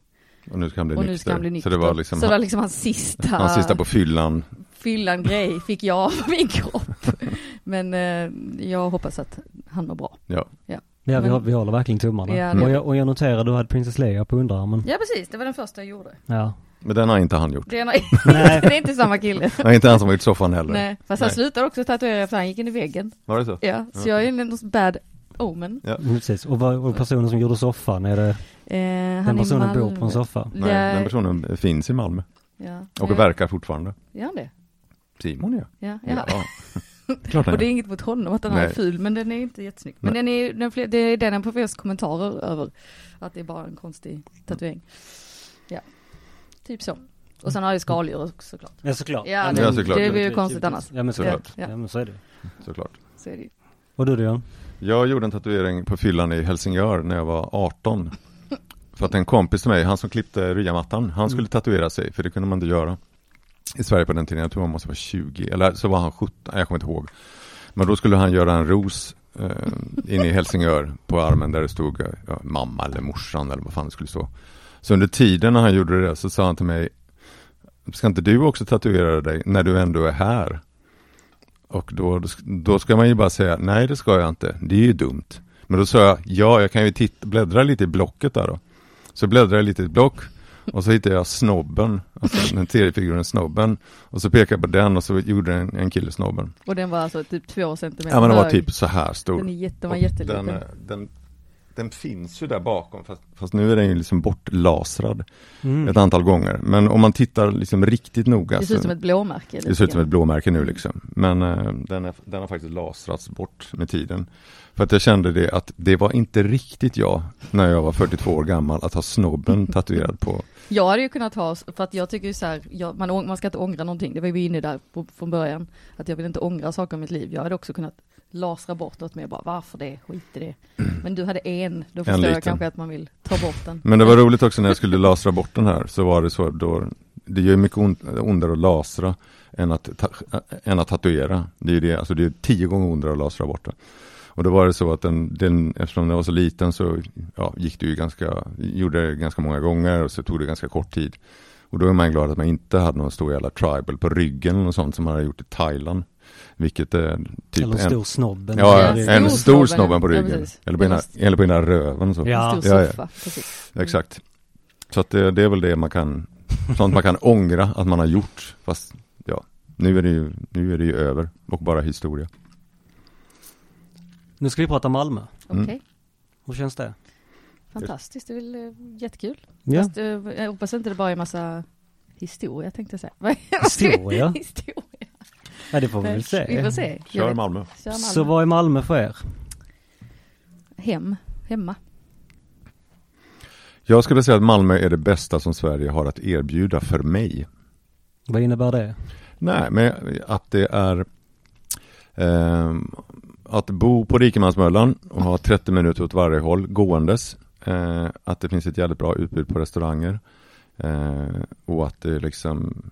Speaker 2: Och nu ska han bli,
Speaker 3: Och
Speaker 2: nykter.
Speaker 3: nu ska han bli nykter.
Speaker 2: Så det var liksom
Speaker 3: så det var
Speaker 2: han-
Speaker 3: liksom hans sista,
Speaker 2: (laughs) hans sista på fyllan.
Speaker 3: fyllan-grej fick jag av min kropp. (laughs) Men eh, jag hoppas att han mår bra.
Speaker 2: Ja.
Speaker 1: Ja, vi,
Speaker 3: Men-
Speaker 1: hå- vi håller verkligen tummarna.
Speaker 3: Mm. Ja, det-
Speaker 1: och, jag, och jag noterar, du hade Princess Leia på underarmen.
Speaker 3: Ja precis, det var den första jag gjorde.
Speaker 1: Ja.
Speaker 2: Men den har inte han gjort.
Speaker 3: Det är,
Speaker 1: Nej.
Speaker 3: (laughs) det är inte samma kille.
Speaker 2: Nej, inte han som har gjort soffan heller.
Speaker 3: Nej, fast han
Speaker 2: Nej.
Speaker 3: slutade också tatuera för han gick in i väggen.
Speaker 2: Var det så?
Speaker 3: Ja, så
Speaker 2: Ja.
Speaker 3: jag är en bad omen.
Speaker 1: Precis. Och, vad- och personen som gjorde soffan, är det
Speaker 3: Eh, han
Speaker 1: den
Speaker 3: är i
Speaker 1: personen
Speaker 3: Malmö.
Speaker 1: bor på en soffa?
Speaker 2: Nej, den personen finns i Malmö
Speaker 3: Ja.
Speaker 2: och
Speaker 3: Ja.
Speaker 2: verkar fortfarande.
Speaker 3: Gör han det?
Speaker 2: Simon ja.
Speaker 3: Ja, ja.
Speaker 2: Klart han
Speaker 3: Och det är
Speaker 2: gör.
Speaker 3: inget mot honom att den är
Speaker 2: Nej.
Speaker 3: ful, men den är inte jättesnygg. Men
Speaker 2: Nej.
Speaker 3: den är, den fler, det är den han får flest kommentarer över. Att det är bara en konstig tatuering. Ja, typ så. Och sen har jag skaldjur också, såklart.
Speaker 1: Ja såklart.
Speaker 3: Ja,
Speaker 1: men-
Speaker 2: det- Ja, såklart.
Speaker 3: det blir ju konstigt annars.
Speaker 1: Ja men såklart.
Speaker 2: Såklart.
Speaker 1: Ja,
Speaker 3: Ja.
Speaker 1: men så är det ju.
Speaker 2: såklart.
Speaker 3: Så är det ju.
Speaker 1: Och du Dion?
Speaker 2: Jag gjorde en tatuering på fyllan i Helsingör när jag var 18. För att en kompis till mig, han som klippte ryamattan, han skulle
Speaker 1: Mm.
Speaker 2: tatuera sig för det kunde man inte göra. I Sverige på den tiden, jag tror han måste vara 20 eller så var han 17, jag kommer inte ihåg. Men då skulle han göra en ros eh, inne i Helsingör på armen där det stod eh, ja, mamma eller morsan eller vad fan det skulle stå. Så under tiden när han gjorde det så sa han till mig, ska inte du också tatuera dig när du ändå är här? Och då, då ska man ju bara säga, nej det ska jag inte, det är ju dumt. Men då sa jag, ja jag kan ju titta, bläddra lite i blocket där då. Så bläddrade jag lite i ett block och så hittade jag snobben, alltså den seriefiguren snobben. Och så pekade jag på den och så gjorde en, en kille snobben.
Speaker 3: Och den var alltså typ två centimeter
Speaker 2: Ja men den var
Speaker 3: hög.
Speaker 2: typ så här stor.
Speaker 3: Den är jätte, den var
Speaker 2: Och
Speaker 3: jätteliten.
Speaker 2: Den, eh, den den finns ju där bakom fast, fast nu är den ju liksom bortlasrad
Speaker 1: Mm.
Speaker 2: ett antal gånger. Men om man tittar liksom riktigt noga
Speaker 3: Det ser ut som ett blåmärke.
Speaker 2: det ser ut som ett blåmärke nu liksom. Men eh, den, är, den har faktiskt lasrats bort med tiden. För att jag kände det att det var inte riktigt jag när jag var 42 år gammal att ha snobben tatuerad på.
Speaker 3: Jag hade ju kunnat ha, för att jag tycker ju så här, jag, man, ång- man ska inte ångra någonting, det var ju vi inne där på, från början, att jag vill inte ångra saker i mitt liv. Jag hade också kunnat lasra bort åt mig och bara, varför det, skit i det. Men du hade en, då förstår
Speaker 2: liten. Mm.
Speaker 3: jag kanske att man vill ta bort den.
Speaker 2: Men det var roligt också när jag skulle lasra bort den här så var det så då det gör ju mycket ont, ondare att lasra än att, ta, än att tatuera. Det är ju det, alltså det är tio gånger ondare att lasra bort den. Och då var det så att den, den eftersom den var så liten så ja, gick det ju ganska, gjorde det ganska många gånger och så tog det ganska kort tid. Och då är man glad att man inte hade någon stor jävla tribal på ryggen eller något sånt som man hade gjort i Thailand. Vilket är typ
Speaker 1: Eller en
Speaker 2: en,
Speaker 1: stor snobben.
Speaker 2: ja,
Speaker 3: Ja,
Speaker 2: en
Speaker 3: stor
Speaker 2: stor
Speaker 3: snobben.
Speaker 2: snobben på
Speaker 3: Ja,
Speaker 2: ryggen.
Speaker 3: precis.
Speaker 2: eller, på ena, eller på ena röven. Så.
Speaker 1: Ja.
Speaker 3: En stor
Speaker 2: Ja, ja.
Speaker 3: soffa, precis.
Speaker 2: Ja, Exakt. Så att det, det är väl det man kan, sånt man kan ångra att man har gjort. Fast ja, nu är det ju, nu är det ju över och bara historia.
Speaker 1: Nu ska vi prata Malmö.
Speaker 3: Okej,
Speaker 2: Mm.
Speaker 1: Hur känns det?
Speaker 3: fantastiskt, det är väl eh, jättekul.
Speaker 1: Ja,
Speaker 3: Fast eh, jag hoppas inte det bara är massa historia tänkte jag säga. (laughs) Vad-
Speaker 1: Historia?
Speaker 3: historia.
Speaker 1: ja det får vi väl se.
Speaker 3: Vi får se. Jag
Speaker 2: Kör
Speaker 3: vet-
Speaker 2: Malmö.
Speaker 3: Kör Malmö.
Speaker 1: Så vad är Malmö för er?
Speaker 3: Hem, hemma.
Speaker 2: Jag skulle säga att Malmö är det bästa som Sverige har att erbjuda för mig.
Speaker 1: Vad innebär det?
Speaker 2: Nej, men att det är ehm, att bo på Rikemansmöllan och ha 30 minuter åt varje håll gåendes. Eh, att det finns ett jävligt bra utbud på restauranger. Eh, och att det liksom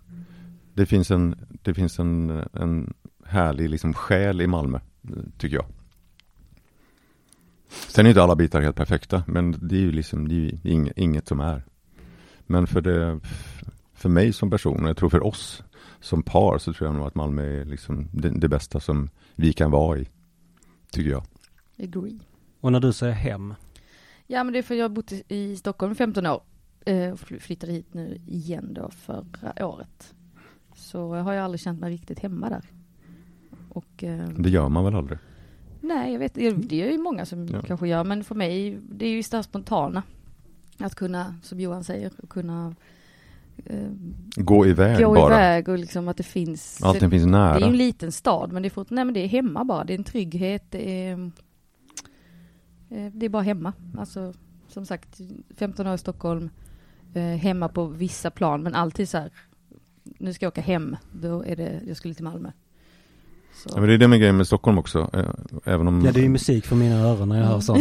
Speaker 2: Det finns en, det finns en, en härlig liksom själ i Malmö, eh, tycker jag. Sen är inte alla bitar helt perfekta, men det är ju liksom det är ju inget, inget som är. Men för, det, för mig som person, och jag tror för oss som par, så tror jag nog att Malmö är liksom det, det bästa som vi kan vara i. Tycker jag.
Speaker 3: Agree.
Speaker 1: Och när du säger hem,
Speaker 3: Ja men det är för jag har bott i- i Stockholm i 15 år. Eh, och fly- flyttade hit nu igen då förra året. Så jag har ju aldrig känt mig riktigt hemma där. Och eh,
Speaker 2: Det gör man väl aldrig?
Speaker 3: nej jag vet, det det är ju många som
Speaker 2: Ja.
Speaker 3: kanske gör men för mig det är ju det här spontana. Att kunna, som Johan säger, att kunna eh,
Speaker 2: Gå iväg
Speaker 3: gå
Speaker 2: bara.
Speaker 3: iväg och liksom att det finns.
Speaker 2: Allting finns
Speaker 3: det är ju
Speaker 2: nära.
Speaker 3: en liten stad men det är fort, nej men det är hemma bara. Det är en trygghet, det är, eh, det är bara hemma. Alltså som sagt, 15 år i Stockholm, eh, hemma på vissa plan men alltid så här, nu ska jag åka hem, då är det, jag skulle till Malmö. Så.
Speaker 2: Ja, men det är det med grejen med Stockholm också. eh, Även om...
Speaker 1: ja det är ju musik för mina öron när jag
Speaker 3: Mm.
Speaker 1: hör
Speaker 3: (laughs)
Speaker 1: sånt.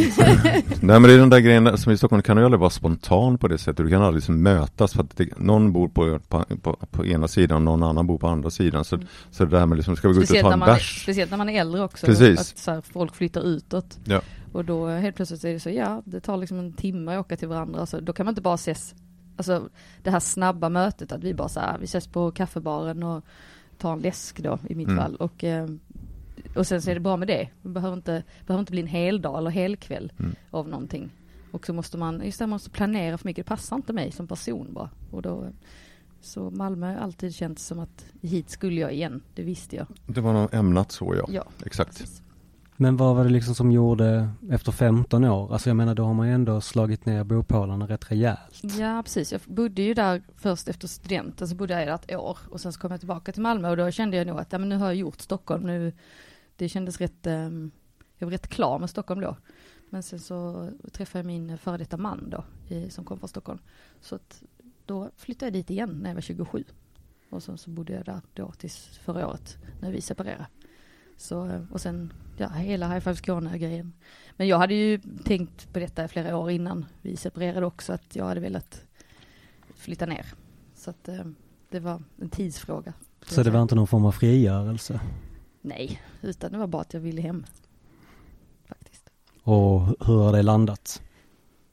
Speaker 2: Nej men det är den där grejen där, som i Stockholm kan du aldrig vara spontan på det sättet. Du kan aldrig liksom mötas för att det, någon bor på, på, på, på ena sidan och någon annan bor på andra sidan. Så,
Speaker 3: Mm.
Speaker 2: så det där med liksom, ska vi gå ut och
Speaker 3: Speciellt
Speaker 2: ta
Speaker 3: när,
Speaker 2: en
Speaker 3: man är,
Speaker 2: bärs?
Speaker 3: speciellt när man är äldre också.
Speaker 2: Precis.
Speaker 3: Att så här, folk flyttar utåt.
Speaker 2: Ja.
Speaker 3: Och då helt plötsligt är det så, ja, det tar liksom en timme att åka till varandra. Så då kan man inte bara ses, alltså det här snabba mötet, att vi bara så här, vi ses på kaffebaren och tar en läsk då i mitt
Speaker 2: Mm.
Speaker 3: fall. Och, eh, och sen så är det bra med det. Det behöver inte, behöver inte bli en hel dag eller helkväll
Speaker 2: Mm.
Speaker 3: av någonting. Och så måste man, just det, man måste planera för mycket. Det passar inte mig som person bara. Och då, så Malmö har alltid känts som att hit skulle jag igen. Det visste jag.
Speaker 2: Det var nog ämnat så ja.
Speaker 3: Ja,
Speaker 2: Exakt.
Speaker 3: precis.
Speaker 1: Men vad var det liksom som gjorde efter 15 år? Alltså jag menar då har man ju ändå slagit ner bopålarna rätt rejält.
Speaker 3: Ja, precis. Jag bodde ju där först efter studenten, så bodde jag där ett år och sen så kom jag tillbaka till Malmö och då kände jag nog att ja, men nu har jag gjort Stockholm, nu, det kändes rätt, ehm, jag var rätt klar med Stockholm då. Men sen så träffade jag min före detta man då, i, som kom från Stockholm. Så att då flyttade jag dit igen när jag var 27. Och sen så bodde jag där då tills förra året, när vi separerade. Så, eh, och sen, ja, hela High Five Skåne-grejen. Men jag hade ju tänkt på detta i flera år innan vi separerade också, att jag hade velat flytta ner. Så att eh, det var en tidsfråga. skulle
Speaker 1: Så
Speaker 3: jag
Speaker 1: det
Speaker 3: säga.
Speaker 1: var inte någon form av frigörelse.
Speaker 3: Nej, utan det var bara att jag ville hem. Faktiskt.
Speaker 1: Och hur har det landat?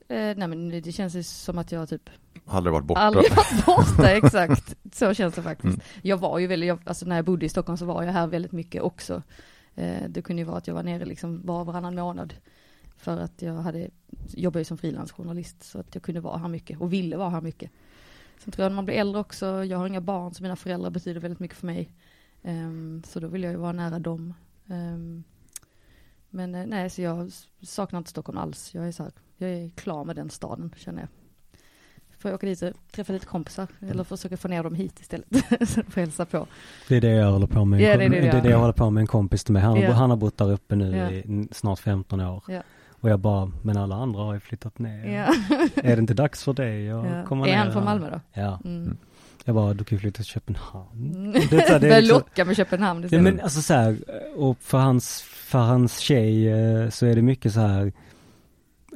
Speaker 3: Eh, nej men det känns ju som att jag typ
Speaker 2: Aldrig varit borta.
Speaker 3: aldrig
Speaker 2: (laughs)
Speaker 3: varit borta, exakt. Så känns det faktiskt.
Speaker 2: Mm.
Speaker 3: Jag var ju väldigt, jag, alltså när jag bodde i Stockholm så var jag här väldigt mycket också. Eh, det kunde ju vara att jag var nere liksom var och varannan månad. För att jag hade, jobbade ju som frilansjournalist så att jag kunde vara här mycket och ville vara här mycket. Sen tror jag när man blir äldre också, jag har inga barn så mina föräldrar betyder väldigt mycket för mig. Ehm, så då vill jag ju vara nära dem. Ehm, Men eh, nej, så jag s- saknar inte Stockholm alls. Jag är, så här, jag är klar med den staden, känner jag. Får jag åka dit och träffa lite kompisar,
Speaker 1: Mm.
Speaker 3: eller försöka få ner dem hit istället. (laughs) så får jag hälsa på.
Speaker 1: Det är det jag håller på med.
Speaker 3: Ja, det är det du
Speaker 1: det är
Speaker 3: gör.
Speaker 1: det jag håller på med en kompis till mig. Han, har-
Speaker 3: Ja.
Speaker 1: han har bott där uppe nu
Speaker 3: Ja.
Speaker 1: i n- snart 15 år.
Speaker 3: Ja.
Speaker 1: Och jag bara, men alla andra har ju flyttat ner.
Speaker 3: Ja.
Speaker 1: Är det inte dags för dig att
Speaker 3: Ja.
Speaker 1: komma
Speaker 3: Är
Speaker 1: ner?
Speaker 3: han från
Speaker 1: här?
Speaker 3: Malmö då?
Speaker 1: Ja.
Speaker 3: Mm.
Speaker 1: Jag bara, du kan ju flytta till Köpenhamn.
Speaker 3: Mm.
Speaker 1: Det är så här, det är
Speaker 3: (laughs) Börja
Speaker 1: liksom-
Speaker 3: locka med Köpenhamn
Speaker 1: Ja,
Speaker 3: istället.
Speaker 1: men alltså så här, och för hans, för hans tjej eh, så är det mycket så här,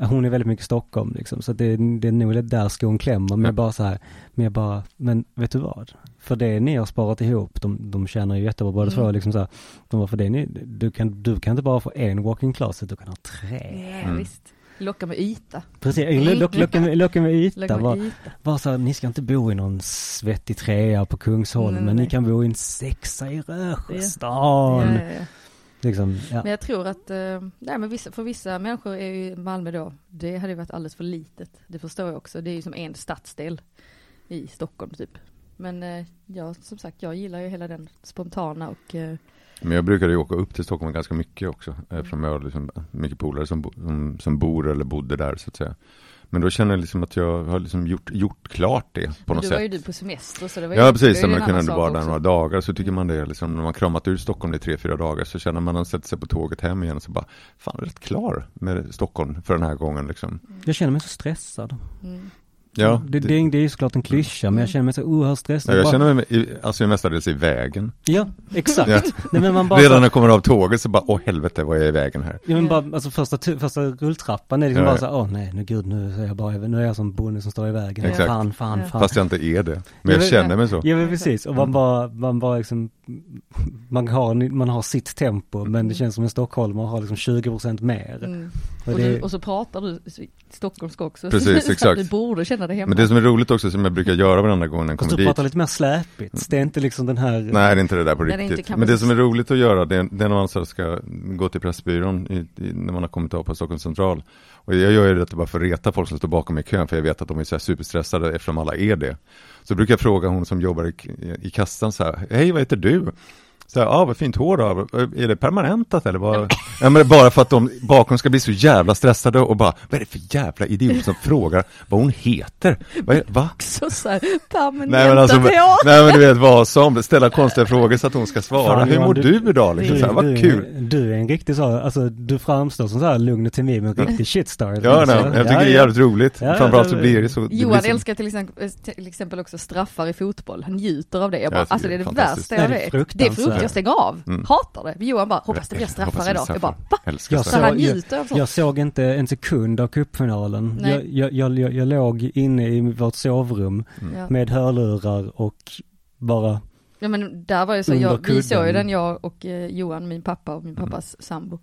Speaker 1: hon är väldigt mycket i Stockholm liksom, så att det, det är nog det där skon klämmer, men
Speaker 2: Ja.
Speaker 1: jag bara så här, men jag bara, men vet du vad? För det ni har sparat ihop, de, de tjänar ju jättebra båda
Speaker 3: Mm.
Speaker 1: två liksom så här, de bara, för det ni, du kan, du kan inte bara få en walking closet, du kan ha tre.
Speaker 3: Ja,
Speaker 2: Mm.
Speaker 3: visst. Locka med yta.
Speaker 1: Precis, lo- lo- locka med, locka med
Speaker 3: Locka
Speaker 1: yta,
Speaker 3: med
Speaker 1: bara,
Speaker 3: yta.
Speaker 1: bara så här, ni ska inte bo i någon svettig trea på Kungsholmen,
Speaker 3: Nej, nej.
Speaker 1: ni kan bo i en sexa i Rösjöstan.
Speaker 3: Ja, ja, ja.
Speaker 1: Liksom, ja.
Speaker 3: Men jag tror att, eh, nej men vissa, för vissa människor är ju Malmö då, det hade ju varit alldeles för litet. Det förstår jag också, det är ju som en stadsdel i Stockholm typ. Men eh, ja, som sagt, jag gillar ju hela den spontana och eh,
Speaker 2: Men jag brukade ju åka upp till Stockholm ganska mycket också. Eftersom jag har liksom mycket polare som, bo- som, som bor eller bodde där så att säga. Men då känner jag liksom att jag har liksom gjort, gjort klart det på
Speaker 3: men
Speaker 2: något
Speaker 3: då var ju
Speaker 2: sätt.
Speaker 3: du på semester så det var ju
Speaker 2: Ja precis,
Speaker 3: det var ju
Speaker 2: men
Speaker 3: en
Speaker 2: jag kunde
Speaker 3: annan
Speaker 2: ändå
Speaker 3: sak
Speaker 2: vara där
Speaker 3: också.
Speaker 2: några dagar så tycker man det liksom, när man har kramat ur Stockholm i tre, fyra dagar så känner man när man sätter sig på tåget hem igen så bara, fan rätt klar med Stockholm för den här gången liksom.
Speaker 1: Jag känner mig så stressad. Alltså,
Speaker 3: Mm.
Speaker 2: Ja, Mm.
Speaker 1: det, det, är- det är ju såklart en klyscha, men jag känner mig så oerhört
Speaker 2: Ja,
Speaker 1: stressad.
Speaker 2: jag
Speaker 1: Bara-
Speaker 2: känner mig i, alltså mestadels i vägen.
Speaker 1: Ja, exakt. Nej, men man (laughs) bara,
Speaker 2: Redan när jag kommer av tåget så bara, åh helvete vad jag är i vägen här.
Speaker 1: ja, men bara alltså, första, tu- första rulltrappan är liksom
Speaker 2: Ja,
Speaker 1: bara
Speaker 2: ja.
Speaker 1: så här, åh nej, nu gud, nu är jag bara, nu är jag som bonde som står i vägen.
Speaker 2: Exakt.
Speaker 1: Fan, fan,
Speaker 3: Ja.
Speaker 1: fan.
Speaker 2: Fast jag Mm. inte är det. Men
Speaker 1: Ja,
Speaker 2: jag
Speaker 1: men-
Speaker 2: känner mig så.
Speaker 1: Ja men precis, och man bara, man bara liksom, man har, man har sitt
Speaker 2: Mm.
Speaker 1: tempo, men det känns som en stockholmare har liksom 20% mer.
Speaker 3: Mm.
Speaker 1: Och
Speaker 3: Och,
Speaker 1: det-
Speaker 3: du, och så pratar du så- stockholmska också.
Speaker 2: Precis,
Speaker 3: (laughs) Så
Speaker 2: exakt.
Speaker 3: Du borde känna dig hemma.
Speaker 2: Men det som är roligt också som jag brukar göra varenda gång när jag
Speaker 1: Fast
Speaker 2: kommer
Speaker 1: du
Speaker 2: dit. Mm.
Speaker 1: pratar lite mer släpigt, det är inte liksom den här,
Speaker 2: Nej, det är inte det där på
Speaker 3: Men det är inte
Speaker 2: riktigt.
Speaker 3: kanske-
Speaker 2: Men det som är roligt att göra, det är, det är när man så här ska gå till Pressbyrån i, i, när man har kommit av på Stockholms central. Och jag gör ju detta bara för att reta folk som står bakom mig i kön, för jag vet att de är så här superstressade eftersom alla är det. Så brukar jag fråga hon som jobbar i, i kassan så här, hej vad heter du? Så här, ah, vad fint hår du har, är det permanentat eller? Vad? Ja, men det är bara för att de bakom ska bli så jävla stressade och bara, vad är det för jävla idiot som frågar vad hon heter? Vad är, va?
Speaker 3: Så så här, permanentat
Speaker 2: Nej men, alltså,
Speaker 3: ja.
Speaker 2: nej men du vet vad som, ställa konstiga frågor så att hon ska svara.
Speaker 1: Fan,
Speaker 2: Hur
Speaker 1: Johan,
Speaker 2: mår
Speaker 1: du-
Speaker 2: du, idag? Liksom, så här, vad kul.
Speaker 1: Du är en riktig så, alltså du framstår som så här lugn och timid, men riktig shitstar.
Speaker 2: Ja,
Speaker 1: Alltså,
Speaker 2: nej, jag tycker det är
Speaker 1: ja.
Speaker 2: jävligt roligt.
Speaker 1: Ja, ja,
Speaker 2: Framförallt
Speaker 1: det-
Speaker 2: så blir det så. Det
Speaker 3: Johan
Speaker 2: blir så,
Speaker 3: älskar till exempel, eh, till exempel också straffar i fotboll, han njuter av det. Jag
Speaker 2: Ja,
Speaker 3: bara,
Speaker 2: jag tycker
Speaker 3: alltså det är
Speaker 2: det är
Speaker 3: det
Speaker 2: fantastiskt.
Speaker 3: värsta jag
Speaker 1: Nej, det är
Speaker 3: vet. Det är
Speaker 1: fruktansvärt.
Speaker 3: fruktansvärt, jag stänger av,
Speaker 2: Mm.
Speaker 3: hatar det. Johan bara, hoppas det blir straffar idag. Jag bara, va?
Speaker 2: Älskar
Speaker 1: Jag
Speaker 2: så
Speaker 3: Så
Speaker 2: här.
Speaker 1: såg-
Speaker 3: han njuter av sånt.
Speaker 1: Jag såg inte en sekund av cupfinalen.
Speaker 3: Nej.
Speaker 1: Jag, jag, jag, jag, jag låg inne i vårt sovrum
Speaker 2: Mm.
Speaker 3: Ja.
Speaker 1: med hörlurar och bara,
Speaker 3: Ja men där var ju så,
Speaker 1: Under
Speaker 3: jag, vi
Speaker 1: kudden.
Speaker 3: såg ju den jag och eh, Johan, min pappa och min
Speaker 2: Mm.
Speaker 3: pappas sambo.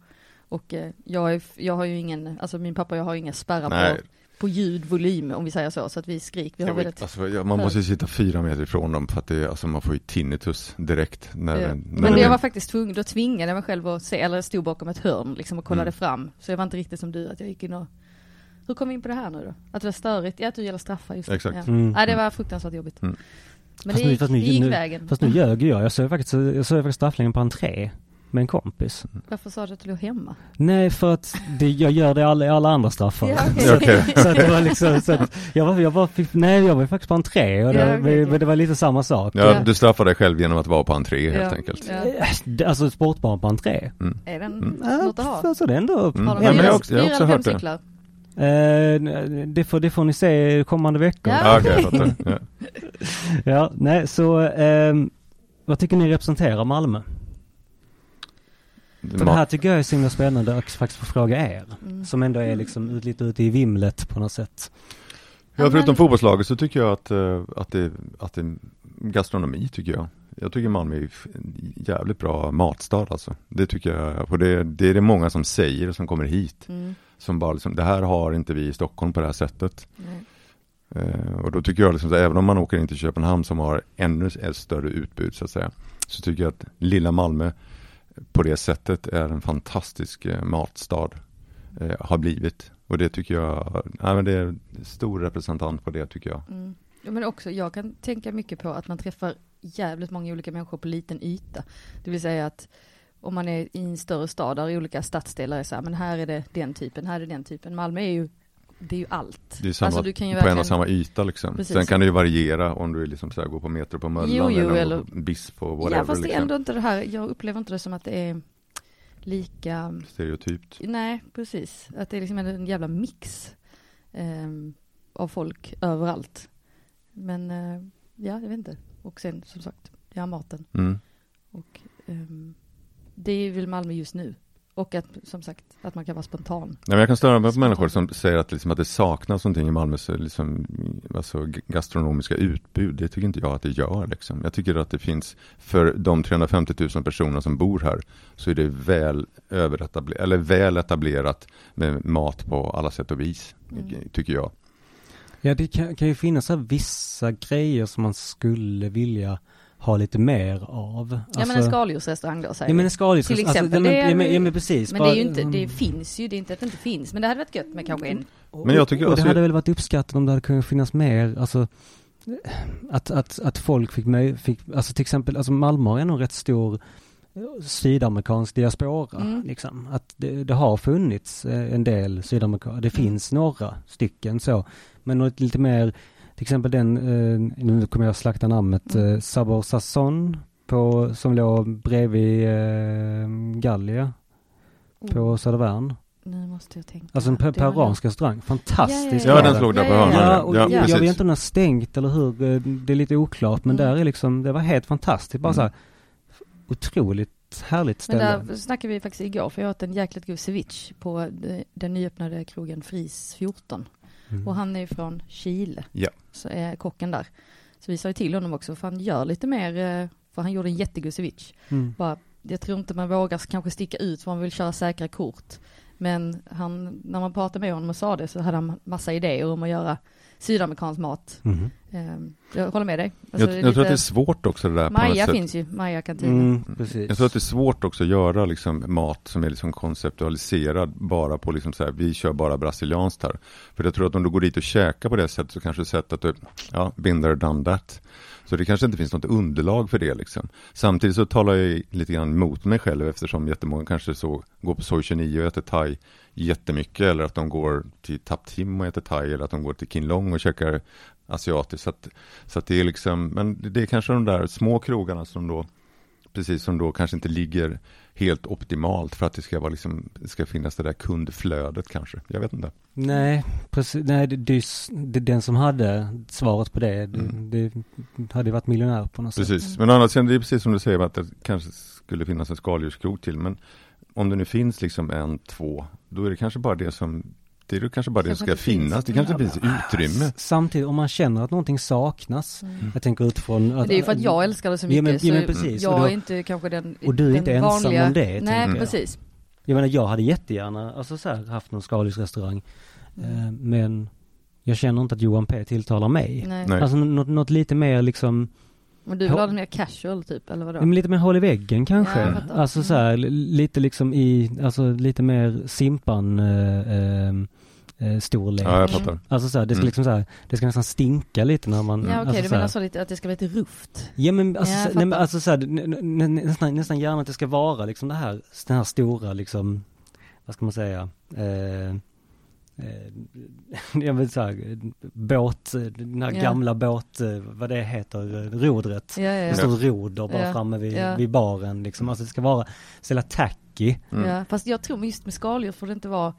Speaker 3: Och eh, jag, är, jag har ju ingen, alltså min pappa och jag har inga spärrar
Speaker 2: Nej,
Speaker 3: på, på ljudvolym om vi säger så, så att vi skrik, vi har
Speaker 2: jag vet,
Speaker 3: väldigt
Speaker 2: alltså, jag, man måste ju sitta fyra meter ifrån dem för att det, alltså, man får ju tinnitus direkt. När,
Speaker 3: Ja.
Speaker 2: när
Speaker 3: Men
Speaker 2: det-
Speaker 3: jag var faktiskt tvungen, då tvingade jag mig själv att se, eller jag stod bakom ett hörn liksom och kollade
Speaker 2: Mm.
Speaker 3: fram. Så jag var inte riktigt som du, att jag gick in och... Hur kom vi in på det här nu då? Att det var störigt? Ja, att du gillar straffa, just det.
Speaker 2: Exakt.
Speaker 3: Ja.
Speaker 1: Mm.
Speaker 3: Nej, det var fruktansvärt jobbigt.
Speaker 2: Mm.
Speaker 3: Men
Speaker 1: Fast
Speaker 3: det
Speaker 1: nu-
Speaker 3: gick,
Speaker 1: fast nu-
Speaker 3: det gick
Speaker 1: nu-
Speaker 3: vägen.
Speaker 1: fast nu ljög jag. Jag såg faktiskt, jag såg faktiskt straffläggningen på entré med en kompis.
Speaker 3: Varför sa du att du låg hemma?
Speaker 1: Nej, för att det, jag gör det i alla, i alla andra straffar.
Speaker 3: Ja, okej.
Speaker 1: Så,
Speaker 2: Okej.
Speaker 1: (laughs) så att det var liksom, så att jag var, jag var, fick, nej jag var faktiskt på entré och det,
Speaker 3: Ja, okej, okej.
Speaker 1: men det var lite samma sak.
Speaker 2: ja, du straffar dig själv genom att vara på entré helt
Speaker 3: Ja.
Speaker 2: enkelt.
Speaker 3: Ja.
Speaker 1: Det- Alltså sportbarn på entré.
Speaker 3: Är den
Speaker 1: Ja,
Speaker 3: något att ha?
Speaker 1: Alltså det är ändå,
Speaker 2: Mm.
Speaker 3: Har de
Speaker 2: Ja, men jag
Speaker 3: fyra-
Speaker 2: har också- jag har
Speaker 3: fyra
Speaker 2: också
Speaker 3: eller
Speaker 2: hört
Speaker 3: fem
Speaker 2: det.
Speaker 3: cyklar?
Speaker 1: eh, det, får, det får ni se kommande veckor.
Speaker 3: Ja.
Speaker 2: Ja, okej, jag fattar. Ja.
Speaker 1: Ja, nej så, ehm, vad tycker ni representerar Malmö? För det här tycker jag är så himla spännande att faktiskt få fråga er.
Speaker 3: Mm.
Speaker 1: Som ändå är liksom ut, lite ute i vimlet på något sätt.
Speaker 2: Ja,
Speaker 3: Ja, men-
Speaker 2: förutom fotbollslaget så tycker jag att, eh, att, det, att det gastronomi tycker jag. Jag tycker Malmö är f- en jävligt bra matstad alltså. Det tycker jag, och det, det är det många som säger som kommer hit.
Speaker 3: Mm.
Speaker 2: Som bara liksom, det här har inte vi i Stockholm på det här sättet.
Speaker 3: Nej.
Speaker 2: Eh, och då tycker jag liksom, så även om man åker in till Köpenhamn som har ännu ett större utbud så att säga. Så tycker jag att lilla Malmö på det sättet är en fantastisk eh, matstad. Eh, har blivit. Och det tycker jag, nej men det är en stor representant på det tycker jag.
Speaker 3: Mm. Ja, men också, jag kan tänka mycket på att man träffar jävligt många olika människor på liten yta. Det vill säga att om man är i en större stad där olika stadsdelar är så här, men här är det den typen, här är det den typen. Malmö är ju, det är ju allt.
Speaker 2: Det är samma,
Speaker 3: Alltså, du kan ju
Speaker 2: på en
Speaker 3: verkligen-
Speaker 2: och samma yta liksom.
Speaker 3: Precis.
Speaker 2: Sen kan det ju variera om du är liksom så här, går på Metro på Möllan
Speaker 3: Jo, jo,
Speaker 2: eller,
Speaker 3: eller-
Speaker 2: eller Bispo och whatever.
Speaker 3: Ja, fast det är
Speaker 2: liksom.
Speaker 3: ändå inte det här, jag upplever inte det som att det är lika,
Speaker 2: Stereotypt.
Speaker 3: nej precis, att det är liksom en jävla mix ehm, av folk överallt. Men eh, ja, jag vet inte. Och sen som sagt, ja maten.
Speaker 2: Mm.
Speaker 3: Och ehm, det är väl Malmö just nu. Och att som sagt, att man kan vara spontan.
Speaker 2: Nej, men jag kan störa mig på människor som säger att, liksom, att det saknas någonting i Malmös liksom, alltså, g- gastronomiska utbud. Det tycker inte jag att det gör. Liksom. Jag tycker att det finns, för de 350 000 personer som bor här, så är det väl, överetabler- eller väl etablerat med mat på alla sätt och vis,
Speaker 3: Mm.
Speaker 2: tycker jag.
Speaker 1: Ja, det kan, kan ju finnas så här vissa grejer som man skulle vilja ha lite mer av. Alltså-
Speaker 3: ja men en skaldjursrestaurang då säger
Speaker 1: Ja men en Mm.
Speaker 3: vi.
Speaker 1: skaldjursrestaurang.
Speaker 3: Till exempel,
Speaker 1: Alltså,
Speaker 3: det
Speaker 1: ja,
Speaker 3: är-
Speaker 1: men, ja, men, ja, men precis.
Speaker 3: men det
Speaker 1: Bara-
Speaker 3: är ju inte, det finns ju, det är inte att det inte finns. Men det hade varit gött med kanske
Speaker 1: Mm.
Speaker 3: en.
Speaker 2: Men jag tycker-
Speaker 1: och det
Speaker 2: alltså-
Speaker 1: hade väl varit uppskattat om det hade kunnat finnas mer, alltså att, att, att folk fick, möj- fick, alltså till exempel, alltså Malmö har ändå en rätt stor eh, sydamerikansk diaspora,
Speaker 3: Mm.
Speaker 1: liksom. Att det, det har funnits eh, en del sydamerikaner,
Speaker 3: Mm.
Speaker 1: det finns några stycken så. Men något lite mer, till exempel den, eh, nu kommer jag slakta namnet,
Speaker 3: Mm.
Speaker 1: eh, Sabor Sasson på, som låg bredvid eh, Gallia på Södervärn.
Speaker 3: Oh, Nu måste jag tänka.
Speaker 1: Alltså en pe-
Speaker 3: Mm. Det var
Speaker 1: peruansk restaurang, fantastisk
Speaker 2: Ja,
Speaker 1: var
Speaker 2: den
Speaker 1: det.
Speaker 2: slog där på
Speaker 3: Ja, ja,
Speaker 2: hörnan.
Speaker 3: ja.
Speaker 1: Ja, och
Speaker 3: Ja,
Speaker 1: jag
Speaker 2: precis.
Speaker 1: vet inte om den har stängt eller hur, eh, det är lite oklart men
Speaker 3: Mm.
Speaker 1: där är liksom, det var helt fantastiskt, bara
Speaker 2: Mm.
Speaker 1: så här, otroligt härligt
Speaker 3: Men
Speaker 1: ställe.
Speaker 3: där snackade vi faktiskt igår, för jag åt en jäkligt god ceviche på eh, den nyöppnade krogen Fris 14.
Speaker 1: Mm.
Speaker 3: Och han är ju från Chile,
Speaker 2: Ja.
Speaker 3: så är kocken där. Så vi sa ju till honom också, fan gör lite mer, eh, för han gjorde en jättegod ceviche.
Speaker 1: Mm.
Speaker 3: Bara, jag tror inte man vågar kanske sticka ut för man vill köra säkra kort. Men han, när man pratade med honom och sa det så hade han massa idéer om att göra sydamerikansk mat.
Speaker 2: Mm-hmm.
Speaker 1: Mm.
Speaker 3: Ehm, Jag håller med dig. Alltså,
Speaker 2: Jag,
Speaker 3: det
Speaker 2: jag
Speaker 3: är
Speaker 2: tror att
Speaker 3: lite-
Speaker 2: det är svårt också det där på något
Speaker 3: Maja
Speaker 2: sätt.
Speaker 3: finns ju, Maja-kantinen.
Speaker 1: Mm, precis.
Speaker 2: Jag tror att det är svårt också att göra liksom mat som är liksom konceptualiserad bara på liksom så här, vi kör bara brasilianskt här. För jag tror att om du går dit och käkar på det sättet så kanske du sett att du, ja, been there, done that. Så det kanske inte finns något underlag för det liksom. Samtidigt så talar jag lite grann mot mig själv eftersom jättemånga kanske så går på Soy 29 och äter thai jättemycket eller att de går till Tap Tim och äter thai eller att de går till Kin Long och käkar asiatiskt. Så att, så att det är liksom, men det- det är kanske de där små krogarna som då Precis som då kanske inte ligger helt optimalt för att det ska, vara liksom, det ska finnas det där kundflödet kanske. Jag vet inte.
Speaker 1: Nej, precis, nej det, det, är s- det, den som hade svaret på det, det,
Speaker 2: Mm.
Speaker 1: det hade ju varit miljonär på något sätt.
Speaker 2: Precis, men å andra sidan det är precis som du säger att det kanske skulle finnas en skaldjurskrog till. Men om det nu finns liksom en, två, då är det kanske bara det som det är det kanske bara det som
Speaker 3: Kanske
Speaker 2: ska
Speaker 3: inte finns.
Speaker 2: finnas. Det kanske inte finns utrymme.
Speaker 1: S- Samtidigt, om man känner att någonting saknas,
Speaker 3: Mm.
Speaker 1: jag tänker utifrån
Speaker 3: Men
Speaker 1: att,
Speaker 3: det är ju för att jag älskar det så mycket.
Speaker 1: Ja, men- ja, men
Speaker 3: så
Speaker 1: precis.
Speaker 3: Jag
Speaker 1: Och då-
Speaker 3: är inte kanske den
Speaker 1: och du är
Speaker 3: den
Speaker 1: inte ensam
Speaker 3: vanliga...
Speaker 1: om det,
Speaker 3: Nej,
Speaker 1: tänker jag.
Speaker 3: precis.
Speaker 1: Jag menar jag hade jättegärna, alltså så här, haft någon skaldjursrestaurang. Eh, men jag känner inte att Johan P tilltalar mig.
Speaker 3: Nej.
Speaker 2: Nej.
Speaker 1: Alltså något, något lite mer liksom,
Speaker 3: Men du vill ha den mer casual typ, eller vadå?
Speaker 1: ja, men lite mer håll i väggen kanske.
Speaker 3: Ja, jag fattar. Mm.
Speaker 1: alltså så här, li- lite liksom i, alltså lite mer Simpan eh, eh, eh, storlek.
Speaker 2: Ja, jag fattar.
Speaker 1: Alltså så här, det ska
Speaker 2: Mm.
Speaker 1: liksom så här, det ska nästan stinka lite när man,
Speaker 3: Ja okej,
Speaker 1: alltså
Speaker 3: du
Speaker 1: så här-
Speaker 3: menar så lite att det ska vara lite ruft?
Speaker 1: Ja men alltså,
Speaker 3: Ja, jag
Speaker 1: så- nej, men
Speaker 3: fattar.
Speaker 1: alltså så här, nä- nä- nä- nästan, nästan gärna att det ska vara liksom det här, den här stora liksom, vad ska man säga, eh, eh, (laughs) jag vill säga båt, eh, den här
Speaker 3: Ja.
Speaker 1: gamla båt, eh, vad det heter, eh, rodret.
Speaker 3: Ja, ja,
Speaker 1: Det
Speaker 3: ja.
Speaker 1: står roder bara
Speaker 3: Ja.
Speaker 1: framme vid,
Speaker 3: Ja.
Speaker 1: vid baren liksom, alltså det ska vara så jävla tacky.
Speaker 2: Mm.
Speaker 3: ja. Fast jag tror just med skaldjur får det inte vara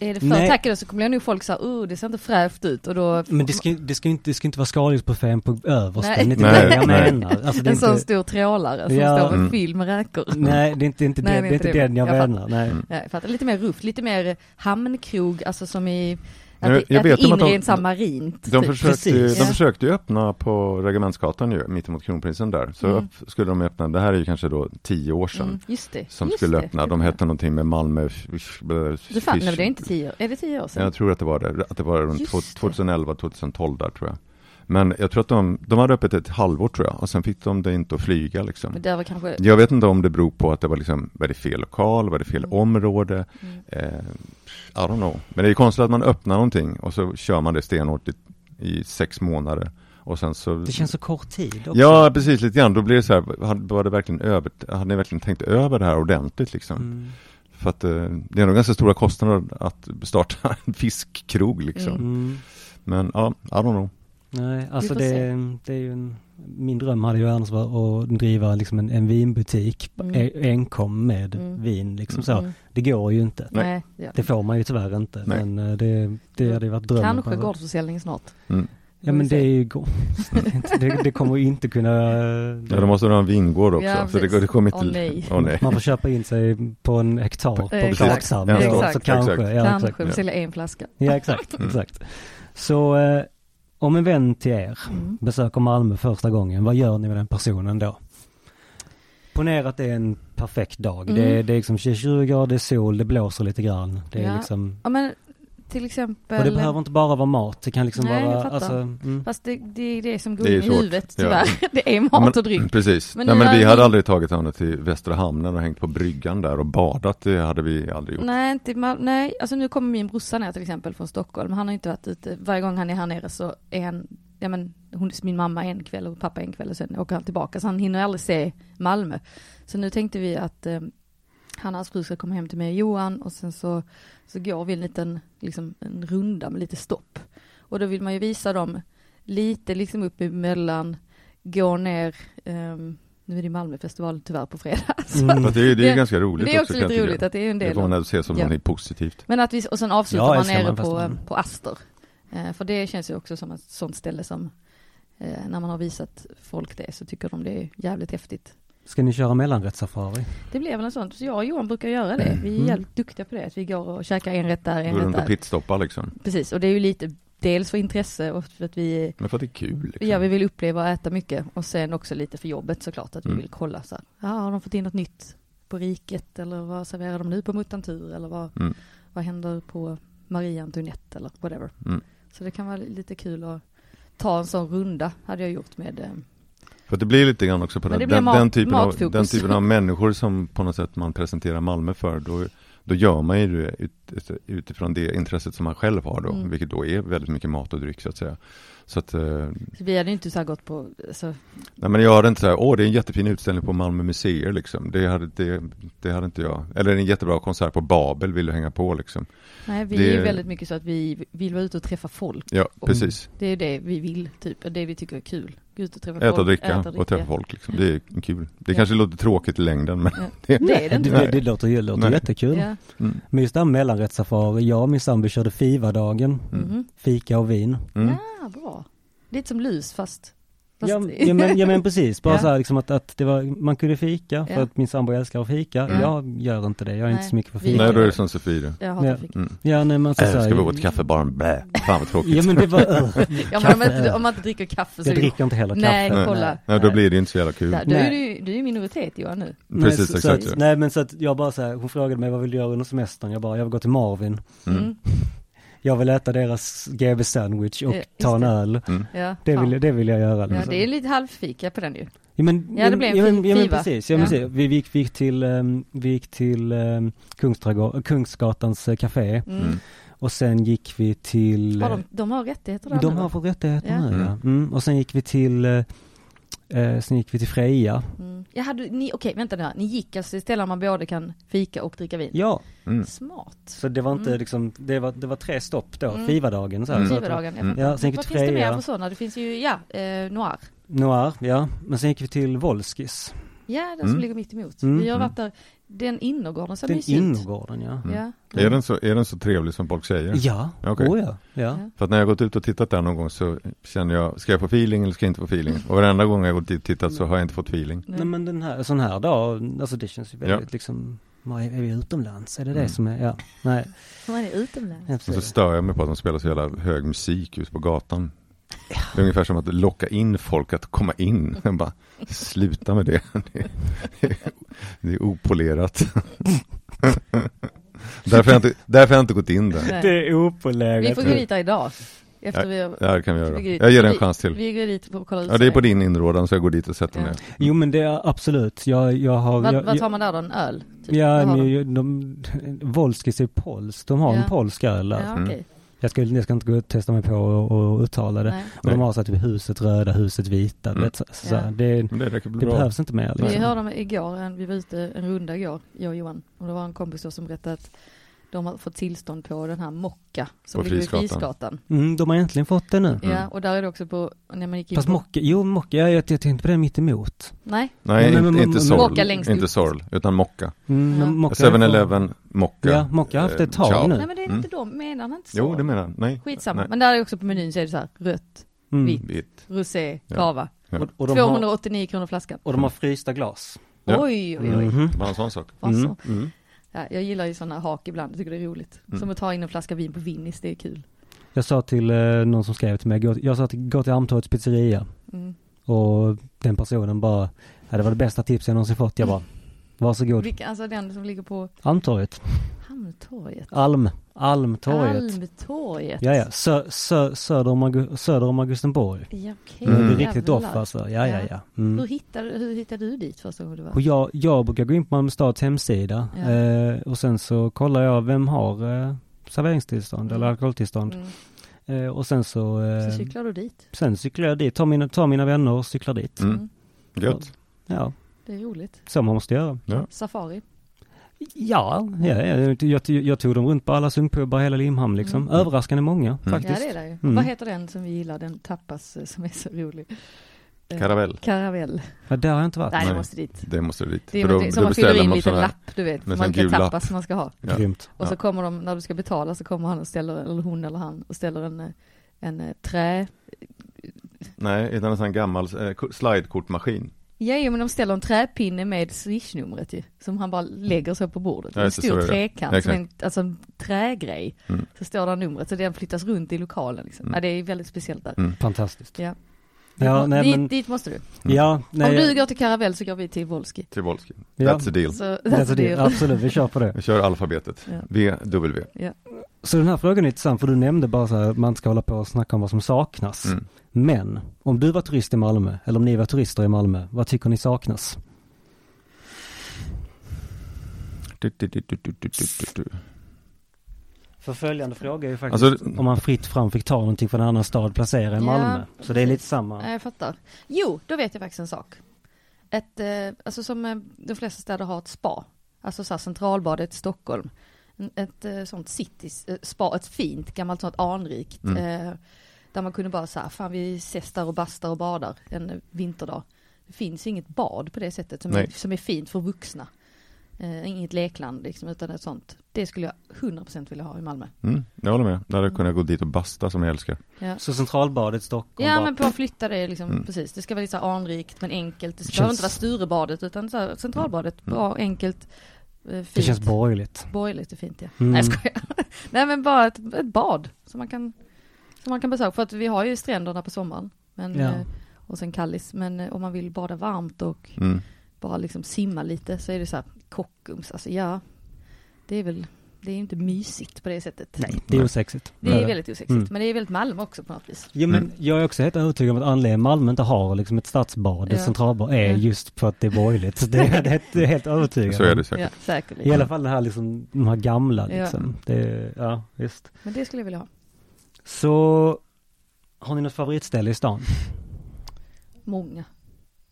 Speaker 3: är det för
Speaker 1: Nej.
Speaker 3: tackade så kommer jag nog folk säga, oh det ser inte fräscht ut och då
Speaker 1: Men det ska, ju- det ska ju inte, det ska inte vara skaldjursbuffén på översten, det
Speaker 3: Nej.
Speaker 1: är inte det
Speaker 2: Nej,
Speaker 1: jag
Speaker 2: nej.
Speaker 1: menar. Alltså, det är
Speaker 3: en sån
Speaker 1: inte,
Speaker 3: stor trålare som
Speaker 1: Ja.
Speaker 3: står med
Speaker 2: Mm.
Speaker 3: fylld med räkor.
Speaker 1: nej det är inte, inte, det,
Speaker 3: Nej, det
Speaker 1: det
Speaker 3: är
Speaker 1: är
Speaker 3: inte
Speaker 1: inte
Speaker 3: det.
Speaker 1: den jag
Speaker 3: Jag fattar.
Speaker 1: menar, nej.
Speaker 2: Mm.
Speaker 3: Ja, jag fattar, lite mer ruft, lite mer hamnkrog, alltså som i att,
Speaker 2: Jag-
Speaker 3: det-
Speaker 2: jag
Speaker 3: att det
Speaker 2: vet om att
Speaker 3: inre
Speaker 2: de-
Speaker 3: är inte marint. typ.
Speaker 2: De försökte, ju,
Speaker 1: Precis.
Speaker 2: de
Speaker 3: Ja.
Speaker 2: försökte ju öppna på Regementsgatan ju, mittemot Kronprinsen där. Så
Speaker 3: Mm.
Speaker 2: upp skulle de öppna, det här är ju kanske då tio år sedan.
Speaker 3: Mm, just det.
Speaker 2: som
Speaker 3: just
Speaker 2: skulle
Speaker 3: det.
Speaker 2: öppna. De hette någonting med Malmö Fish...
Speaker 3: Du fan, nej, men det är inte tio år, är det tio år sedan?
Speaker 2: Jag tror att det var det. Att det var runt
Speaker 3: Just
Speaker 2: två-
Speaker 3: det.
Speaker 2: 2011, 2012 där tror jag. Men jag tror att de, de hade öppet ett halvår tror jag och sen fick de det inte att flyga liksom.
Speaker 3: Men där var kanske,
Speaker 2: Jag vet inte om det beror på att det var liksom, var det fel lokal, var det fel
Speaker 3: Mm.
Speaker 2: område?
Speaker 3: mm,
Speaker 2: Eh, I don't know. Men det är konstigt att man öppnar någonting och så kör man det stenhårt i, i sex månader Och sen så
Speaker 1: Det känns så kort tid också.
Speaker 2: Ja, precis lite grann. Då blir det så här, hade, var det verkligen över, hade ni verkligen tänkt över det här ordentligt liksom?
Speaker 1: Mm.
Speaker 2: För att eh, det är nog ganska stora kostnader att starta (laughs) en fiskkrog liksom.
Speaker 3: Mm.
Speaker 1: Mm.
Speaker 2: Men ja, I don't know.
Speaker 1: Nej, alltså
Speaker 3: får
Speaker 1: det,
Speaker 3: se.
Speaker 1: det är ju en, min dröm hade ju annars varit att driva liksom en, en vinbutik
Speaker 3: Mm.
Speaker 1: e- enkom med
Speaker 3: Mm.
Speaker 1: vin liksom så.
Speaker 3: Mm.
Speaker 1: Det går ju inte.
Speaker 2: Nej.
Speaker 3: Nej, ja.
Speaker 1: Det får man ju tyvärr inte,
Speaker 2: Nej.
Speaker 1: men eh, det, det hade ju varit drömmen.
Speaker 3: Mm. Kanske gårdsförsäljning snart.
Speaker 2: Mm.
Speaker 1: Ja men
Speaker 3: Får
Speaker 1: det
Speaker 3: vi
Speaker 1: är
Speaker 3: se.
Speaker 1: ju gård. (laughs) det, det kommer ju inte kunna...
Speaker 2: Ja, då måste du ha en vingård också.
Speaker 3: Ja,
Speaker 2: så det,
Speaker 3: precis.
Speaker 2: det kommer inte...
Speaker 3: Åh, nej.
Speaker 2: Åh,
Speaker 3: (laughs)
Speaker 2: nej.
Speaker 1: Man får köpa in sig på en hektar på
Speaker 3: Exakt.
Speaker 1: Glaksam.
Speaker 2: Ja,
Speaker 1: så
Speaker 3: exakt.
Speaker 1: kanske.
Speaker 2: Exakt.
Speaker 1: Ja, exakt.
Speaker 3: Kanske vi säljer en flaska.
Speaker 1: Ja, exakt.
Speaker 2: Mm.
Speaker 1: exakt. Så eh, om en vän till er
Speaker 3: Mm.
Speaker 1: besöker Malmö första gången, vad gör ni med den personen då? Ponera att det är en perfekt dag.
Speaker 3: Mm.
Speaker 1: Det, är, det är liksom 20 grader sol, det blåser lite grann. Det är
Speaker 3: Ja.
Speaker 1: liksom,
Speaker 3: Ja men till
Speaker 1: och
Speaker 3: exempel.
Speaker 1: det behöver inte bara vara mat, det kan liksom
Speaker 3: Nej, jag
Speaker 1: vara...
Speaker 3: fattar.
Speaker 1: Alltså, mm.
Speaker 3: Fast det, det är det som går
Speaker 2: Det är
Speaker 3: in i
Speaker 2: svårt.
Speaker 3: huvudet
Speaker 2: Ja.
Speaker 3: tyvärr. (laughs) Det är
Speaker 2: Ja, men-
Speaker 3: mat och dryck.
Speaker 2: Precis.
Speaker 3: Men
Speaker 2: nej,
Speaker 3: ni
Speaker 2: men
Speaker 3: har
Speaker 2: vi
Speaker 3: ju-
Speaker 2: hade aldrig tagit henne till Västra Hamnen och hängt på bryggan där och badat. Det hade vi aldrig gjort.
Speaker 3: Nej, inte i Mal- Nej, alltså nu kommer min brorsa ner till exempel från Stockholm. Han har inte varit ute. Varje gång han är här nere så är han, ja men hon, min mamma en kväll och pappa en kväll och sen åker han tillbaka. Så han hinner aldrig se Malmö. Så nu tänkte vi att eh, han och hans fru ska komma hem till mig och Johan och sen så, så går vi en liten, liksom en runda med lite stopp. Och då vill man ju visa dem lite liksom upp emellan, gå ner, ehm, nu är det Malmöfestival tyvärr på fredag. (laughs) Så
Speaker 1: Mm.
Speaker 2: För att det, är- det är
Speaker 3: Det-
Speaker 2: ganska roligt
Speaker 3: det är också
Speaker 2: kan
Speaker 3: lite
Speaker 2: jag tycka.
Speaker 3: roligt att det är en
Speaker 2: Det
Speaker 3: del
Speaker 2: får
Speaker 3: av-
Speaker 2: man se som
Speaker 3: Ja.
Speaker 2: någonting positivt.
Speaker 3: men att vi, och sen avslutar
Speaker 1: Ja,
Speaker 3: man
Speaker 1: älskar
Speaker 3: nere
Speaker 1: man
Speaker 3: på,
Speaker 1: festen.
Speaker 3: på Aster. Eh, för det känns ju också som ett sånt ställe som, eh, när man har visat folk det så tycker de det är jävligt häftigt.
Speaker 1: Ska ni köra mellanrättssafari?
Speaker 3: Det blir väl en sån, så jag och Johan brukar göra det. Vi är
Speaker 1: Mm.
Speaker 3: jävligt duktiga på det, att vi går och käkar en rätt där, en
Speaker 2: Gå
Speaker 3: rätt
Speaker 2: runt och
Speaker 3: där.
Speaker 2: pitstoppa liksom.
Speaker 3: Precis, och det är ju lite, dels för intresse och för att vi,
Speaker 2: Men för att det är kul. Liksom.
Speaker 3: ja vi vill uppleva och äta mycket och sen också lite för jobbet såklart, att vi
Speaker 2: Mm.
Speaker 3: vill kolla så här, ja har de fått in något nytt på riket eller vad serverar de nu på Muttantur eller vad,
Speaker 2: Mm.
Speaker 3: vad händer på Marie Antoinette eller whatever.
Speaker 2: Mm.
Speaker 3: Så det kan vara lite kul att ta en sån runda, hade jag gjort med... eh,
Speaker 2: Mm. För att det blir lite grann också på
Speaker 3: Men
Speaker 2: den,
Speaker 3: det blir
Speaker 2: den,
Speaker 3: mat-
Speaker 2: den, typen av,
Speaker 3: matfokus.
Speaker 2: den typen av människor som på något sätt man presenterar Malmö för. Då, då gör man ju det ut, ut- utifrån det intresset som man själv har då,
Speaker 3: Mm.
Speaker 2: vilket då är väldigt mycket mat och dryck så att säga. Så att, eh,
Speaker 3: Så vi hade ju inte så här gått på, alltså, så,
Speaker 2: nej men jag hade inte så här, åh det är en jättefin utställning på Malmö museer liksom. Det hade, det, det hade inte jag. Eller en jättebra konsert på Babel vill du hänga på liksom.
Speaker 3: nej vi
Speaker 2: Det-
Speaker 3: är ju väldigt mycket så att vi vill vara ute och träffa folk.
Speaker 2: Ja,
Speaker 3: Och-
Speaker 2: precis.
Speaker 3: Det är ju det vi vill, typ, och det vi tycker är kul. Gå ut och träffa folk.
Speaker 2: Äta och dricka och träffa folk liksom. Det är kul. Det
Speaker 3: Ja.
Speaker 2: kanske låter tråkigt i längden men
Speaker 3: Ja.
Speaker 2: (laughs) det,
Speaker 3: Det är det
Speaker 1: det,
Speaker 3: inte.
Speaker 1: det, det låter, det låter
Speaker 2: Nej.
Speaker 1: jättekul.
Speaker 3: Ja.
Speaker 2: mm,
Speaker 1: Men just det här mellanrättssafari, jag och min sambo körde FIVA-dagen,
Speaker 2: Mm.
Speaker 3: Mhm.
Speaker 1: fika och vin.
Speaker 2: mm.
Speaker 3: ja, bra. Lite som lus fast... (laughs) fast
Speaker 1: Ja, ja, men, ja men precis, bara
Speaker 3: Ja.
Speaker 1: så här liksom att, att det var, man kunde fika för
Speaker 3: Ja.
Speaker 1: att min sambo älskar att fika.
Speaker 2: Mm.
Speaker 1: Jag gör inte det, jag är inte
Speaker 3: Nej.
Speaker 1: så mycket för
Speaker 3: Vi-
Speaker 1: fika.
Speaker 2: Nej, då är det som Sofie.
Speaker 3: Jag hatar
Speaker 1: Ja.
Speaker 3: fika.
Speaker 2: Mm.
Speaker 1: Ja nej men så,
Speaker 2: Äh,
Speaker 1: så här,
Speaker 2: ska vi gå till kaffebaren? Bä. Fan vad tråkigt.
Speaker 1: Ja men
Speaker 2: (laughs)
Speaker 1: det var,
Speaker 3: Ja, men om, man inte,
Speaker 1: Kaffe.
Speaker 3: om man inte dricker kaffe
Speaker 1: (laughs)
Speaker 3: så
Speaker 1: jag
Speaker 3: är det ju...
Speaker 1: dricker inte heller kaffe.
Speaker 3: Nej,
Speaker 2: Nej.
Speaker 3: kolla.
Speaker 2: Nej, då blir det ju inte så jävla kul.
Speaker 3: Där, Du är
Speaker 1: Nej.
Speaker 3: ju du är ju minoritet Johan nu.
Speaker 1: Men
Speaker 2: Precis,
Speaker 1: så,
Speaker 2: exakt
Speaker 1: Så
Speaker 2: så.
Speaker 1: att, nej men så att jag bara så här, hon frågade mig vad vill du göra under semestern? Jag bara, jag vill gå till Marvin.
Speaker 2: Mm.
Speaker 3: Mm.
Speaker 1: Jag vill äta deras GB sandwich och
Speaker 3: Ja, Eh, just
Speaker 1: ta en
Speaker 3: det.
Speaker 1: öl.
Speaker 2: Mm.
Speaker 3: Ja,
Speaker 1: Det
Speaker 3: fan.
Speaker 1: vill, jag- det vill jag göra.
Speaker 3: Ja,
Speaker 1: liksom.
Speaker 3: det är lite halvfika på den ju.
Speaker 1: Ja men,
Speaker 3: Ja, det blev en
Speaker 1: ja, men,
Speaker 3: fin
Speaker 1: ja, men
Speaker 3: skiva.
Speaker 1: precis, ja,
Speaker 3: Ja.
Speaker 1: men precis. Vi, vi, gick, vi gick till, um, vi gick till um, Kungsträdgård, Kungsgatans eh, café
Speaker 3: Mm.
Speaker 2: Mm.
Speaker 1: och sen gick vi till... eh,
Speaker 3: Har de, de har rättigheter där
Speaker 1: de
Speaker 3: nu,
Speaker 1: har
Speaker 3: va?
Speaker 1: fått rättigheter
Speaker 3: Ja.
Speaker 1: nu ja. Mm. Och sen gick vi till, eh, eh, sen gick vi till Freja.
Speaker 3: Mm. Jag hade, ni, okej vänta nu här. Ni gick alltså till ställen man både kan fika och dricka vin?
Speaker 1: Ja,
Speaker 2: Mm.
Speaker 3: Smart.
Speaker 1: så det var inte
Speaker 3: Mm.
Speaker 1: liksom, det var, det var tre stopp då,
Speaker 3: Mm.
Speaker 1: Fiva-dagen så här.
Speaker 2: Mm.
Speaker 1: Så att-
Speaker 3: Givardagen,
Speaker 2: Mm.
Speaker 1: Ja, sen gick vi
Speaker 3: Vad
Speaker 1: till
Speaker 3: finns det mer
Speaker 1: Freja,
Speaker 3: för sådana? Det finns ju, ja, eh, Noir.
Speaker 1: Noir, ja. Men sen gick vi till Volskis.
Speaker 3: Ja, den som
Speaker 2: Mm.
Speaker 3: ligger mitt emot.
Speaker 1: Mm.
Speaker 3: Vi har
Speaker 2: Mm.
Speaker 3: varit där, den innergården ser
Speaker 1: Den
Speaker 3: mysig ut.
Speaker 1: innergården ja.
Speaker 2: Mm.
Speaker 3: Ja.
Speaker 2: Är, den så, är den så trevlig som folk säger?
Speaker 1: Ja,
Speaker 2: Okej.
Speaker 1: oh, ja. ja.
Speaker 2: För att när jag gått ut och tittat där någon gång så känner jag, ska jag få feeling eller ska jag inte få feeling? Och varenda gång jag gått dit och tittat så har jag inte fått feeling.
Speaker 1: Nej men den här, sån här dag, alltså det känns ju väldigt
Speaker 2: Ja.
Speaker 1: liksom, vad är, är vi utomlands? Är det det
Speaker 2: Mm.
Speaker 1: som är, ja, nej.
Speaker 3: Man är utomlands.
Speaker 1: jag
Speaker 2: Och så
Speaker 1: förstår
Speaker 2: stör jag mig på att de spelar så jävla hög musik ute på gatan. Det är ungefär som att locka in folk att komma in. (laughs) Jag bara, sluta med det. (laughs) Det är, det är opolerat. (laughs) Därför har jag inte, därför har jag inte gått in där.
Speaker 1: det.
Speaker 3: Nej.
Speaker 1: Det är opoläget.
Speaker 3: Vi får gå dit där idag. Efter vi har,
Speaker 2: Det här kan vi göra.
Speaker 3: vi går dit.
Speaker 2: Jag ger det en
Speaker 3: Vi-
Speaker 2: chans till.
Speaker 3: vi går dit och kollar ut
Speaker 2: Ja, det är
Speaker 3: sig.
Speaker 2: på din inrådan så jag går dit och sätter
Speaker 3: Ja.
Speaker 2: mig ner.
Speaker 1: Jo men det är absolut, jag, jag har...
Speaker 3: Vad,
Speaker 1: jag,
Speaker 3: vad tar man där då? En öl? Typ.
Speaker 1: Ja,
Speaker 3: Vad har
Speaker 1: men
Speaker 3: de?
Speaker 1: ju- de, Volskis är pols, de har
Speaker 3: Ja.
Speaker 1: en polsk öl där.
Speaker 3: ja, okej.
Speaker 1: Jag ska, jag ska inte gå och testa mig på och, och uttala det.
Speaker 3: Nej.
Speaker 1: Och de
Speaker 2: Nej.
Speaker 1: har så här typ huset röda, huset vita.
Speaker 2: Mm.
Speaker 1: Vet, så, så,
Speaker 3: Ja.
Speaker 1: det,
Speaker 2: Men det räcker väl
Speaker 1: det
Speaker 2: bra.
Speaker 1: behövs inte mer.
Speaker 3: Vi
Speaker 1: Liksom.
Speaker 3: hörde om igår, en, vi var ute en runda igår, jag och Johan, och det var en kompis då som berättade att de har fått tillstånd på den här Mocka som
Speaker 2: På
Speaker 3: ligger vid
Speaker 2: Frisgatan.
Speaker 3: Frisgatan.
Speaker 1: Mm, de har äntligen fått det nu.
Speaker 2: Mm.
Speaker 3: Ja, och där är det också på, när man gick in
Speaker 1: Fast
Speaker 3: på,
Speaker 1: Mocka, jo Mocka, jag, jag, jag tänkte på det mitt emot.
Speaker 3: Nej,
Speaker 2: Nej,
Speaker 1: Men- men-
Speaker 2: inte,
Speaker 1: men-
Speaker 2: inte
Speaker 1: men-
Speaker 2: sorl.
Speaker 3: Mocka längst
Speaker 2: Inte
Speaker 3: upp.
Speaker 2: sorl, utan mocka.
Speaker 1: Mm,
Speaker 3: Ja.
Speaker 1: men Mocka har-
Speaker 2: 7-Eleven, mocka.
Speaker 1: Ja, Mocka har haft det ett
Speaker 2: Eh,
Speaker 1: tag
Speaker 2: ciao.
Speaker 1: nu.
Speaker 3: nej men det är
Speaker 2: Mm.
Speaker 3: inte de, menar han inte så?
Speaker 2: Jo, det menar jag. Nej.
Speaker 3: Skitsamma,
Speaker 2: Nej.
Speaker 3: men där är också på menyn så är det så här rött,
Speaker 1: Mm.
Speaker 3: vitt.
Speaker 2: Vitt.
Speaker 3: rosé,
Speaker 2: Ja.
Speaker 3: cava.
Speaker 2: Ja.
Speaker 1: Och, och, de har,
Speaker 3: 289 kronor flaskan.
Speaker 1: och de har frysta glas.
Speaker 2: Ja.
Speaker 3: Oj, oj, oj.
Speaker 1: Mhm.
Speaker 2: Bara en sån sak.
Speaker 3: Alltså.
Speaker 1: Mm, mm.
Speaker 3: Ja, jag gillar ju sådana hak ibland, jag tycker det är roligt.
Speaker 2: Mm.
Speaker 3: Som att ta in en flaska vin på Vinnis, det är kul.
Speaker 1: Jag sa till eh, någon som skrev till mig, gå, jag sa till, gå till Almtorgets pizzeria
Speaker 3: Mm.
Speaker 1: och den personen bara, ja, det var det bästa tipset jag någonsin fått. Jag bara, varsågod.
Speaker 3: Vilka, alltså den som ligger på
Speaker 1: Almtorget.
Speaker 3: Hamntorget.
Speaker 1: Alm. Almtorget.
Speaker 3: Almtorget.
Speaker 1: Ja, ja. Sö, sö, söder, om Augu- söder om Augustenborg.
Speaker 3: Ja, okej.
Speaker 2: Mm.
Speaker 1: Jag blir
Speaker 3: Jävlar.
Speaker 1: riktigt off alltså. Ja, ja, ja.
Speaker 3: Hur
Speaker 1: Mm.
Speaker 3: hittade, hur hittade du dit första gången du var?
Speaker 1: Och jag, jag brukar gå in på Malmö stads hemsida
Speaker 3: Ja.
Speaker 1: eh, och sen så kollar jag vem har eh, serveringstillstånd eller
Speaker 3: Mm.
Speaker 1: alkoholtillstånd.
Speaker 3: Mm.
Speaker 1: Eh, och sen så, eh,
Speaker 3: Så cyklar du dit.
Speaker 1: sen cyklar jag dit, tar mina, tar mina vänner och cyklar dit.
Speaker 2: Mm.
Speaker 3: Mm.
Speaker 2: Gött.
Speaker 1: Ja,
Speaker 3: Det är roligt.
Speaker 1: så man måste göra.
Speaker 2: Ja.
Speaker 3: Safari.
Speaker 1: Ja, ja, ja jag, jag tog dem runt på alla sumpubbar i hela Limhamn liksom.
Speaker 3: Mm.
Speaker 1: Överraskande många
Speaker 3: Ja,
Speaker 1: faktiskt.
Speaker 3: det är det ju.
Speaker 1: Mm.
Speaker 3: Vad heter den som vi gillar, den tapas eh, som är så rolig? Eh,
Speaker 2: Karavell.
Speaker 3: Karavell.
Speaker 1: Ja, där har jag inte varit.
Speaker 3: Nej,
Speaker 2: Nej.
Speaker 3: jag måste dit.
Speaker 2: Det måste du dit.
Speaker 3: Det är
Speaker 2: För då-
Speaker 3: någonting
Speaker 2: då
Speaker 3: som man fyller
Speaker 2: beställer
Speaker 3: in en
Speaker 2: man
Speaker 3: liten
Speaker 2: sådana här-
Speaker 3: lapp, du vet.
Speaker 2: med
Speaker 3: Man
Speaker 2: sån
Speaker 3: kan
Speaker 2: gul
Speaker 3: tappa
Speaker 2: lapp.
Speaker 3: som man ska ha.
Speaker 2: Ja.
Speaker 1: Grymt.
Speaker 3: Och så
Speaker 2: Ja.
Speaker 3: kommer de, när du ska betala så kommer han och ställer, eller hon eller han, och ställer en, eh, en eh, trä...
Speaker 2: Nej, utan en sån här gammal eh, ko- slidekortmaskin.
Speaker 3: Ja, jo, men de ställer en träpinne med swishnumret ju, som han bara lägger så på bordet.
Speaker 2: Ja,
Speaker 3: en
Speaker 2: just det,
Speaker 3: stor
Speaker 2: så är det.
Speaker 3: trekant,
Speaker 2: Ja,
Speaker 3: som en, alltså en trägrej.
Speaker 2: Mm.
Speaker 3: Så står där numret, så den flyttas runt i lokalen liksom.
Speaker 2: Mm.
Speaker 3: Ja, det är väldigt speciellt där.
Speaker 1: Fantastiskt.
Speaker 3: Ja.
Speaker 1: Ja, nej,
Speaker 3: dit,
Speaker 1: men,
Speaker 3: dit måste du.
Speaker 2: Mm.
Speaker 1: ja,
Speaker 3: Om
Speaker 1: nej,
Speaker 3: du går till Karavell så går vi till Wolski.
Speaker 2: Till Wolski.
Speaker 1: Ja.
Speaker 2: That's a deal.
Speaker 3: Så, (laughs)
Speaker 1: Alltså det, absolut, vi kör på det.
Speaker 2: Jag kör alfabetet.
Speaker 3: Ja.
Speaker 2: VW.
Speaker 1: Så den här frågan är intressant för du nämnde bara så här, att man inte ska hålla på och snacka om vad som saknas.
Speaker 2: Mm.
Speaker 1: Men om du var turist i Malmö, eller om ni var turister i Malmö, vad tycker ni saknas?
Speaker 2: Du, du, du, du, du, du, du, du.
Speaker 1: För följande fråga är ju faktiskt
Speaker 2: Alltså,
Speaker 1: om man fritt fram fick ta någonting från en annan stad placera i
Speaker 3: Ja,
Speaker 1: Malmö. Så det är
Speaker 3: precis.
Speaker 1: lite samma.
Speaker 3: Ja, Eh, jag fattar. Jo, då vet jag faktiskt en sak. Ett, eh, alltså som eh, de flesta städer har ett spa. Alltså så här centralbadet i Stockholm. En- Ett eh, sånt city eh, spa, ett fint gammalt sånt anrikt. Eh, där man kunde bara så här, fan vi ses där och bastar och badar en eh, vinterdag. Det finns inget bad på det sättet som, är,
Speaker 2: Nej.
Speaker 3: som är fint för vuxna. Eh, inget lekland liksom, utan ett sånt. Det skulle jag 100% vilja ha i Malmö.
Speaker 2: Mm, jag håller med. Där hade jag kunnat gå dit och basta som jag älskar.
Speaker 3: Ja.
Speaker 1: Så centralbadet Stockholm
Speaker 3: Ja
Speaker 1: bara,
Speaker 3: men på att flytta det liksom,
Speaker 2: Mm.
Speaker 3: precis. Det ska vara lite så här anrikt men enkelt. Det ska behöver inte vara
Speaker 1: Känns-
Speaker 3: Sturebadet utan så här centralbadet. Bra, enkelt, eh, fint.
Speaker 1: Mm. det känns borgerligt.
Speaker 3: Borgerligt är fint ja.
Speaker 1: Mm.
Speaker 3: Nej jag skojar. (laughs) Nej men bara ett, ett bad som man kan, som man kan besöka. För att vi har ju stränderna på sommaren. Men,
Speaker 1: Ja.
Speaker 3: eh, och sen Kallis. Men eh, om man vill bada varmt och
Speaker 2: Mm.
Speaker 3: bara liksom simma lite så är det så här Kockums, alltså ja. Det är väl, det är ju inte mysigt på det sättet. Nej.
Speaker 1: Det är osexigt.
Speaker 3: Det är ju väldigt osexigt.
Speaker 1: Mm.
Speaker 3: Men det är väldigt Malmö också på något vis.
Speaker 1: Jo, men
Speaker 2: Mm.
Speaker 1: Jag är också helt övertygad om att anledningen Malmö inte har liksom ett stadsbad,
Speaker 3: Ja.
Speaker 1: ett centralbad, är
Speaker 3: Ja.
Speaker 1: just för att det är borgerligt. Det
Speaker 3: (laughs)
Speaker 1: är, det är, det är helt övertygad
Speaker 2: Så är
Speaker 1: om.
Speaker 2: det
Speaker 3: Ja,
Speaker 2: säkert.
Speaker 3: säkerligen.
Speaker 1: I alla fall den här liksom, de här gamla
Speaker 3: Ja.
Speaker 1: liksom. Ja. Det, ja, visst.
Speaker 3: Men det skulle jag vilja ha.
Speaker 1: Så har ni något favoritställe i stan?
Speaker 3: Många.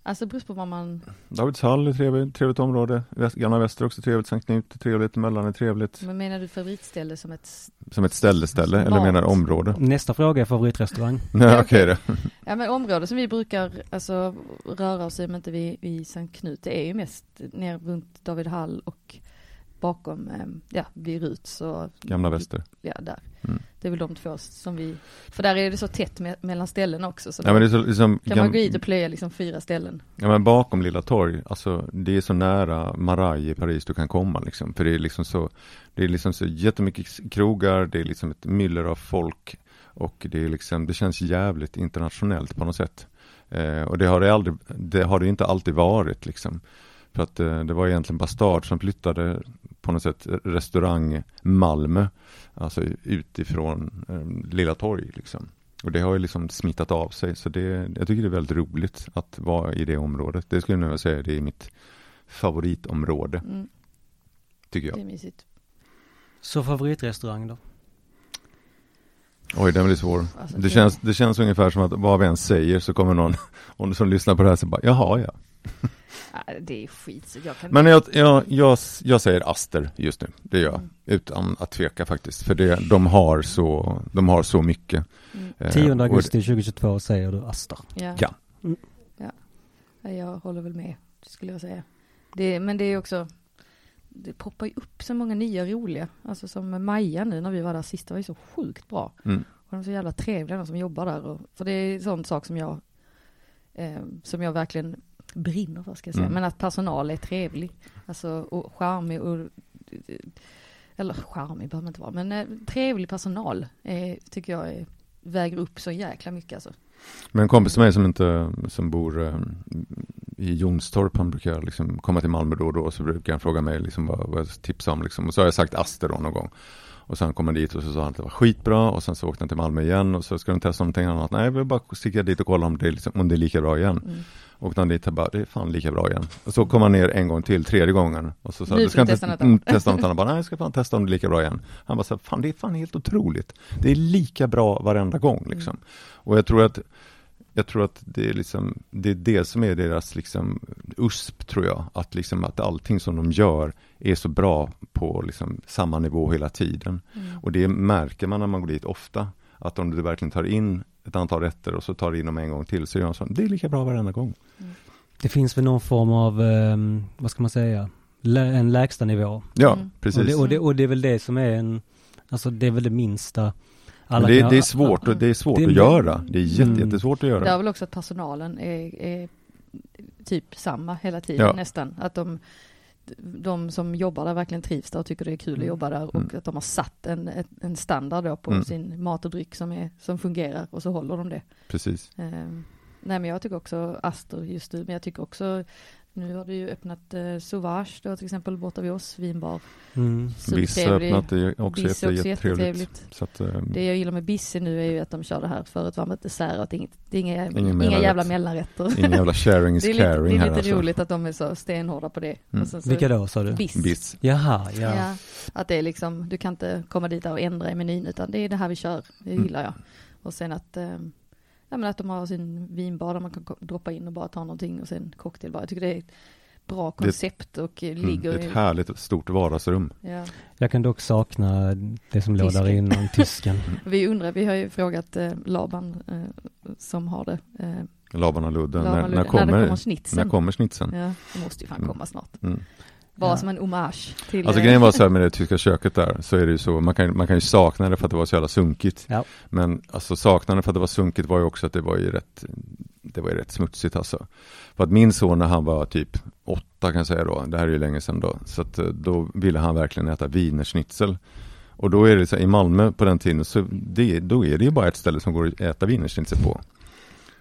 Speaker 3: Alltså det beror på vad man,
Speaker 2: Davids hall är trevligt, trevligt område. Väst, Gamla Väster är också trevligt. Sankt Knut är trevligt. Möllan är trevligt.
Speaker 3: men menar du favoritställe som ett, s-
Speaker 2: Mm. Som ett ställe-ställe, eller
Speaker 3: Mat.
Speaker 2: menar du
Speaker 1: (laughs)
Speaker 2: område?
Speaker 1: Nästa fråga är favoritrestaurang.
Speaker 2: Nej, okej då.
Speaker 3: ja men område som vi brukar alltså röra oss i men inte vi i Sankt Knut, det är ju mest ner runt David Hall och bakom, eh, ja vid Ruts och,
Speaker 2: Gamla Väster.
Speaker 3: ja där.
Speaker 2: Mm.
Speaker 3: Det är väl de två som vi, för där är det så tätt me- mellan ställen också så
Speaker 2: Ja, men det är så, liksom,
Speaker 3: kan man gå dit och plöja liksom fyra ställen.
Speaker 2: Ja men bakom Lilla Torg, alltså det är så nära Marais i Paris du kan komma liksom. För det är liksom så, det är liksom så jättemycket s- krogar, det är liksom ett myller av folk och det är liksom, det känns jävligt internationellt på något sätt. Eh, och det har det aldrig, det har det inte alltid varit liksom. För att eh, det var egentligen Bastard som flyttade på något sätt restaurang Malmö, alltså utifrån eh, Lilla Torg liksom. Och det har ju liksom smittat av sig, så det, jag tycker det är väldigt roligt att vara i det området. Det skulle jag nog vilja säga, det är mitt favoritområde,
Speaker 3: Mm,
Speaker 2: tycker jag.
Speaker 3: Det är mysigt.
Speaker 1: Så favoritrestaurang då?
Speaker 2: Oj, den blir svår.
Speaker 3: Alltså,
Speaker 2: Det känns, det känns ungefär som att vad vi än säger så kommer någon (laughs) om- som lyssnar på det här så bara, jaha ja.
Speaker 3: Ja, det är skit. Så jag kan
Speaker 2: Men jag, jag, jag, jag säger Aster just nu, det gör jag. Utan att tveka faktiskt, för det, de, har så, de har så mycket.
Speaker 3: Mm,
Speaker 2: Eh,
Speaker 1: 10
Speaker 2: och-
Speaker 1: augusti 2022 säger du Aster.
Speaker 3: ja.
Speaker 2: Ja.
Speaker 1: Mm.
Speaker 3: Ja. Ja, Jag håller väl med, skulle jag säga. Det, men det är också... Det poppar ju upp så många nya roliga. Alltså som Maja nu när vi var där sist, det var ju så sjukt bra.
Speaker 2: Mm.
Speaker 3: Och de är så jävla trevliga de som jobbar där. Och, för det är sånt sak som jag, eh, som jag verkligen brinner för ska jag säga.
Speaker 2: Mm.
Speaker 3: Men att personal är trevlig. Alltså och charmig och, eller charmig behöver man inte vara. Men eh, trevlig personal eh, tycker jag är, väger upp så jäkla mycket alltså.
Speaker 2: Men en kompis till mig som inte, som bor eh, i Jonstorp, han brukar liksom komma till Malmö då och då, och så brukar han fråga mig liksom vad, vad jag tipsar om liksom. Och så har jag sagt Aster då någon gång. Och sen kom han dit och så sa han att det var skitbra och sen så åkte han till Malmö igen och så ska de testa någonting annat. Nej, vi bara sticka dit och kolla om det, är liksom, om det är lika bra igen.
Speaker 3: Mm.
Speaker 2: Åkte han dit och bara, det är fan lika bra igen. Och så kom han ner en gång till, tredje gången. Och så sa
Speaker 3: Nu
Speaker 2: han, du ska
Speaker 3: ska vi
Speaker 2: inte
Speaker 3: testa något
Speaker 2: mm,
Speaker 3: annat."
Speaker 2: testa
Speaker 3: (laughs)
Speaker 2: något annat. Bara, nej, jag ska fan testa om det är lika bra igen. Han bara, så här, fan det är fan helt otroligt. Det är lika bra varenda gång
Speaker 3: Mm.
Speaker 2: liksom. Och jag tror att jag tror att det är, liksom, det är det som är deras liksom, USP, tror jag. Att, liksom, att allting som de gör är så bra på liksom, samma nivå hela tiden.
Speaker 3: Mm.
Speaker 2: Och det märker man när man går dit ofta. Att om du verkligen tar in ett antal rätter och så tar du in dem en gång till, så gör de så. Det är lika bra varenda gång.
Speaker 1: Det finns väl någon form av, ehm, vad ska man säga, lä en lägsta nivå.
Speaker 2: Ja,
Speaker 1: Och
Speaker 3: Mm.
Speaker 1: det,
Speaker 2: precis.
Speaker 1: och, det, och det är väl det som är en, alltså det är väl det minsta.
Speaker 2: Men det,
Speaker 1: kan-
Speaker 2: det är svårt, och, det är svårt
Speaker 1: Det är-
Speaker 2: att göra. Det är jätte,
Speaker 1: Mm.
Speaker 2: jättesvårt att göra.
Speaker 3: Det är väl också att personalen är, är typ samma hela tiden
Speaker 2: Ja.
Speaker 3: nästan. Att de, de som jobbar där verkligen trivs där och tycker det är kul att jobba där och
Speaker 2: Mm.
Speaker 3: att de har satt en, ett- en standard då på
Speaker 2: Mm.
Speaker 3: sin mat och dryck som, är, som fungerar och så håller de det.
Speaker 2: Precis.
Speaker 3: Ehm, nej men jag tycker också Aster just nu, men jag tycker också nu har du ju öppnat eh, Sauvage då till exempel borta vid oss, vinbar.
Speaker 1: Mm.
Speaker 2: Vissa har
Speaker 3: Supertrevlig.
Speaker 2: öppnat det också,
Speaker 3: Bisse
Speaker 2: jätte,
Speaker 3: också
Speaker 2: jättetrevligt.
Speaker 3: jättetrevligt.
Speaker 2: Så att, eh,
Speaker 3: Det jag gillar med Bisse nu är ju att de kör det här, förut var det dessert och inget, det är inga, inga
Speaker 2: mellanrätt.
Speaker 3: jävla mellanrätter.
Speaker 2: ingen jävla sharing is
Speaker 3: Det är
Speaker 2: caring
Speaker 3: lite, det är
Speaker 2: här
Speaker 3: lite
Speaker 2: alltså.
Speaker 3: roligt att de är så stenhårda på det.
Speaker 2: Mm.
Speaker 3: Och sen så-
Speaker 1: Vilka då sa du?
Speaker 3: Biss.
Speaker 2: Biss.
Speaker 1: Jaha,
Speaker 3: Ja.
Speaker 1: ja.
Speaker 3: Att det är liksom, du kan inte komma dit där och ändra i menyn utan det är det här vi kör, det
Speaker 2: Mm.
Speaker 3: gillar jag. Och sen att, eh, ja men att de har sin vinbar där man kan ko- droppa in och bara ta någonting och sen cocktailbar. Jag tycker det är ett bra
Speaker 2: Det-
Speaker 3: koncept och eh,
Speaker 2: Mm,
Speaker 3: ligger
Speaker 2: ett härligt stort vardagsrum.
Speaker 3: i... Ja.
Speaker 1: Jag kan dock sakna det som låg där
Speaker 3: Tysken.
Speaker 1: innan, tysken.
Speaker 3: Vi undrar, vi har ju frågat eh, Laban eh, som har det. Eh, Laban,
Speaker 2: Laban och ludden.
Speaker 3: Ludde,
Speaker 2: när, när kommer,
Speaker 3: när
Speaker 2: när
Speaker 3: det kommer
Speaker 2: kommer,
Speaker 3: schnitzeln.
Speaker 2: schnitzeln?
Speaker 3: Ja, det måste ju fan
Speaker 2: Mm.
Speaker 3: komma snart.
Speaker 2: Mm.
Speaker 3: Bara
Speaker 1: Ja.
Speaker 3: som en hommage till...
Speaker 2: Alltså
Speaker 3: eh,
Speaker 2: grejen var så här
Speaker 3: (laughs)
Speaker 2: med det tyska köket där, så är det ju så, man kan, man kan ju sakna det för att det var så jävla sunkigt.
Speaker 1: Ja.
Speaker 2: Men alltså saknaden för att det var sunkigt var ju också att det var ju rätt, det var ju rätt smutsigt alltså. För att min son när han var typ åtta kan jag säga då, det här är ju länge sedan då, så att eh, då ville han verkligen äta wienerschnitzel. Och då är det så här, i Malmö på den tiden, så det, då är det ju bara ett ställe som går att äta wienerschnitzel på.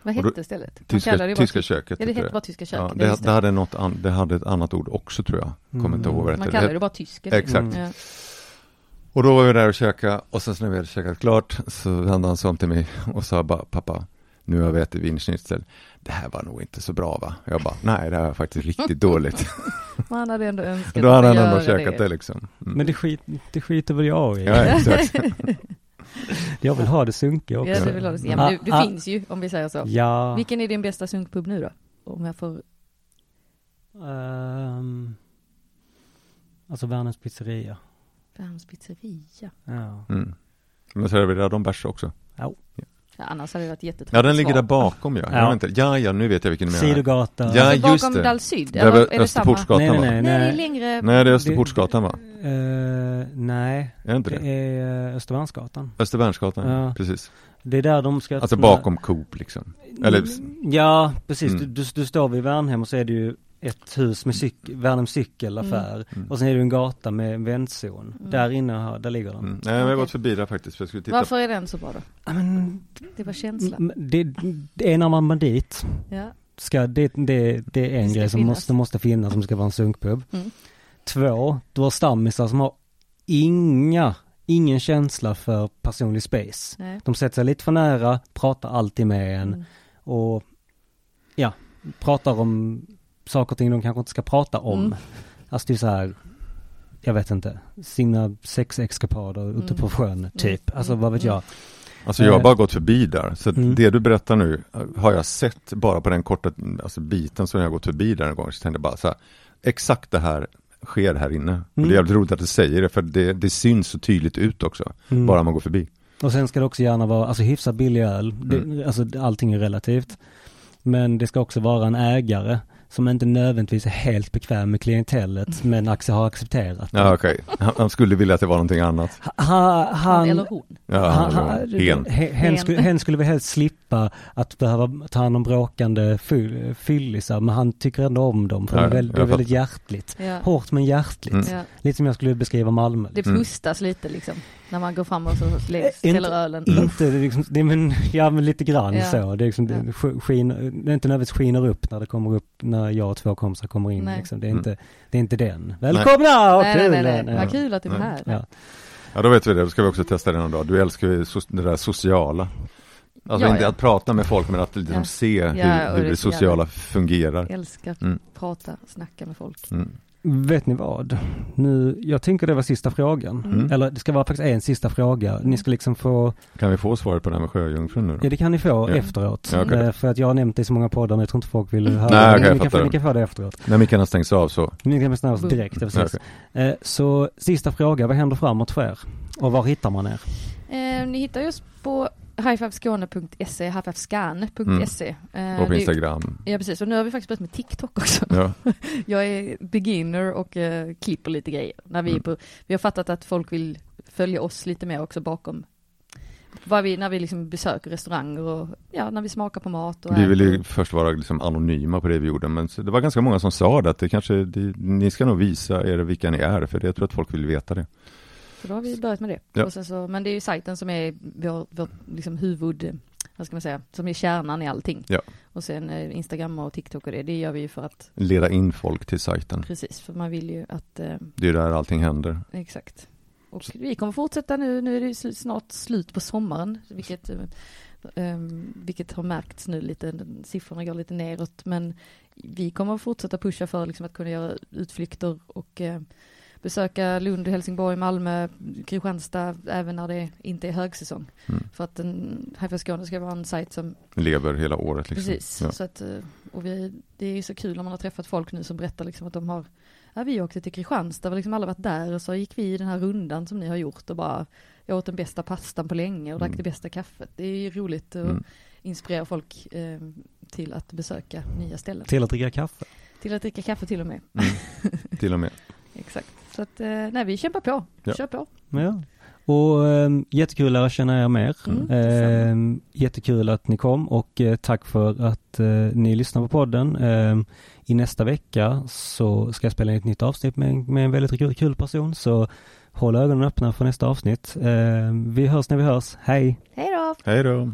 Speaker 3: Vad
Speaker 2: och då-
Speaker 3: hette stället? Man kallar
Speaker 2: Tyska,
Speaker 3: det bara-
Speaker 2: tyska köket.
Speaker 3: Ja, det
Speaker 2: heter
Speaker 3: hette bara tyska köket.
Speaker 2: Ja,
Speaker 3: det,
Speaker 2: det,
Speaker 3: just
Speaker 2: det,
Speaker 3: det.
Speaker 2: hade något an, det hade ett annat ord också tror jag. Kommer inte
Speaker 1: Mm.
Speaker 2: ihåg vad det
Speaker 3: Man
Speaker 2: hette.
Speaker 3: kallar det bara tyska.
Speaker 2: Exakt.
Speaker 1: Mm.
Speaker 3: Ja.
Speaker 2: Och då var vi där och käkade och sen så när vi hade käkat klart så vände han sig om till mig och sa bara pappa, nu har vi ätit wienerschnitzel. Det här var nog inte så bra va? Jag bara, nej det här var faktiskt
Speaker 3: (laughs)
Speaker 2: riktigt dåligt.
Speaker 3: Man hade ändå önskat
Speaker 2: då hade
Speaker 3: att
Speaker 2: han
Speaker 3: göra
Speaker 2: ändå käkat
Speaker 3: (laughs)
Speaker 2: det, liksom. Mm.
Speaker 1: Men det, skit, det skiter väl jag i.
Speaker 2: Ja, exakt.
Speaker 1: Jag vill ha det sunkiga också.
Speaker 3: Ja, du vill ha det så
Speaker 1: Ah,
Speaker 3: jämnt. Du, du
Speaker 1: ah,
Speaker 3: finns ju, om vi säger så.
Speaker 1: Ja.
Speaker 3: Vilken är din bästa sunkpub nu då? Om jag får...
Speaker 1: Ehm, alltså Värnens pizzeria.
Speaker 3: Värms pizzeria.
Speaker 1: Ja.
Speaker 2: Mm. Men serverade de bärs också?
Speaker 3: Ja, annars hade det varit jättetråkigt
Speaker 2: Ja, den ligger
Speaker 3: svar.
Speaker 2: där bakom ja. Jag
Speaker 1: Ja.
Speaker 2: vet inte. Ja, ja, nu vet jag vilken du menar.
Speaker 1: Sidogata.
Speaker 2: Ja,
Speaker 3: Alltså,
Speaker 2: just
Speaker 3: bakom
Speaker 2: det.
Speaker 3: Dal Syd,
Speaker 2: Där
Speaker 3: eller
Speaker 2: vid
Speaker 3: är det samma?
Speaker 1: nej,
Speaker 2: Österportsgatan va?
Speaker 1: nej, nej.
Speaker 3: Nej, det är
Speaker 1: Nej,
Speaker 3: längre.
Speaker 2: Nej, det är Österportsgatan va?
Speaker 1: Eh, nej.
Speaker 2: Är det inte det?
Speaker 1: det är eh, Östermalmsgatan.
Speaker 2: Östervärnsgatan,
Speaker 1: Ja.
Speaker 2: precis.
Speaker 1: Det är där de ska
Speaker 2: Alltså
Speaker 1: öppna-
Speaker 2: bakom Coop liksom. eller-
Speaker 1: Mm. Ja, precis.
Speaker 2: Mm.
Speaker 1: Du, du, du står vid Värnhem och så är det ju ett hus med cyk- Värnhem cykelaffär.
Speaker 2: Mm.
Speaker 1: Och sen är det en gata med väntzon.
Speaker 3: Mm.
Speaker 1: Där inne, har- där ligger den.
Speaker 2: Mm. Nej, men jag har
Speaker 3: Okej.
Speaker 2: gått förbi där faktiskt för jag skulle titta.
Speaker 3: Varför är den så bra då?
Speaker 1: Ja, men,
Speaker 3: Det var känslan.
Speaker 1: m- det, det är när man man dit.
Speaker 3: Ja.
Speaker 1: Ska, det, det, det är en
Speaker 3: Det ska
Speaker 1: grej som
Speaker 3: finnas.
Speaker 1: måste, måste finnas som ska vara en sunkpub.
Speaker 3: Mm.
Speaker 1: Två, du har stammisar som har inga, ingen känsla för personlig space.
Speaker 3: Nej.
Speaker 1: De sätter sig lite för nära, pratar alltid med en
Speaker 3: Mm.
Speaker 1: och ja, pratar om saker och ting de kanske inte ska prata om.
Speaker 3: Mm.
Speaker 1: Alltså det är så här, jag vet inte, sina sexexkapader ute
Speaker 3: Mm.
Speaker 1: på sjön typ,
Speaker 3: Mm.
Speaker 1: alltså vad vet jag.
Speaker 2: Alltså jag har bara gått förbi där, så mm. det du berättar nu eh, har jag sett bara på den korta alltså biten som jag har gått förbi där en gång, så tänkte jag bara så här, exakt det här sker här inne. Mm. Och det är jävligt roligt att du säger det, för det, det syns så tydligt ut också, mm. bara man går förbi.
Speaker 1: Och sen ska det också gärna vara, alltså hyfsat billig öl, det, alltså allting är relativt. Men det ska också vara en ägare som inte nödvändigtvis är helt bekväm med klientellet
Speaker 3: Mm.
Speaker 1: men har accepterat.
Speaker 2: Ja, okay. Han skulle vilja att det var någonting annat.
Speaker 1: Ha, ha,
Speaker 3: han, eller hon.
Speaker 2: Ja, han, ha, hen.
Speaker 1: Hen, hen, skulle, hen skulle väl helst slippa att behöva ta hand om bråkande fyllisar men han tycker ändå om dem för ja, det är väldigt, det är väldigt hjärtligt. Ja. Hårt men hjärtligt. Mm. Lite som jag skulle beskriva Malmö.
Speaker 3: Det pustas mm. lite liksom när man går fram och så ställer ölen.
Speaker 1: Inte, det är liksom, det är men, ja men lite grann ja. så. Det är, liksom, det, skin, det är inte nödvändigtvis skiner upp när det kommer upp, när jag och två kompisar kommer in. Liksom. Det, är inte, det är inte den. Välkomna!
Speaker 3: Nej. Kul, nej, nej, nej. nej. Vad kul att du är här.
Speaker 2: Ja. ja, då vet vi det. Då ska vi också testa det någon dag. Du älskar ju det där sociala. Alltså ja, inte ja. att prata med folk, men att liksom ja. se hur, hur det, det sociala fungerar.
Speaker 3: Jag älskar att mm. prata, snacka med folk. Mm.
Speaker 1: Vet ni vad? Nu, jag tänker det var sista frågan. Mm. Eller det ska vara faktiskt en sista fråga. Ni ska liksom få...
Speaker 2: Kan vi få svaret på det här med sjöjungfrun nu då?
Speaker 1: Ja, det kan ni få ja. efteråt. Ja, okay. För att jag har nämnt det i så många poddar men jag tror inte folk vill
Speaker 3: Mm.
Speaker 1: höra Nej, okay, ni, kan få, ni kan få det efteråt.
Speaker 2: När mickarna stängs av så?
Speaker 1: Mickarna stängs av direkt, precis. Mm. Okay. Så sista fråga, vad händer framåt för er? Och var hittar man er?
Speaker 3: Eh, ni hittar oss på highfiveskåne.se, highfivescan.se.
Speaker 2: Mm. Och på Instagram.
Speaker 3: ja, precis. Och nu har vi faktiskt börjat med TikTok också. (laughs) Ja. Jag är beginner och uh, klipper lite grejer. När vi, mm. på, vi har fattat att folk vill följa oss lite mer också bakom vad vi, när vi liksom besöker restauranger och ja, när vi smakar på mat. Och
Speaker 2: vi ville ju först vara liksom anonyma på det vi gjorde, men det var ganska många som sa det, att det kanske, det, ni ska nog visa er vilka ni är, för det, jag tror att folk vill veta det.
Speaker 3: Så då har vi börjat med det. Ja. Så, men det är ju sajten som är vår, vår liksom huvud, vad ska man säga, som är kärnan i allting.
Speaker 2: Ja.
Speaker 3: Och sen eh, Instagram och TikTok och det, det gör vi ju för att
Speaker 2: leda in folk till sajten.
Speaker 3: Precis, för man vill ju att eh,
Speaker 2: Det är där allting händer.
Speaker 3: Exakt. Och vi kommer fortsätta nu, nu är det snart slut på sommaren, vilket, um, vilket har märkts nu lite, siffrorna går lite neråt, men vi kommer fortsätta pusha för liksom, att kunna göra utflykter och eh, besöka Lund, Helsingborg, Malmö, Kristianstad även när det inte är högsäsong. Mm. För att en Haifa Skåne ska vara en sajt som
Speaker 2: lever hela året. Liksom.
Speaker 3: Precis, ja. så att, eh, och vi, det är ju så kul när man har träffat folk nu som berättar liksom att de har, ja vi åkte till Kristianstad, liksom alla varit där och så gick vi i den här rundan som ni har gjort och bara, jag åt den bästa pastan på länge och drack mm. det bästa kaffet. Det är ju roligt att mm. inspirera folk eh, till att besöka nya ställen.
Speaker 1: Till att dricka kaffe.
Speaker 3: Till att dricka kaffe till och med.
Speaker 2: Mm.
Speaker 3: (laughs)
Speaker 2: Till och med.
Speaker 3: Exakt. Så att, eh, nej, vi kämpar på. Ja. Kör på.
Speaker 1: Ja. Och ähm, jättekul att lära känna er mer. Mm, ähm, jättekul att ni kom och äh, tack för att äh, ni lyssnar på podden. Ähm, I nästa vecka så ska jag spela in ett nytt avsnitt med, med en väldigt kul, kul person. Så Ehm, håll ögonen öppna för nästa avsnitt. vi hörs när vi hörs. Hej!
Speaker 3: Hej då!
Speaker 2: Hej då!